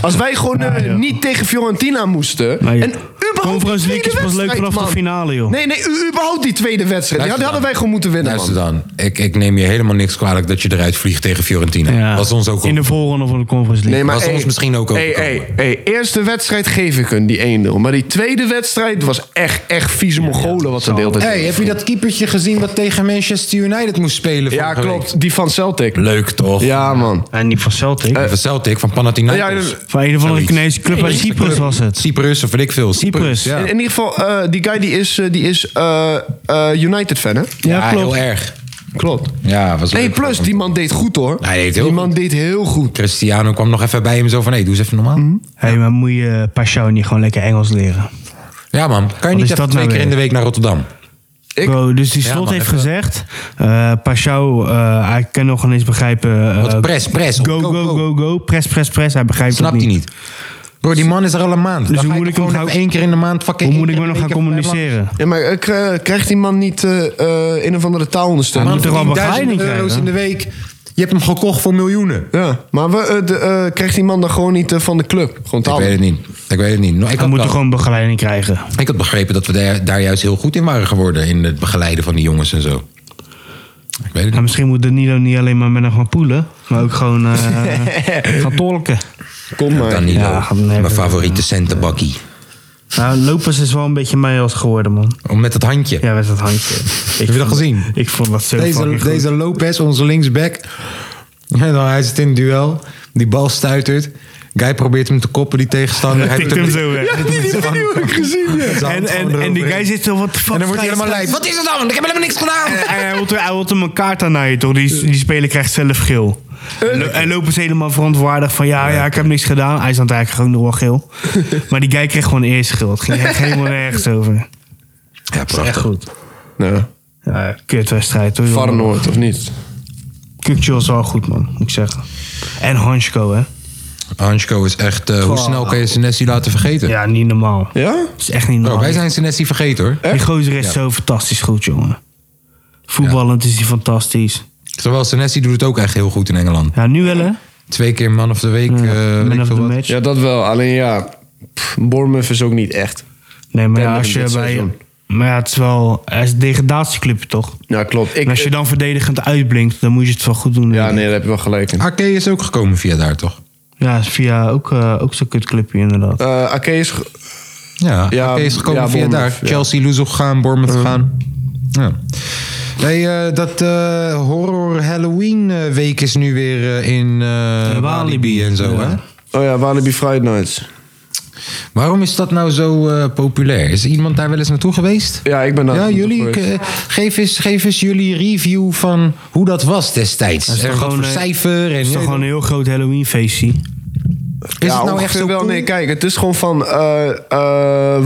Speaker 3: Als wij gewoon eh, niet tegen Fiorentina moesten.
Speaker 2: Nee, joh.
Speaker 3: en überhaupt
Speaker 2: Conference
Speaker 3: die
Speaker 2: League is
Speaker 3: tweede
Speaker 2: pas leuk
Speaker 3: wedstrijd,
Speaker 2: vanaf de
Speaker 3: man.
Speaker 2: finale, joh.
Speaker 3: Nee, nee, u- überhaupt die tweede wedstrijd. Die
Speaker 1: Luister
Speaker 3: hadden
Speaker 1: dan.
Speaker 3: wij gewoon moeten winnen,
Speaker 1: Luister
Speaker 3: man.
Speaker 1: dan. Ik, ik neem je helemaal niks kwalijk dat je eruit vliegt tegen Fiorentina.
Speaker 2: Ja.
Speaker 1: Was ons ook
Speaker 2: In
Speaker 1: op.
Speaker 2: de voorronde van de Conference League.
Speaker 3: Nee,
Speaker 1: Was ons misschien ook
Speaker 3: hey,
Speaker 1: overkomen.
Speaker 3: hey, hey, Eerste wedstrijd geef ik hun, die 1-0. Maar die tweede wedstrijd was echt, echt vieze Mongolen wat ze deelden.
Speaker 1: Hey, heb je dat keepertje gezien wat tegen Manchester United moest spelen?
Speaker 3: Ja,
Speaker 1: vorige week?
Speaker 3: klopt. Die van Celtic.
Speaker 1: Leuk, toch?
Speaker 3: Ja, man.
Speaker 2: En die van Celtic.
Speaker 1: Van Celtic, van Panathinaikos.
Speaker 3: Ja, ja,
Speaker 2: van een of andere
Speaker 1: Eh, zoiets.
Speaker 2: Chinese club uit Cyprus was het.
Speaker 1: Cyprus of weet ik veel.
Speaker 2: Cyprus.
Speaker 1: Ja,
Speaker 3: In, in ieder geval, eh, die guy die is, eh, die is eh, eh, United-fan, hè?
Speaker 1: Ja,
Speaker 2: Ja,
Speaker 1: heel
Speaker 2: klopt.
Speaker 1: erg.
Speaker 3: Klopt.
Speaker 1: Ja, was
Speaker 3: Nee,
Speaker 1: leuk.
Speaker 3: plus, die man deed goed, hoor.
Speaker 1: Hij deed heel
Speaker 3: die man deed heel goed. Mhm.
Speaker 1: Cristiano kwam nog even bij hem zo van, hé, doe eens even normaal.
Speaker 2: Hé, maar moet je Pashao niet gewoon lekker Engels leren?
Speaker 1: Ja man, kan je
Speaker 2: is
Speaker 1: niet even
Speaker 2: dat
Speaker 1: twee
Speaker 2: nou
Speaker 1: keer in de
Speaker 2: weer?
Speaker 1: week naar Rotterdam?
Speaker 3: Ik-
Speaker 2: Bro, dus die slot
Speaker 1: man,
Speaker 2: heeft
Speaker 1: even-
Speaker 2: gezegd... eh Pashao, eh, hij kan nog eens begrijpen... eh,
Speaker 1: Wat press, press.
Speaker 2: Go, go, go, go, Press, press, press. Hij begrijpt
Speaker 1: Snapt
Speaker 2: het
Speaker 1: hij
Speaker 2: niet.
Speaker 1: niet. Bro, die man is er al een maand.
Speaker 2: Dus
Speaker 1: Dan
Speaker 2: hoe
Speaker 1: ga
Speaker 2: moet
Speaker 1: je
Speaker 2: ik hem
Speaker 1: gewoon
Speaker 2: gaan-
Speaker 1: even één keer in de maand... fucking
Speaker 2: Hoe
Speaker 1: één
Speaker 2: moet ik
Speaker 1: keer
Speaker 2: me nog
Speaker 1: in
Speaker 2: gaan
Speaker 1: de week even
Speaker 2: communiceren?
Speaker 3: Ja, maar eh, k- eh, krijgt die man niet eh eh, een of andere taal
Speaker 1: bij hem
Speaker 3: ondersteuning?
Speaker 1: langs.
Speaker 2: toch wel
Speaker 1: Man,
Speaker 2: begeleiding
Speaker 1: 10.000 euro's
Speaker 2: krijgen?
Speaker 1: in de week. Je hebt hem gekocht voor miljoenen.
Speaker 3: Ja, maar we, eh, de, eh, kreeg die man dan gewoon niet eh, van de club? Gewoon
Speaker 1: Ik weet
Speaker 3: taal.
Speaker 1: het niet. Ik weet het niet. Nou, ik,
Speaker 2: Dan
Speaker 1: had
Speaker 2: moet je
Speaker 1: wel-
Speaker 2: gewoon begeleiding krijgen.
Speaker 1: ik had begrepen dat we daar, daar juist heel goed in waren geworden. In het begeleiden van die jongens en zo. Ik weet het
Speaker 2: Ja,
Speaker 1: niet.
Speaker 2: misschien moet de Nilo niet alleen maar met hem gaan poelen, maar ook gewoon eh, gaan tolken.
Speaker 3: Kom maar.
Speaker 1: Dan niet.
Speaker 2: Ja,
Speaker 1: hoor.
Speaker 2: dan hebben
Speaker 1: Mijn
Speaker 2: we-
Speaker 1: favoriete centenbakkie.
Speaker 2: Nou, Lopez is wel een beetje mij als geworden, man.
Speaker 1: Om met dat handje.
Speaker 2: Ja, met dat handje.
Speaker 1: Heb je dat gezien?
Speaker 2: Ik vond dat zo
Speaker 1: Deze,
Speaker 2: fucking goed.
Speaker 1: deze Lopez, onze linksback. Ja, dan hij zit in het duel. Die bal stuitert. Guy probeert hem te koppen, die tegenstander. Hij
Speaker 2: Tikt
Speaker 1: doet
Speaker 2: hem
Speaker 1: niet.
Speaker 2: zo weg.
Speaker 1: Hij doet hem zo aan.
Speaker 3: gezien, ja.
Speaker 1: Zijn
Speaker 2: En,
Speaker 1: hand gewoon
Speaker 2: en, en die
Speaker 1: eroverheen.
Speaker 2: guy zit zo, wat de fuck
Speaker 1: En dan wordt hij helemaal lijp.
Speaker 2: scheidsrechter?
Speaker 1: Wat is dat dan? Ik heb helemaal niks gedaan.
Speaker 2: En hij wil, hij wil hem een kaart aan naaien, toch? Die, die speler krijgt zelf geel. En lo- En lopen ze helemaal verantwoordig van ja, ja, ik heb niks gedaan. Hij is aan het eigenlijk gewoon nog wel geel. Maar die guy kreeg gewoon eerst geel. Het ging echt helemaal nergens over.
Speaker 1: Ja,
Speaker 2: Echt
Speaker 1: prachtig.
Speaker 2: goed.
Speaker 3: Ja.
Speaker 2: Ja, kutwedstrijd hoor. jongen.
Speaker 3: Varnoord, Nou, of niet?
Speaker 2: Kukçu is wel goed, man, moet ik zeggen. En Hansko, hè?
Speaker 1: Hansko is echt... eh, hoe
Speaker 2: Goh.
Speaker 1: snel kan je Senesi laten vergeten?
Speaker 2: Ja, niet normaal.
Speaker 3: Ja?
Speaker 2: Dat is echt niet
Speaker 1: Bro,
Speaker 2: normaal.
Speaker 1: Oh, wij zijn Senesi vergeten hoor.
Speaker 2: Die gozer is zo fantastisch goed, jongen. Voetballend is hij fantastisch.
Speaker 1: Terwijl Senesi doet het ook echt heel goed in Engeland.
Speaker 2: Ja, nu wel, hè?
Speaker 1: Twee keer man of the week. eh, weet ik
Speaker 2: Man of the
Speaker 1: veel wat.
Speaker 2: match.
Speaker 3: Ja, dat wel. Alleen ja, pff, Bournemouth is ook niet echt.
Speaker 2: Nee, maar ja,
Speaker 3: Denmark
Speaker 2: als je
Speaker 3: dit
Speaker 2: bij...
Speaker 3: seizoen.
Speaker 2: Maar ja, het is wel... Hij is een degradatieclub, toch?
Speaker 3: Ja, Nou, klopt. Ik, eh,
Speaker 2: En als je dan verdedigend uitblinkt, dan moet je het wel goed doen.
Speaker 3: Ja, nee, daar heb je wel gelijk in.
Speaker 1: Ake is ook gekomen via daar toch?
Speaker 2: Ja, is via ook, eh, ook zo'n kutclubje, inderdaad.
Speaker 3: Eh Ake is... ge-
Speaker 1: Ja,
Speaker 3: Ja,
Speaker 1: Ake is gekomen
Speaker 3: ja,
Speaker 1: via
Speaker 3: Bournemouth,
Speaker 1: daar.
Speaker 3: ja.
Speaker 1: Chelsea, Luzo gegaan, Bournemouth gegaan. Ja. Nee, eh, dat eh, horror Halloween eh, week is nu weer eh, in eh
Speaker 2: In Walibi.
Speaker 1: Walibi en zo.
Speaker 2: Ja.
Speaker 1: Hè?
Speaker 3: Oh ja, Walibi Friday Nights.
Speaker 1: Waarom is dat nou zo eh, populair? Is iemand daar wel eens naartoe geweest?
Speaker 3: Ja, nou, ik ben daar
Speaker 1: Ja,
Speaker 3: naartoe
Speaker 1: jullie,
Speaker 3: geweest.
Speaker 1: eh, geef, eens, geef eens jullie review van hoe dat was destijds.
Speaker 2: Dat is
Speaker 1: en
Speaker 2: toch
Speaker 1: wat
Speaker 2: gewoon,
Speaker 1: voor
Speaker 2: eh,
Speaker 1: cijfer. En,
Speaker 2: Het is toch gewoon een heel groot Halloween-feestje.
Speaker 1: Is
Speaker 3: ja,
Speaker 1: het nou
Speaker 3: ongeveer
Speaker 1: echt zo
Speaker 3: wel.
Speaker 1: cool?
Speaker 3: Nee, kijk, het is gewoon van eh, eh,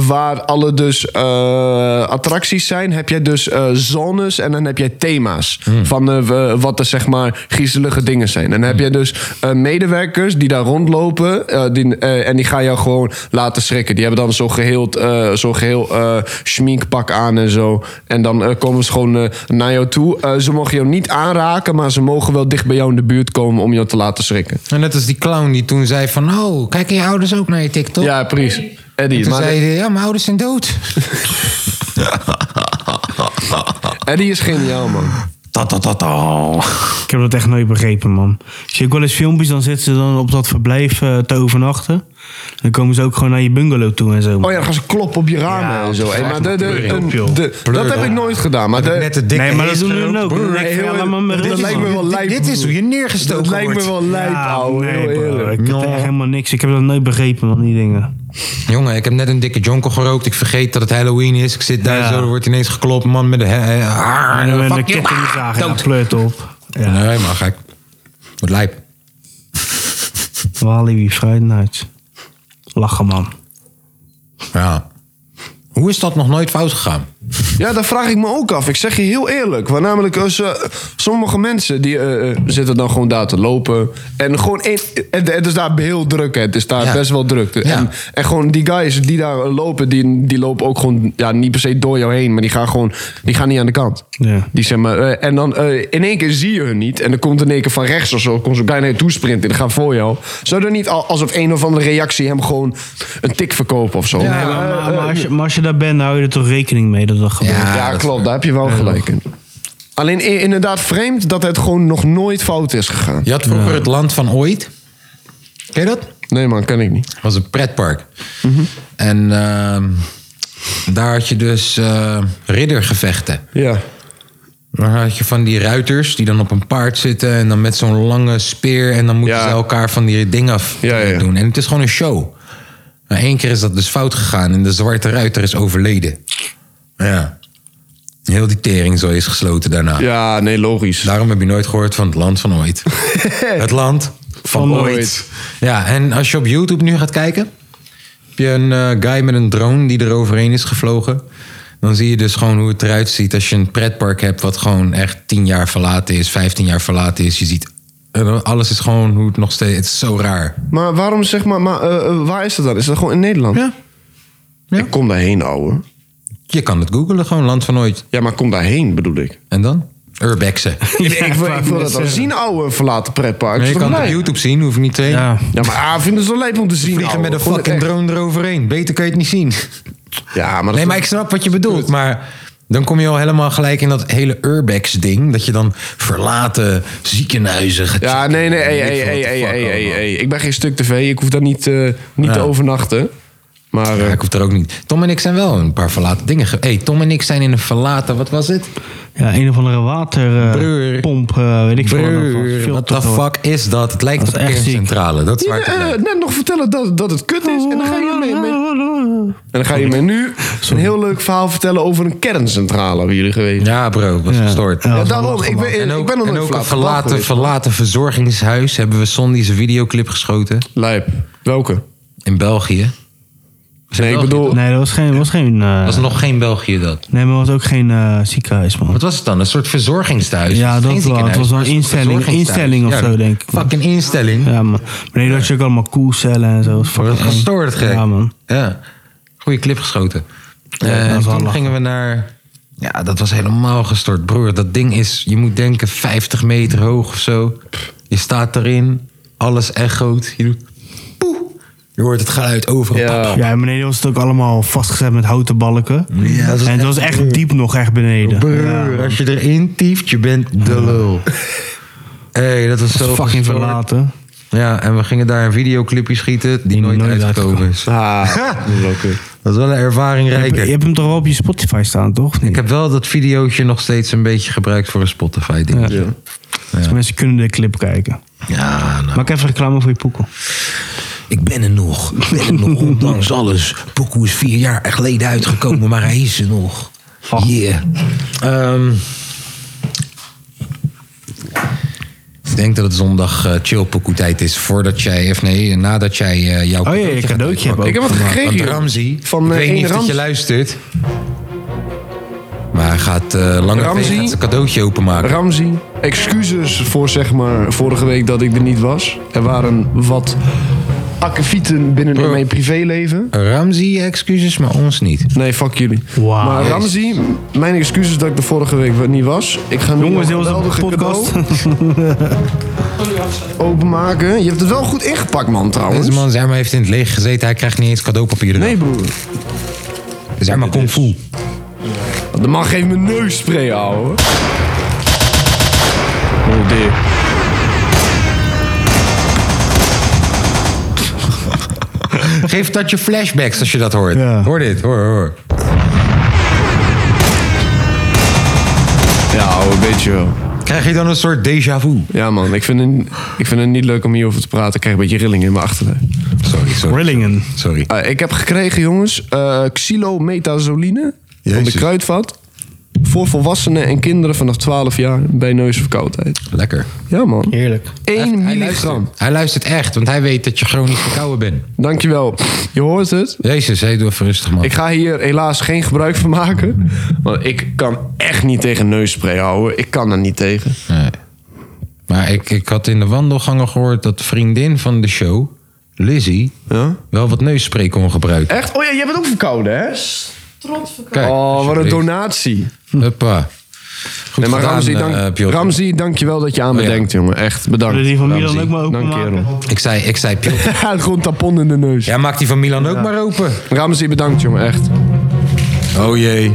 Speaker 3: waar alle dus eh, attracties zijn, heb je dus eh, zones en dan heb je thema's van eh, we- wat er zeg maar griezelige dingen zijn. En dan heb je dus eh, medewerkers die daar rondlopen eh, die, eh, en die gaan jou gewoon laten schrikken. Die hebben dan zo'n geheel, eh zo geheel eh schminkpak aan en zo. En dan eh, komen ze gewoon eh, naar jou toe. Eh, ze mogen jou niet aanraken, maar ze mogen wel dicht bij jou in de buurt komen om jou te laten schrikken.
Speaker 1: En net als die clown die toen zei van... Oh, kijken je ouders ook naar je TikTok?
Speaker 3: Ja, precies. Eddie.
Speaker 1: Toen
Speaker 3: Maar
Speaker 1: zei hij, ja, mijn ouders zijn dood.
Speaker 3: Eddie is geniaal, man.
Speaker 2: Ik heb dat echt nooit begrepen, man. Zie ik wel eens filmpjes, dan zitten ze dan op dat verblijf eh, te overnachten. Dan komen ze ook gewoon naar je bungalow toe en zo.
Speaker 3: Oh ja, dan gaan ze kloppen op je ramen
Speaker 2: Ja,
Speaker 3: en zo. Hey, maar de, de,
Speaker 2: pleur
Speaker 3: een-
Speaker 2: op, joh.
Speaker 3: de- dat heb ik nooit gedaan. Maar de-
Speaker 1: Net de dikke
Speaker 2: nee, maar dat
Speaker 1: hees
Speaker 2: doen hun
Speaker 1: gerookt.
Speaker 2: ook. Dan denk ik,
Speaker 3: heel-
Speaker 2: ja, laat maar met
Speaker 3: dat
Speaker 2: rust,
Speaker 3: lijkt
Speaker 2: man.
Speaker 3: me wel lijp.
Speaker 1: Dit is hoe je neergestoken
Speaker 3: Dat lijkt me
Speaker 1: wordt.
Speaker 3: wel lijp,
Speaker 2: Ja,
Speaker 3: ouwe.
Speaker 2: nee,
Speaker 3: heel
Speaker 2: bro,
Speaker 3: eerlijk.
Speaker 2: Ik heb echt helemaal niks. Ik heb dat nooit begrepen, man, die dingen.
Speaker 1: Jongen, ik heb net een dikke jonko gerookt. Ik vergeet dat het Halloween is. Ik zit daar
Speaker 2: Ja.
Speaker 1: zo, er wordt ineens geklopt. Man met de... he- he- haar,
Speaker 2: En dan ben
Speaker 1: fuck
Speaker 2: ik
Speaker 1: you,
Speaker 2: ketting
Speaker 1: ah,
Speaker 2: zagen, ja,
Speaker 1: dood.
Speaker 2: pleurt op. Ja,
Speaker 1: Nee, maar gek. Wat lijp.
Speaker 2: Walibi, Friday Night. Lachen, man.
Speaker 1: Ja. Hoe is dat nog nooit fout gegaan?
Speaker 3: Ja, dat vraag ik me ook af. Ik zeg je heel eerlijk. Want namelijk, als, eh, sommige mensen die, eh, eh, zitten dan gewoon daar te lopen. En gewoon één, het, het is daar heel druk. Hè. Het is daar
Speaker 1: Ja.
Speaker 3: best wel druk.
Speaker 1: Ja.
Speaker 3: En, en gewoon die guys die daar lopen, die, die lopen ook gewoon ja, niet per se door jou heen. Maar die gaan gewoon die gaan niet aan de kant.
Speaker 2: Ja.
Speaker 3: Die zeg maar, eh, en dan eh, in één keer zie je hun niet. En dan komt in één keer van rechts of zo. Komt zo'n guy naar je toe sprinten. Die gaat voor jou. Zou er niet al- alsof een of andere reactie hem gewoon een tik verkopen of zo?
Speaker 2: Nee, maar, maar- maar als je, maar als je daar bent, dan hou je er toch rekening mee dat dat gebeurt.
Speaker 1: Ja.
Speaker 3: Ja,
Speaker 1: dat is
Speaker 3: klopt. Daar heb je wel gelijk in. Alleen i- inderdaad vreemd dat het gewoon nog nooit fout is gegaan.
Speaker 1: Je had vroeger het land van ooit. Ken je dat?
Speaker 3: Nee man, kan ik niet.
Speaker 1: was een pretpark.
Speaker 3: Mhm.
Speaker 1: En ehm, daar had je dus eh, riddergevechten.
Speaker 3: Ja.
Speaker 1: Dan had je van die ruiters die dan op een paard zitten en dan met zo'n lange speer en dan moeten
Speaker 3: Ja.
Speaker 1: ze elkaar van die dingen af
Speaker 3: Ja, ja, ja.
Speaker 1: doen. En het is gewoon een show. Maar één keer is dat dus fout gegaan en de zwarte ruiter is overleden. Ja. Heel die tering zo is gesloten daarna.
Speaker 3: Ja, nee, logisch.
Speaker 1: Daarom heb je nooit gehoord van het land van ooit. het land van,
Speaker 3: Van
Speaker 1: ooit.
Speaker 3: ooit.
Speaker 1: Ja, en als je op YouTube nu gaat kijken, heb je een eh, guy met een drone die er overheen is gevlogen. Dan zie je dus gewoon hoe het eruit ziet als je een pretpark hebt wat gewoon echt 10 jaar verlaten is, 15 jaar verlaten is. Je ziet en dan alles is gewoon hoe het nog steeds. Het is zo raar.
Speaker 3: Maar waarom zeg maar, maar eh, eh, waar is dat dan? Is dat gewoon in Nederland?
Speaker 1: Ja. Ja.
Speaker 3: Ik kom daarheen, ouwe.
Speaker 1: Je kan het googelen, gewoon land van ooit.
Speaker 3: Ja, maar kom daarheen bedoel ik.
Speaker 1: En dan? Urbexen.
Speaker 3: Ik, ik wil,
Speaker 2: wou
Speaker 3: ik wil dat
Speaker 2: net
Speaker 3: wel
Speaker 2: zeggen.
Speaker 3: zien, ouwe verlaten pretpark.
Speaker 1: Nee, je
Speaker 3: Is
Speaker 1: kan
Speaker 3: toch
Speaker 1: het op
Speaker 3: blij?
Speaker 1: YouTube zien, hoef je niet te heen.
Speaker 2: Ja.
Speaker 3: Ja, maar ah, ik vind het zo leuk om te zien.
Speaker 1: Vliegen
Speaker 3: ouwe.
Speaker 1: met een
Speaker 3: Gewoon
Speaker 1: fucking
Speaker 3: echt.
Speaker 1: drone eroverheen. Beter kan je het niet zien.
Speaker 3: Ja, maar dat
Speaker 1: Nee, maar ik snap wat je bedoelt. Maar dan kom je al helemaal gelijk in dat hele urbex-ding. Dat je dan verlaten ziekenhuizen gaat
Speaker 3: Ja, nee, nee, hey,
Speaker 1: Weet
Speaker 3: hey,
Speaker 1: je
Speaker 3: hey,
Speaker 1: wat de
Speaker 3: hey,
Speaker 1: fuck
Speaker 3: hey, hey,
Speaker 1: allemaal.
Speaker 3: hey. Ik ben geen stuk tv, ik hoef daar niet, eh, niet
Speaker 1: Ja.
Speaker 3: te overnachten. Maar eh,
Speaker 1: Ja, ik hoef er ook niet. Tom en ik zijn wel een paar verlaten dingen. Ge- hey, Tom en ik zijn in een verlaten, wat was het?
Speaker 2: Ja, een of andere waterpomp,
Speaker 1: Breur.
Speaker 2: pomp eh, weet ik veel.
Speaker 1: Breur, wat de fuck is dat? Het lijkt
Speaker 2: Dat
Speaker 1: op een
Speaker 2: is echt ziek.
Speaker 1: kerncentrale. Dat is waar
Speaker 3: je,
Speaker 1: het op lijkt.
Speaker 3: eh, net nog vertellen dat, dat het kut is en dan ga je mee. mee. En dan ga je me nu een heel leuk verhaal vertellen over een kerncentrale hebben jullie geweest. Ja.
Speaker 1: Ja, bro, was gestoord.
Speaker 2: Ja,
Speaker 3: daarom, ik ben,
Speaker 1: En ook,
Speaker 3: ik ben nog
Speaker 1: en
Speaker 3: nooit
Speaker 1: ook een
Speaker 3: verlaten
Speaker 1: verlaten,
Speaker 3: geweest.
Speaker 1: verlaten verzorgingshuis hebben we Sondy zijn videoclip geschoten
Speaker 3: Lijp. Welke?
Speaker 1: in België.
Speaker 3: Nee, ik
Speaker 1: België,
Speaker 3: bedoel...
Speaker 2: Nee, dat was geen... Was geen eh,
Speaker 1: Dat was nog geen België dat.
Speaker 2: Nee, maar dat was ook geen eh, ziekenhuis, man.
Speaker 1: Wat was het dan? Een soort verzorgingstehuis?
Speaker 2: Ja,
Speaker 1: Geen
Speaker 2: dat wel. Het
Speaker 1: ziekenhuis,
Speaker 2: was wel een
Speaker 1: maar soort
Speaker 2: instelling-
Speaker 1: verzorgingstehuis.
Speaker 2: instelling of zo, denk ik.
Speaker 1: Fucking instelling.
Speaker 2: Ja, man. Maar nee, dat je ook allemaal koelcellen en zo. Dat is
Speaker 1: Maar
Speaker 2: fucking
Speaker 1: dat is
Speaker 2: eng.
Speaker 1: gestoord, gek.
Speaker 2: Ja, man.
Speaker 1: Ja. Goeie clip geschoten. Eh,
Speaker 2: dat is
Speaker 1: en
Speaker 2: wel
Speaker 1: toen
Speaker 2: lachen.
Speaker 1: gingen we naar... Ja, dat was helemaal gestort, broer. Dat ding is, je moet denken, 50 meter hoog of zo. Je staat erin, alles echoot. Je doet... Poeh. Je hoort het geluid overal.
Speaker 3: Ja.
Speaker 2: Ja, en beneden was het ook allemaal vastgezet met houten balken.
Speaker 1: Ja, dat is
Speaker 2: en
Speaker 1: echt
Speaker 2: het was echt diep nog, echt beneden.
Speaker 1: Broer, als je erin tieft, je bent de lul. hey, dat was zo
Speaker 2: Fucking
Speaker 1: gestoord.
Speaker 2: verlaten.
Speaker 1: Ja, en we gingen daar een videoclipje schieten die nooit,
Speaker 2: nooit
Speaker 1: uitgekomen is.
Speaker 3: Ah, dat is wel kut.
Speaker 1: Dat is wel een ervaring
Speaker 2: Je hebt,
Speaker 1: rijker.
Speaker 2: je hebt hem toch wel op je Spotify staan, toch? Of niet?
Speaker 1: Ik heb wel dat videootje nog steeds een beetje gebruikt voor een Spotify ding. Ja,
Speaker 2: Dus mensen kunnen de clip kijken.
Speaker 1: nou,
Speaker 2: Maak even reclame voor je poekel.
Speaker 5: Ik ben er nog. Ik ben er nog, ondanks alles. Pokoe is vier jaar geleden uitgekomen, maar hij is er nog. Yeah.
Speaker 1: ehm, ik denk dat het zondag eh, chill tijd is voordat jij, of nee, nadat jij eh, jouw
Speaker 2: Oh ja, je
Speaker 1: gaat
Speaker 2: cadeautje hebt
Speaker 1: uitpakken.
Speaker 3: Ik heb wat gekregen.
Speaker 1: Want
Speaker 3: joh.
Speaker 1: Ramzi,
Speaker 3: Van,
Speaker 1: ik
Speaker 3: eh,
Speaker 1: weet
Speaker 3: één
Speaker 1: niet of dat
Speaker 3: Rams.
Speaker 1: je luistert. Maar hij gaat eh lange
Speaker 3: Ramzi?
Speaker 1: Ramzi? zijn cadeautje openmaken.
Speaker 3: Ramzi, excuses voor zeg maar vorige week dat ik er niet was. Er waren wat akkefieten binnen in mijn privéleven.
Speaker 1: Ramzi, excuses, maar ons niet.
Speaker 3: Nee, fuck jullie.
Speaker 2: Wauw.
Speaker 3: Maar Ramzi, mijn excuses dat ik er vorige week niet was. Ik ga nu
Speaker 2: Jongens, dit
Speaker 3: een
Speaker 2: was
Speaker 3: geweldige
Speaker 2: een podcast.
Speaker 3: cadeau openmaken. Je hebt het wel goed ingepakt, man, trouwens.
Speaker 1: Deze man, zeg maar, heeft in het leger gezeten. Hij krijgt niet eens cadeaupapier eraf.
Speaker 3: Nee, broer.
Speaker 1: zeg maar, kung
Speaker 3: dus.
Speaker 1: fu.
Speaker 3: De man geeft me neusspray, ouwe. Oh, dear.
Speaker 1: Geef dat je flashbacks als je dat hoort.
Speaker 2: Ja.
Speaker 1: Hoor dit, hoor, hoor.
Speaker 3: Ja, ouwe, weet je wel.
Speaker 1: Krijg je dan een soort déjà vu?
Speaker 3: Ja, man, ik vind, het, ik vind het niet leuk om hierover te praten. Ik krijg een beetje rillingen in mijn achterlijf.
Speaker 1: Sorry, sorry.
Speaker 2: Rillingen.
Speaker 1: sorry.
Speaker 3: Ah, ik heb gekregen, jongens, eh xylometazoline van de
Speaker 1: Jezus.
Speaker 3: kruidvat. Voor volwassenen en kinderen vanaf 12 jaar bij neusverkoudheid.
Speaker 1: Lekker.
Speaker 3: Ja, man.
Speaker 2: Heerlijk.
Speaker 3: 1
Speaker 1: hij,
Speaker 3: milligram.
Speaker 1: luistert, hij luistert echt, want hij weet dat je chronisch verkouden bent.
Speaker 3: Dankjewel. Je hoort het.
Speaker 1: Jezus, hé, doe even rustig, man.
Speaker 3: Ik ga hier helaas geen gebruik van maken. Want ik kan echt niet tegen neusspray houden. Ik kan er niet tegen.
Speaker 1: Nee. Maar ik, ik had in de wandelgangen gehoord dat vriendin van de show, Lizzie,
Speaker 3: Ja?
Speaker 1: wel wat neusspray kon gebruiken.
Speaker 3: Echt? Oh ja, jij bent ook verkouden, hè?
Speaker 7: Trots verkopen.
Speaker 1: Kijk,
Speaker 3: Oh, wat een
Speaker 1: alsjeblieft.
Speaker 3: donatie.
Speaker 1: Huppa. Goed
Speaker 3: Nee, maar
Speaker 1: gedaan,
Speaker 3: Ramzi,
Speaker 1: eh,
Speaker 3: dank,
Speaker 1: Piotr.
Speaker 3: Ramzi, dankjewel dat je aan me
Speaker 1: Oh, ja.
Speaker 3: denkt, jongen. Echt, bedankt.
Speaker 2: Zullen we die van Milan
Speaker 3: Ramzi.
Speaker 2: ook maar
Speaker 3: Dank,
Speaker 2: openmaken?
Speaker 3: kerel.
Speaker 1: Ik zei, ik zei Piotr.
Speaker 3: Ja, gewoon tapon in de neus.
Speaker 1: Ja, maak die van Milan ook maar open.
Speaker 3: Ramzi, bedankt jongen, echt.
Speaker 1: Oh jee.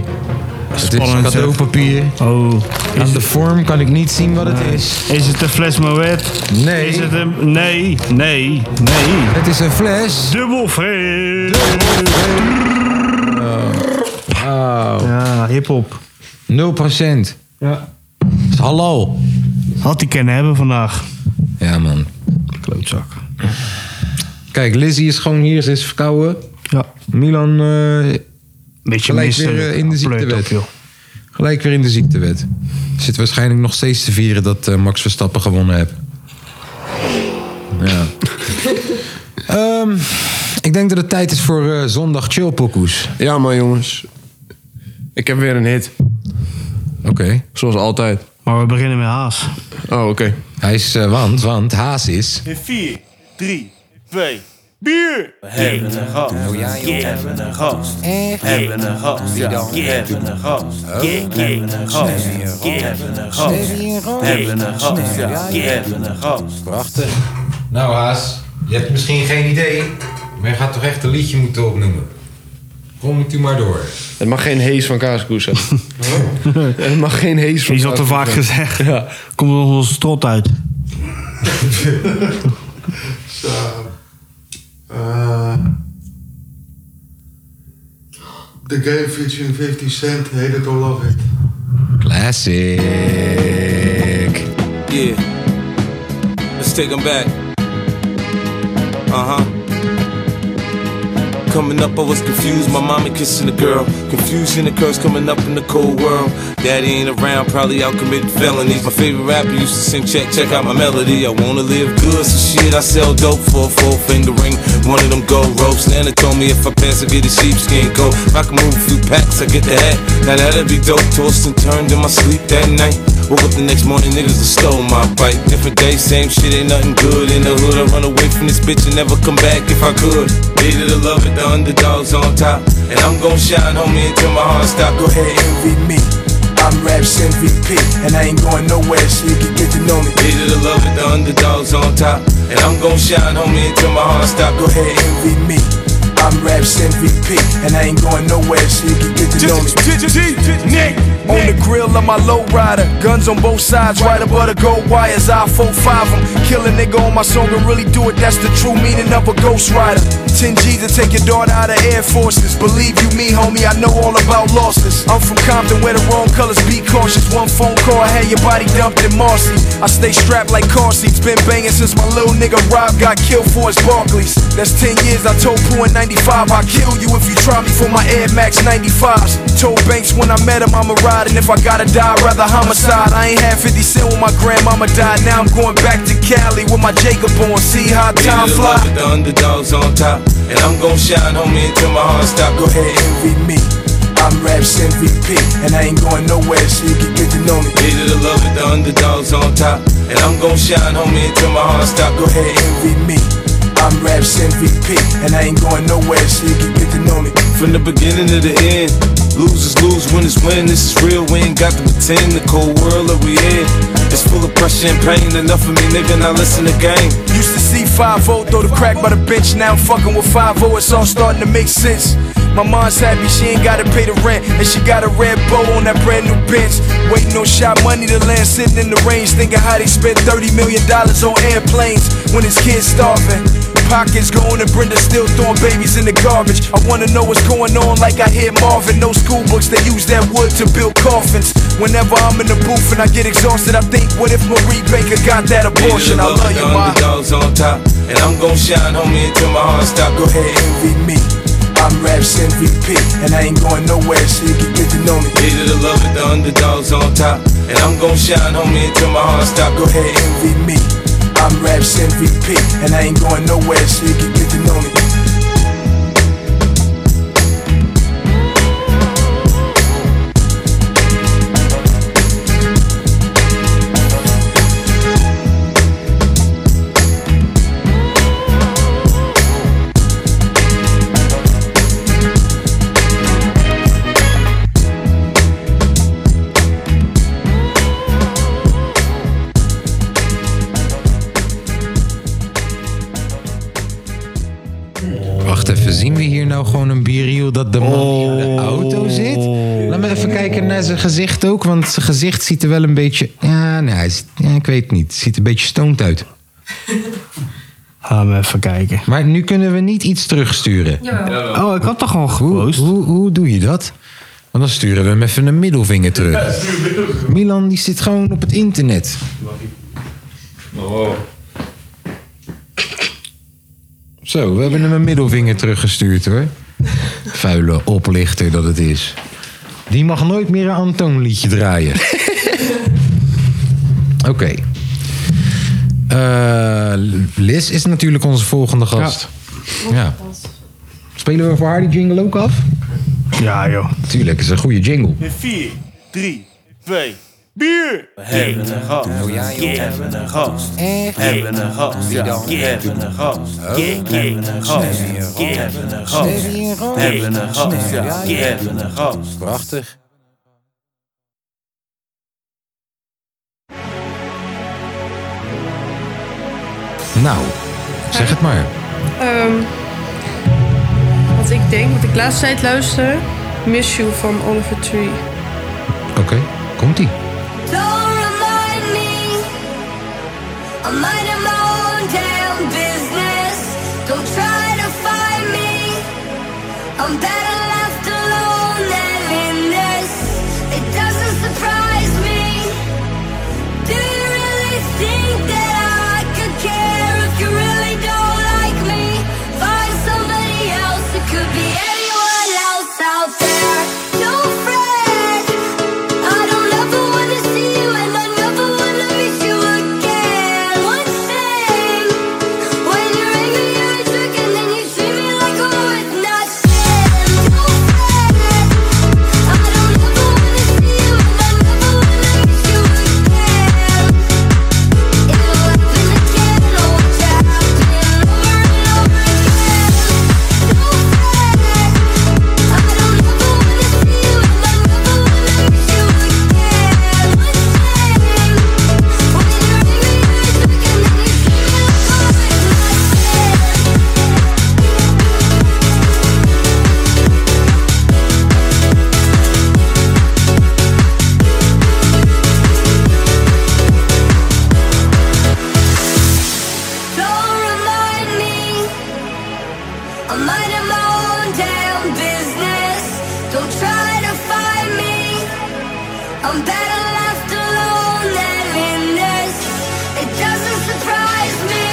Speaker 1: Het is
Speaker 2: Spannend,
Speaker 1: cadeaupapier.
Speaker 2: Oh.
Speaker 1: Aan de vorm kan ik niet zien wat het is.
Speaker 2: Is het een fles Moet?
Speaker 1: Nee.
Speaker 2: Is het een... Nee, nee, nee.
Speaker 1: Het is een fles.
Speaker 2: Dubbel vreemd.
Speaker 1: Oh.
Speaker 2: Ja, hiphop.
Speaker 1: 0%. Het
Speaker 2: Ja.
Speaker 1: is halal.
Speaker 2: Had die kunnen hebben vandaag.
Speaker 1: Ja, man.
Speaker 2: Klootzak.
Speaker 1: Kijk, Lizzie is gewoon hier. Ze is verkouden.
Speaker 2: Ja.
Speaker 1: Milan eh,
Speaker 2: Beetje
Speaker 1: Gelijk
Speaker 2: misselijk.
Speaker 1: weer, eh, in de
Speaker 2: Pleut
Speaker 1: ziektewet.
Speaker 2: op, joh.
Speaker 1: gelijk weer in de ziektewet. Zit waarschijnlijk nog steeds te vieren dat eh, Max Verstappen gewonnen heeft. Ja. Ehm, ik denk dat het tijd is voor eh, zondag chillpokoes.
Speaker 3: Ja maar jongens, ik heb weer een hit.
Speaker 1: Oké.
Speaker 3: Zoals altijd.
Speaker 2: Maar we beginnen met haas.
Speaker 3: Oh, oké.
Speaker 1: Hij is, eh, want, want Haas is...
Speaker 8: 4, 3, 2, Bier!
Speaker 9: We hebben een gast.
Speaker 10: Wil jij
Speaker 9: We
Speaker 10: het?
Speaker 9: hebben een gast.
Speaker 10: Nou Echt?
Speaker 9: We hebben een gast.
Speaker 10: Wie dan?
Speaker 9: We hebben een gast. We hebben een gast. We hebben een gast.
Speaker 10: Snevie en Roos.
Speaker 9: We hebben een gast.
Speaker 10: Snevie,
Speaker 9: Ja,
Speaker 10: ja,
Speaker 9: We
Speaker 10: ja.
Speaker 9: hebben een gast.
Speaker 10: Prachtig.
Speaker 1: Nou, Haas, je hebt misschien geen idee, maar je gaat toch echt een liedje moeten opnoemen. Kom het u maar door.
Speaker 3: Het mag geen hees van kaaskoes zijn. Het mag geen hees van
Speaker 2: Die is al te vaak
Speaker 3: kaaskoes
Speaker 2: gezegd. Komt er nog onze strot uit.
Speaker 4: Zo. Eh, the game featuring 50 Cent, hate it or love it.
Speaker 1: Classic.
Speaker 11: Yeah. Let's take them back. Uh huh. Coming up, I was confused. My mommy kissing a girl. Confusion occurs coming up in the cold world. Daddy ain't around, probably out committing felonies. My favorite rapper used to sing, check, check out my melody. I wanna live good, so shit, I sell dope for a four finger ring. One of them gold ropes. Nana told me if I pass, I get a sheepskin coat. If I can move a few packs, I get the hat. Now that'd be dope. Tossed and turned in my sleep that night. Woke up the next morning, niggas done stole my bike. Different day, same shit, ain't nothing good. In the hood, I run away from this bitch and never come back if I could. Needed to love it, the underdog's on top. And I'm gon' shine, homie, until my heart stop. Go ahead, envy me. I'm Raps MVP, and I ain't going nowhere, so you can get to know me. Needed to love it, the underdog's on top. And I'm gon' shine, homie, until my heart stop. Go ahead, envy me. I'm Raps MVP, and I ain't going nowhere, so you can get to know me. On the grill of my lowrider, guns on both sides, right above the gold wires. I 4-5 them, kill a nigga on my song and really do it. That's the true meaning of a ghost rider. 10 G's to take your daughter out of Air Forces. Believe you me, homie, I know all about losses. I'm from Compton, where the wrong colors be cautious. One phone call, I had your body dumped in Marcy. I stay strapped like car seats, been banging since my little nigga Rob got killed for his Barclays. That's 10 years, I told Pooh in 95, I'll kill you if you try me for my Air Max 95s. Told Banks when I met him I'ma ride, and if I gotta die, I'd rather homicide. I ain't had 50 cent when my grandmama died, now I'm going back to Cali with my Jacob on, see how time fly. The underdogs on top, and I'm gon' shine, homie, until my heart stop. Go ahead, envy me. I'm Raps MVP, and I ain't going nowhere, so you can get to know me. Needed to love it, the underdogs on top, and I'm gon' shine, homie, until my heart stop. Go ahead, envy me. I'm Raps MVP, and I ain't going nowhere, so you can get to know me. From the beginning to the end, losers lose, winners win. This is real, we ain't got to pretend. The cold world that we in, it's full of pressure and pain. Enough of me, nigga, now listen to game. Used to see 5-0 throw the crack by the bench, now I'm fucking with 5-0, it's all starting to make sense. My mom's happy she ain't gotta pay the rent, and she got a red bow on that brand new bench. Waiting on shot money to land, sitting in the range, thinking how they spent 30 million dollars on airplanes when his kids starving. Pockets going and Brenda still throwing babies in the garbage. I wanna know what's going on, like I hear Marvin. No school books, they use that wood to build coffins. Whenever I'm in the booth and I get exhausted, I think, what if Marie Baker got that abortion? I love you, ma. Underdogs on top, and I'm gon' shine, homie, until my heart stop. Go ahead, envy me. I'm Raps MVP, and I ain't going nowhere, so you can get to know me. Needed to love it, the underdogs on top, and I'm gon' shine, homie, until my heart stop. Go ahead, envy me. I'm Raps MVP, and I ain't going nowhere, so you can get to know me.
Speaker 1: Wacht even, zien we hier nou gewoon een biriel dat de man in de auto zit? Laat me even kijken naar zijn gezicht ook, want zijn gezicht ziet er wel een beetje... Ja, nee, hij ziet- ja, ik weet het niet. Ziet er een beetje stoned uit.
Speaker 2: Gaan we even kijken.
Speaker 1: Maar nu kunnen we niet iets terugsturen.
Speaker 2: Oh, ik had toch
Speaker 1: Hoe,
Speaker 2: al gepost?
Speaker 1: hoe, hoe doe je dat? Want dan sturen we hem even een middelvinger terug. Milan die zit gewoon op het internet. Zo, we hebben hem een middelvinger teruggestuurd hoor. Vuile oplichter dat het is. Die mag nooit meer een Antoon-liedje draaien. Oké. Eh, Liz is natuurlijk onze volgende gast. ja. Spelen we voor haar die jingle ook af?
Speaker 2: Ja, joh.
Speaker 1: Tuurlijk, is een goede jingle.
Speaker 8: 4, 3, 2,
Speaker 2: Bier! We hebben een gast. We hebben een gast. We hebben een gast. We hebben een gast. We hebben een gast. We hebben een gast. We hebben een gast. We hebben een gast.
Speaker 12: Prachtig.
Speaker 1: Nou, zeg het maar.
Speaker 7: Ehm, wat ik denk, wat ik laatst tijd luister. Miss You van Oliver Tree.
Speaker 1: Oké, komt-ie.
Speaker 13: Don't remind me. I'm minding my own damn business. Don't try to find me. I'm better left alone than in this. It doesn't surprise me. Do you really think that I could care if you really don't like me? Find somebody else. It could be anyone else out there. No friend. I don't ever wanna see you, and I never wanna meet you again. One thing, when you're angry, you're a jerk, and then you treat me like oh, I was nothing. No friend, I don't ever wanna see you, and I never wanna meet you again. It will happen again, oh, watch it happen over and over again. No friend, I don't ever wanna see you, and I never wanna meet you again. One thing, when you're angry, you're a jerk, and then you treat me like I was nothing. Don't remind me. I'm minding my own damn business. Don't try to find me. I'm better left alone than in this. It doesn't surprise me.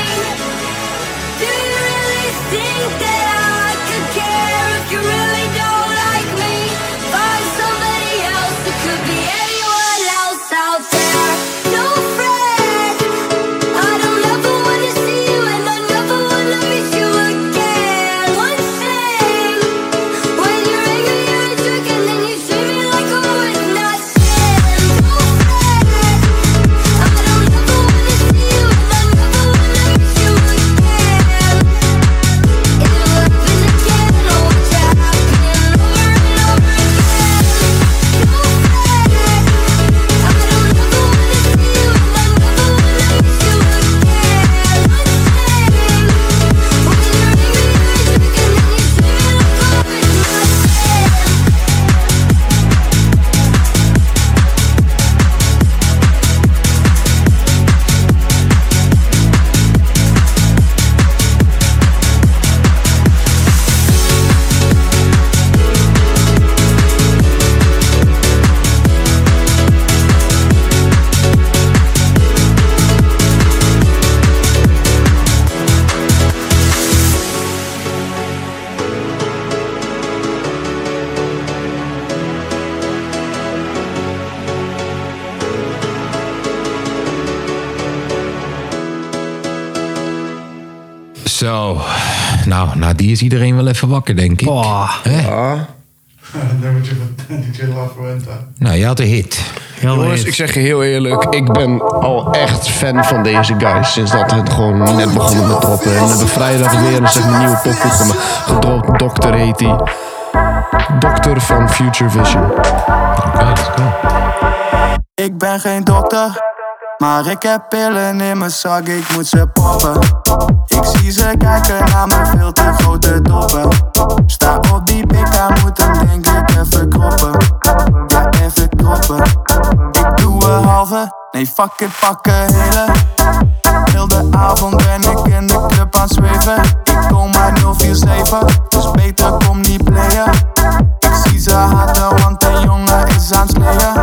Speaker 13: Do you really think that I could care if you really don't like me? Find somebody else. It could be anyone else out there. No friend. I don't ever wanna see you, and I never wanna meet you again. One thing, when you're angry, you're a jerk, and then you treat me like I was nothing. No friend, I don't ever wanna see you, and I never wanna meet you again. It will happen again, oh, watch it happen over and over again. No friend, I don't ever wanna see you, and I never wanna meet you again. One thing, when you're angry, you're a jerk, and then you treat me like I was nothing.
Speaker 1: Zo, nou, na die is iedereen wel even wakker, denk ik. Hè?
Speaker 4: Dan moet je van DJ La Fuenta.
Speaker 1: Nou, je had een hit.
Speaker 3: Jongens, ik zeg je heel eerlijk, ik ben al echt fan van deze guys. Sinds dat het gewoon net begonnen met droppen. En we hebben vrijdag weer een, zeg maar, nieuwe pokoe gema- gedropt. Dokter heet die. Dokter van Future Vision.
Speaker 14: Ik ben geen dokter, maar ik heb pillen in mijn zak, ik moet ze poppen. Ik zie ze kijken naar mijn veel te grote doppen. Sta op die pik, aan moet hem denk ik even kroppen. Ja, even kroppen. Ik doe een halve, nee fuck it, pak een hele. Heel de avond ben ik in de club aan het zweven. Ik kom uit 047, dus beter kom niet playen. Ik zie ze haten, want de jongen is aan het slayen.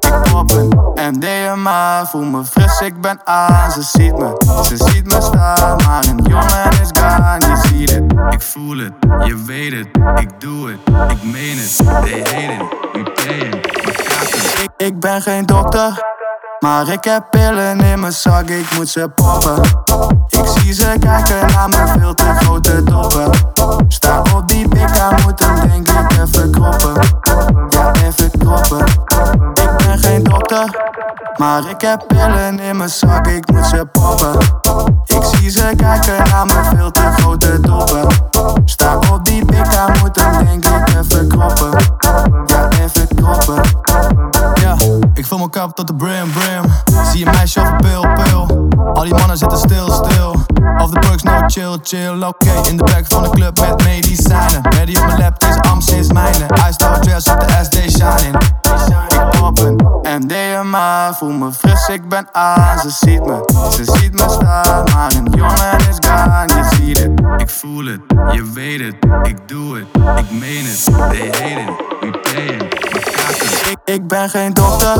Speaker 14: Ik pop een MDMA, voel me fris, ik ben aan. Ze ziet me, ze ziet me staan. Maar een jongen is gaan, je ziet het. Ik voel het, je weet het. Ik doe het, ik meen het. They hate it, we pay it. Maar kaken. Ik, ik ben geen dokter. Maar ik heb pillen in mijn zak, ik moet ze poppen. Ik zie ze kijken naar mijn veel te grote doppen. Sta op die pik, aan moet hem denk ik even kroppen. Ja, even kroppen. Ik ben geen dokter, Maar ik heb pillen in mijn zak, ik moet ze poppen. Ik zie ze kijken naar mijn veel te grote doppen. Sta op die pika, moet hem denk ik even kroppen. Ja, even kroppen.
Speaker 15: Ja, ik vul mijn kap tot de brim, brim. Zie je meisje over pil, pil. Al die mannen zitten stil, stil. Of de perks, no chill, chill. Oké, in de back van de club met medicijnen. Ready op mijn lap, deze amps is mijne. Ice out dress op de SD shining. Ik poppen.
Speaker 14: MDMA, voel me fris, ik ben aan. Ze ziet me, ze ziet me staan. Maar een jongen is gaan, je ziet het. Ik voel het, je weet het. Ik doe het, ik meen het. They hate it, we pay it.
Speaker 15: Ik, ik ben geen dokter,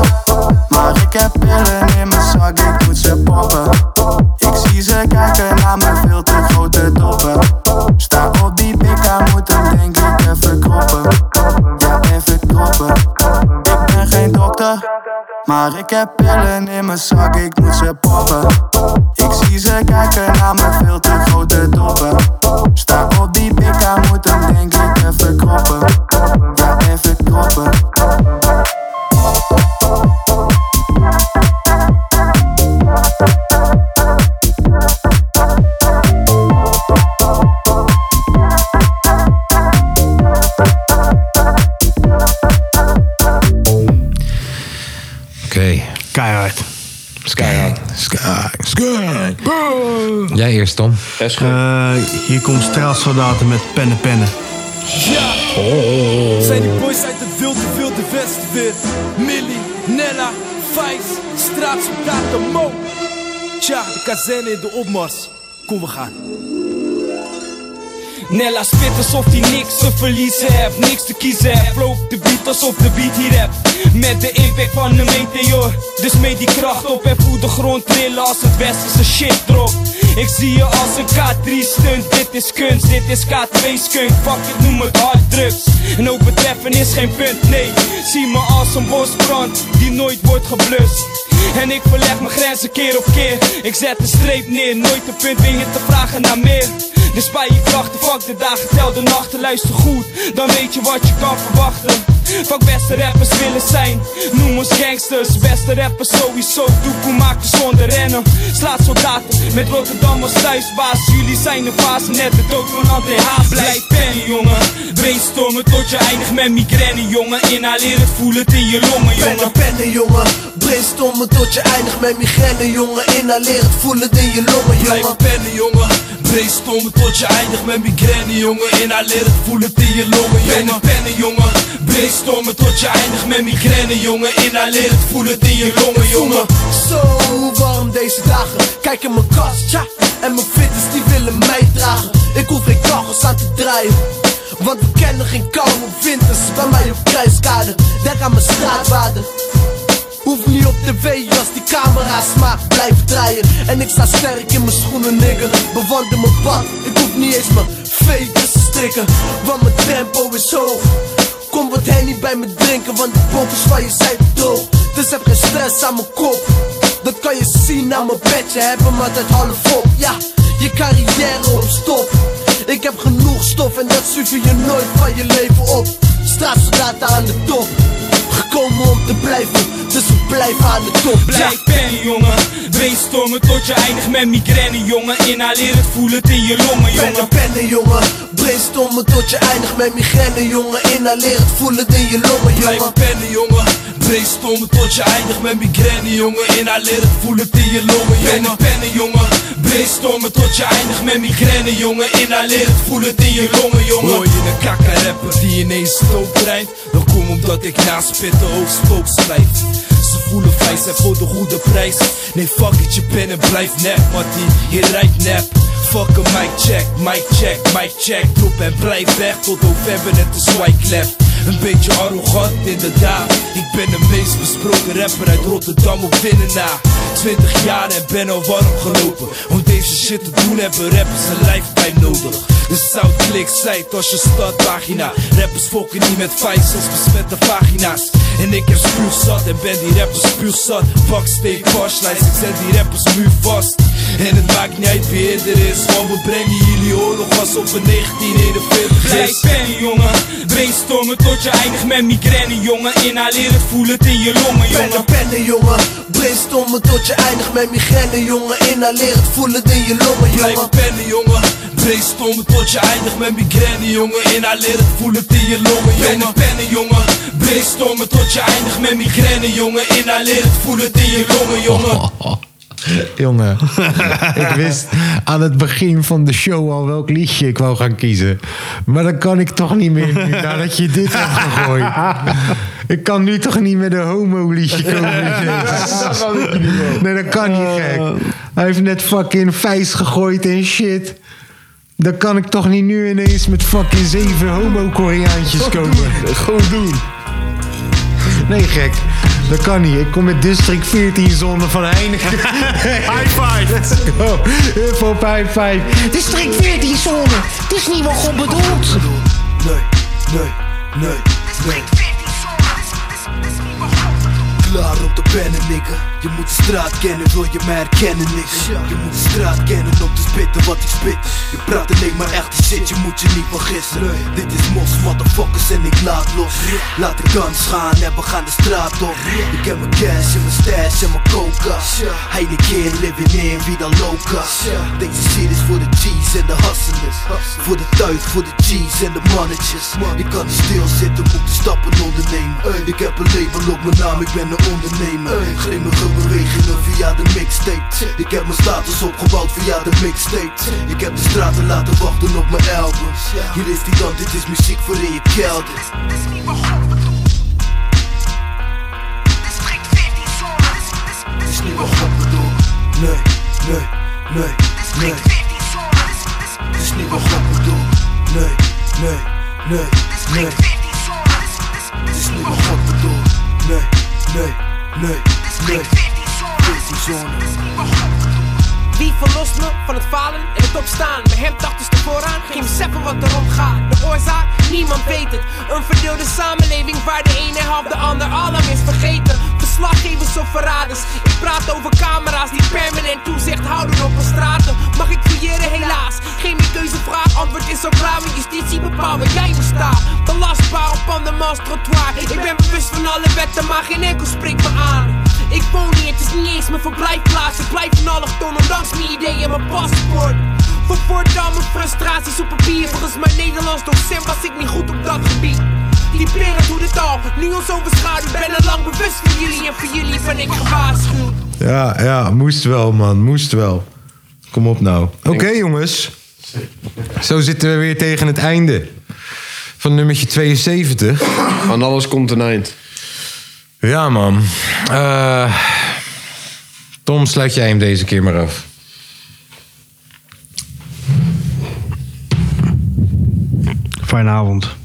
Speaker 15: maar ik heb pillen in mijn zak, ik moet ze poppen. Ik zie ze kijken naar mijn veel te grote doppen. Sta op die pika, moet hem denk ik even kroppen. Ja, even kroppen. Ik ben geen dokter, maar ik heb pillen in mijn zak, ik moet ze poppen. Ik zie ze kijken naar mijn veel te grote doppen. Sta op die pika, moet hem denk ik even kroppen. Ja, even kroppen.
Speaker 1: Oké.
Speaker 2: Keihard.
Speaker 1: Skyhard. Skyhard. Jij eerst, Tom.
Speaker 2: Eh, hier komt straatsoldaten met pennen pennen. Oh.
Speaker 16: Ja! Zijn die boys uit het wilde, wilde westen weer? Millie, Nella, Vijs, straatsoldaten, Mo. Tja, de kazerne in de opmars. Kom, we gaan. Nella spit alsof hij niks te verliezen heeft, niks te kiezen heeft. Loopt de beat alsof de beat hier hebt. Met de impact van een meteor. Dus meet die kracht op en voel de grond trillen als het westerse shit drop. Ik zie je als een K3 stunt. Dit is kunst, dit is K2 skunk. Fuck it, noem het hard drugs. En ook betreffen is geen punt, nee. Zie me als een bosbrand die nooit wordt geblust. En ik verleg mijn grenzen keer op keer Ik zet een streep neer, nooit een punt meer te vragen naar meer Dus bij je krachten, fuck de dagen, tel de nachten Luister goed, dan weet je wat je kan verwachten Fuck beste rappers willen zijn Noem ons gangsters, beste rappers sowieso Doekoe maakt je zonder rennen Slaat soldaten, met Rotterdam als thuisbaas Jullie zijn een fase, net de dood van André Haas Blijf pennen jongen, brainstormen tot je eindigt met migraine jongen Inhaleer het, voel het in je longen jongen
Speaker 17: Pennen, pennen, jongen. Brainstormen tot je eindigt met migraine, jongen. Inhaleer het, voel het in je longen, jongen.
Speaker 16: Blijf pennen, jongen. Brainstormen tot je eindigt met migraine, jongen. Inhaleer het, voel het in je longen, jongen. Pennen, pennen, jongen. Brainstormen tot je eindigt met migraine, jongen. Inhaleer het, voel het in je longen, jongen.
Speaker 17: Zo warm deze dagen. Kijk in mijn kast, ja. En mijn fitters die willen mij dragen. Ik hoef geen kachels aan te draaien. Want we kennen geen koude winters. Bij mij op kruiskade. Denk aan mijn straatwaarden. Hoef niet op tv als die camera's maar blijven draaien En ik sta sterk in mijn schoenen, nigger Bewandel mijn pad, ik hoef niet eens mijn veters te strikken Want mijn tempo is hoog Kom wat hennie bij me drinken, want de boven van je zijn droog Dus heb geen stress aan mijn kop Dat kan je zien aan mijn bedje, heb hem altijd half op Ja, je carrière op stop Ik heb genoeg stof en dat zuiver je nooit van je leven op Straatsoldaten aan de top Gekomen om te blijven, dus we blijven aan de top
Speaker 16: Blijf pennen, jongen. Brainstormen tot je eindigt met migraine, jongen. Inhaleer het, voel het in je longen, jongen.
Speaker 17: Pennen, pennen, jongen. Brainstormen tot je eindigt met migraine, jongen. Inhaleer het, voel het in je longen,
Speaker 16: Blijf
Speaker 17: jongen.
Speaker 16: pennen, jongen. Brainstormen tot je eindigt met migraine, jongen. Inhaleer het, voel het in je longen, jongen. Pennen, pennen, jongen. Brainstormen tot je eindigt met migraine, jongen. Inhaleer het, voel het in je longen, jongen. Hoor je een kakka rapper die ineens stoot drijft? Dan kom omdat ik na spitten ook spook schrijf. Ze voelen vijs en voor de goede prijs. Nee, fuck it, je pen en blijf nep, mattie. Je rijdt nep. Fuck een mic check, mic check, mic check Drop en blijf weg tot november net is white left Een beetje arrogant inderdaad Ik ben de meest besproken rapper uit Rotterdam op Winnenaar
Speaker 18: 20 jaar en ben al warm gelopen Om deze shit te doen hebben rappers een lifetime nodig De Southclick zijt als je stadpagina Rappers fokken niet met vijzels, besmette pagina's En ik heb spuugzat en ben die rappers spuugzat Baksteek, paslijst, ik zet die rappers muurvast En het maakt niet uit wie het er is Want we brengen jullie oorlog als op een 1941
Speaker 19: Blijf pennen jongen, brainstormen tot je eindigt met migraine jongen Inhaleren, voel het in je longen jongen
Speaker 20: Pennen, pennen jongen, brainstormen tot je eindigt met migraine jongen Inhaleer het, voel het in je longen jongen
Speaker 18: Blijf pennen jongen Brainstormen tot je eindigt met migraine jongen Inhaleer het, voel het in je longen jongen Pennen, pennen jongen Brainstormen tot je eindigt met migraine jongen Inhaleer het, voel het in je longen jongen
Speaker 1: Jongen, ik wist aan het begin van de show al welk liedje ik wou gaan kiezen. Maar dat kan ik toch niet meer nu, nadat je dit hebt gegooid. Ik kan nu toch niet met een homo-liedje komen. Nee, dat kan niet gek. Hij heeft net fucking vijs gegooid en shit. Dan kan ik toch niet nu ineens met fucking zeven homo-Koreaantjes komen. Gewoon doen. Nee, gek. Dat kan niet. Ik kom met District 14 zonder van Heineken.
Speaker 4: High five.
Speaker 1: Let's go. Hup op high five. District 14 zone. Het is niet wat God bedoelt.
Speaker 20: Nee, nee, nee, nee Klaar op de pennen, nigga Je moet de straat kennen, wil je mij herkennen, nigga Je moet de straat kennen om te spitten wat ik spit Je praat alleen maar echte shit, je moet je niet vergissen Dit is mos, motherfuckers en ik laat los Laat de kans gaan en we gaan de straat op Ik heb mijn cash en mijn stash en mijn coca Heineken, living in, wie dan loca Deze shit is voor de G's en de hustlers Voor de tuig, voor de G's en de mannetjes Ik kan niet stilzitten, moet de stappen ondernemen Ik heb een label op mijn naam, ik ben een ondernemer Grimmige bewegingen via de mixtape Ik heb mijn status opgebouwd via de mixtape Ik heb de straten laten wachten op mijn albums Hier is die dan, dit is muziek voor in je kelder Dit is niet wat God bedoelt Nee, nee, nee, nee Dit is niet wat God bedoelt Nee, nee, nee, nee Dit is niet wat God bedoelt Nee, nee, nee, nee Deze zone
Speaker 21: Wie verlost me van het falen en het opstaan? Mijn hemd achter de vooraan, geen beseffen wat erom gaat. De oorzaak, niemand weet het. Een verdeelde samenleving waar de ene helft de ander al lang is vergeten. Verslaggevers of verraders. Ik praat over camera's die permanent toezicht houden op mijn straten. Mag ik creëren, helaas. Geen meer keuzevraag, antwoord is al klaar. Want justitie bepaalt waar jij bestaat. Belastbaar op andermans trottoir. Ik ben bewust van alle wetten, maar geen enkel spreekt me aan. Ik woon hier, het is niet eens mijn verblijfplaats. Ik blijf een allochton, ondanks mijn idee en mijn paspoort. Voor voortaan mijn frustraties op papier. Volgens mijn Nederlands docent was ik niet goed op dat gebied. Die peren doet het al, nu ons overschaduwd. Ben al lang bewust van jullie en voor jullie ben ik gewaarschuwd.
Speaker 1: Ja, ja, moest wel, man. Moest wel. Kom op nou. Oké, jongens. Zo zitten we weer tegen het einde van nummertje 72.
Speaker 22: Van alles komt een eind.
Speaker 1: Ja, man. Eh, Tom, sluit jij hem deze keer maar af.
Speaker 4: Fijne avond.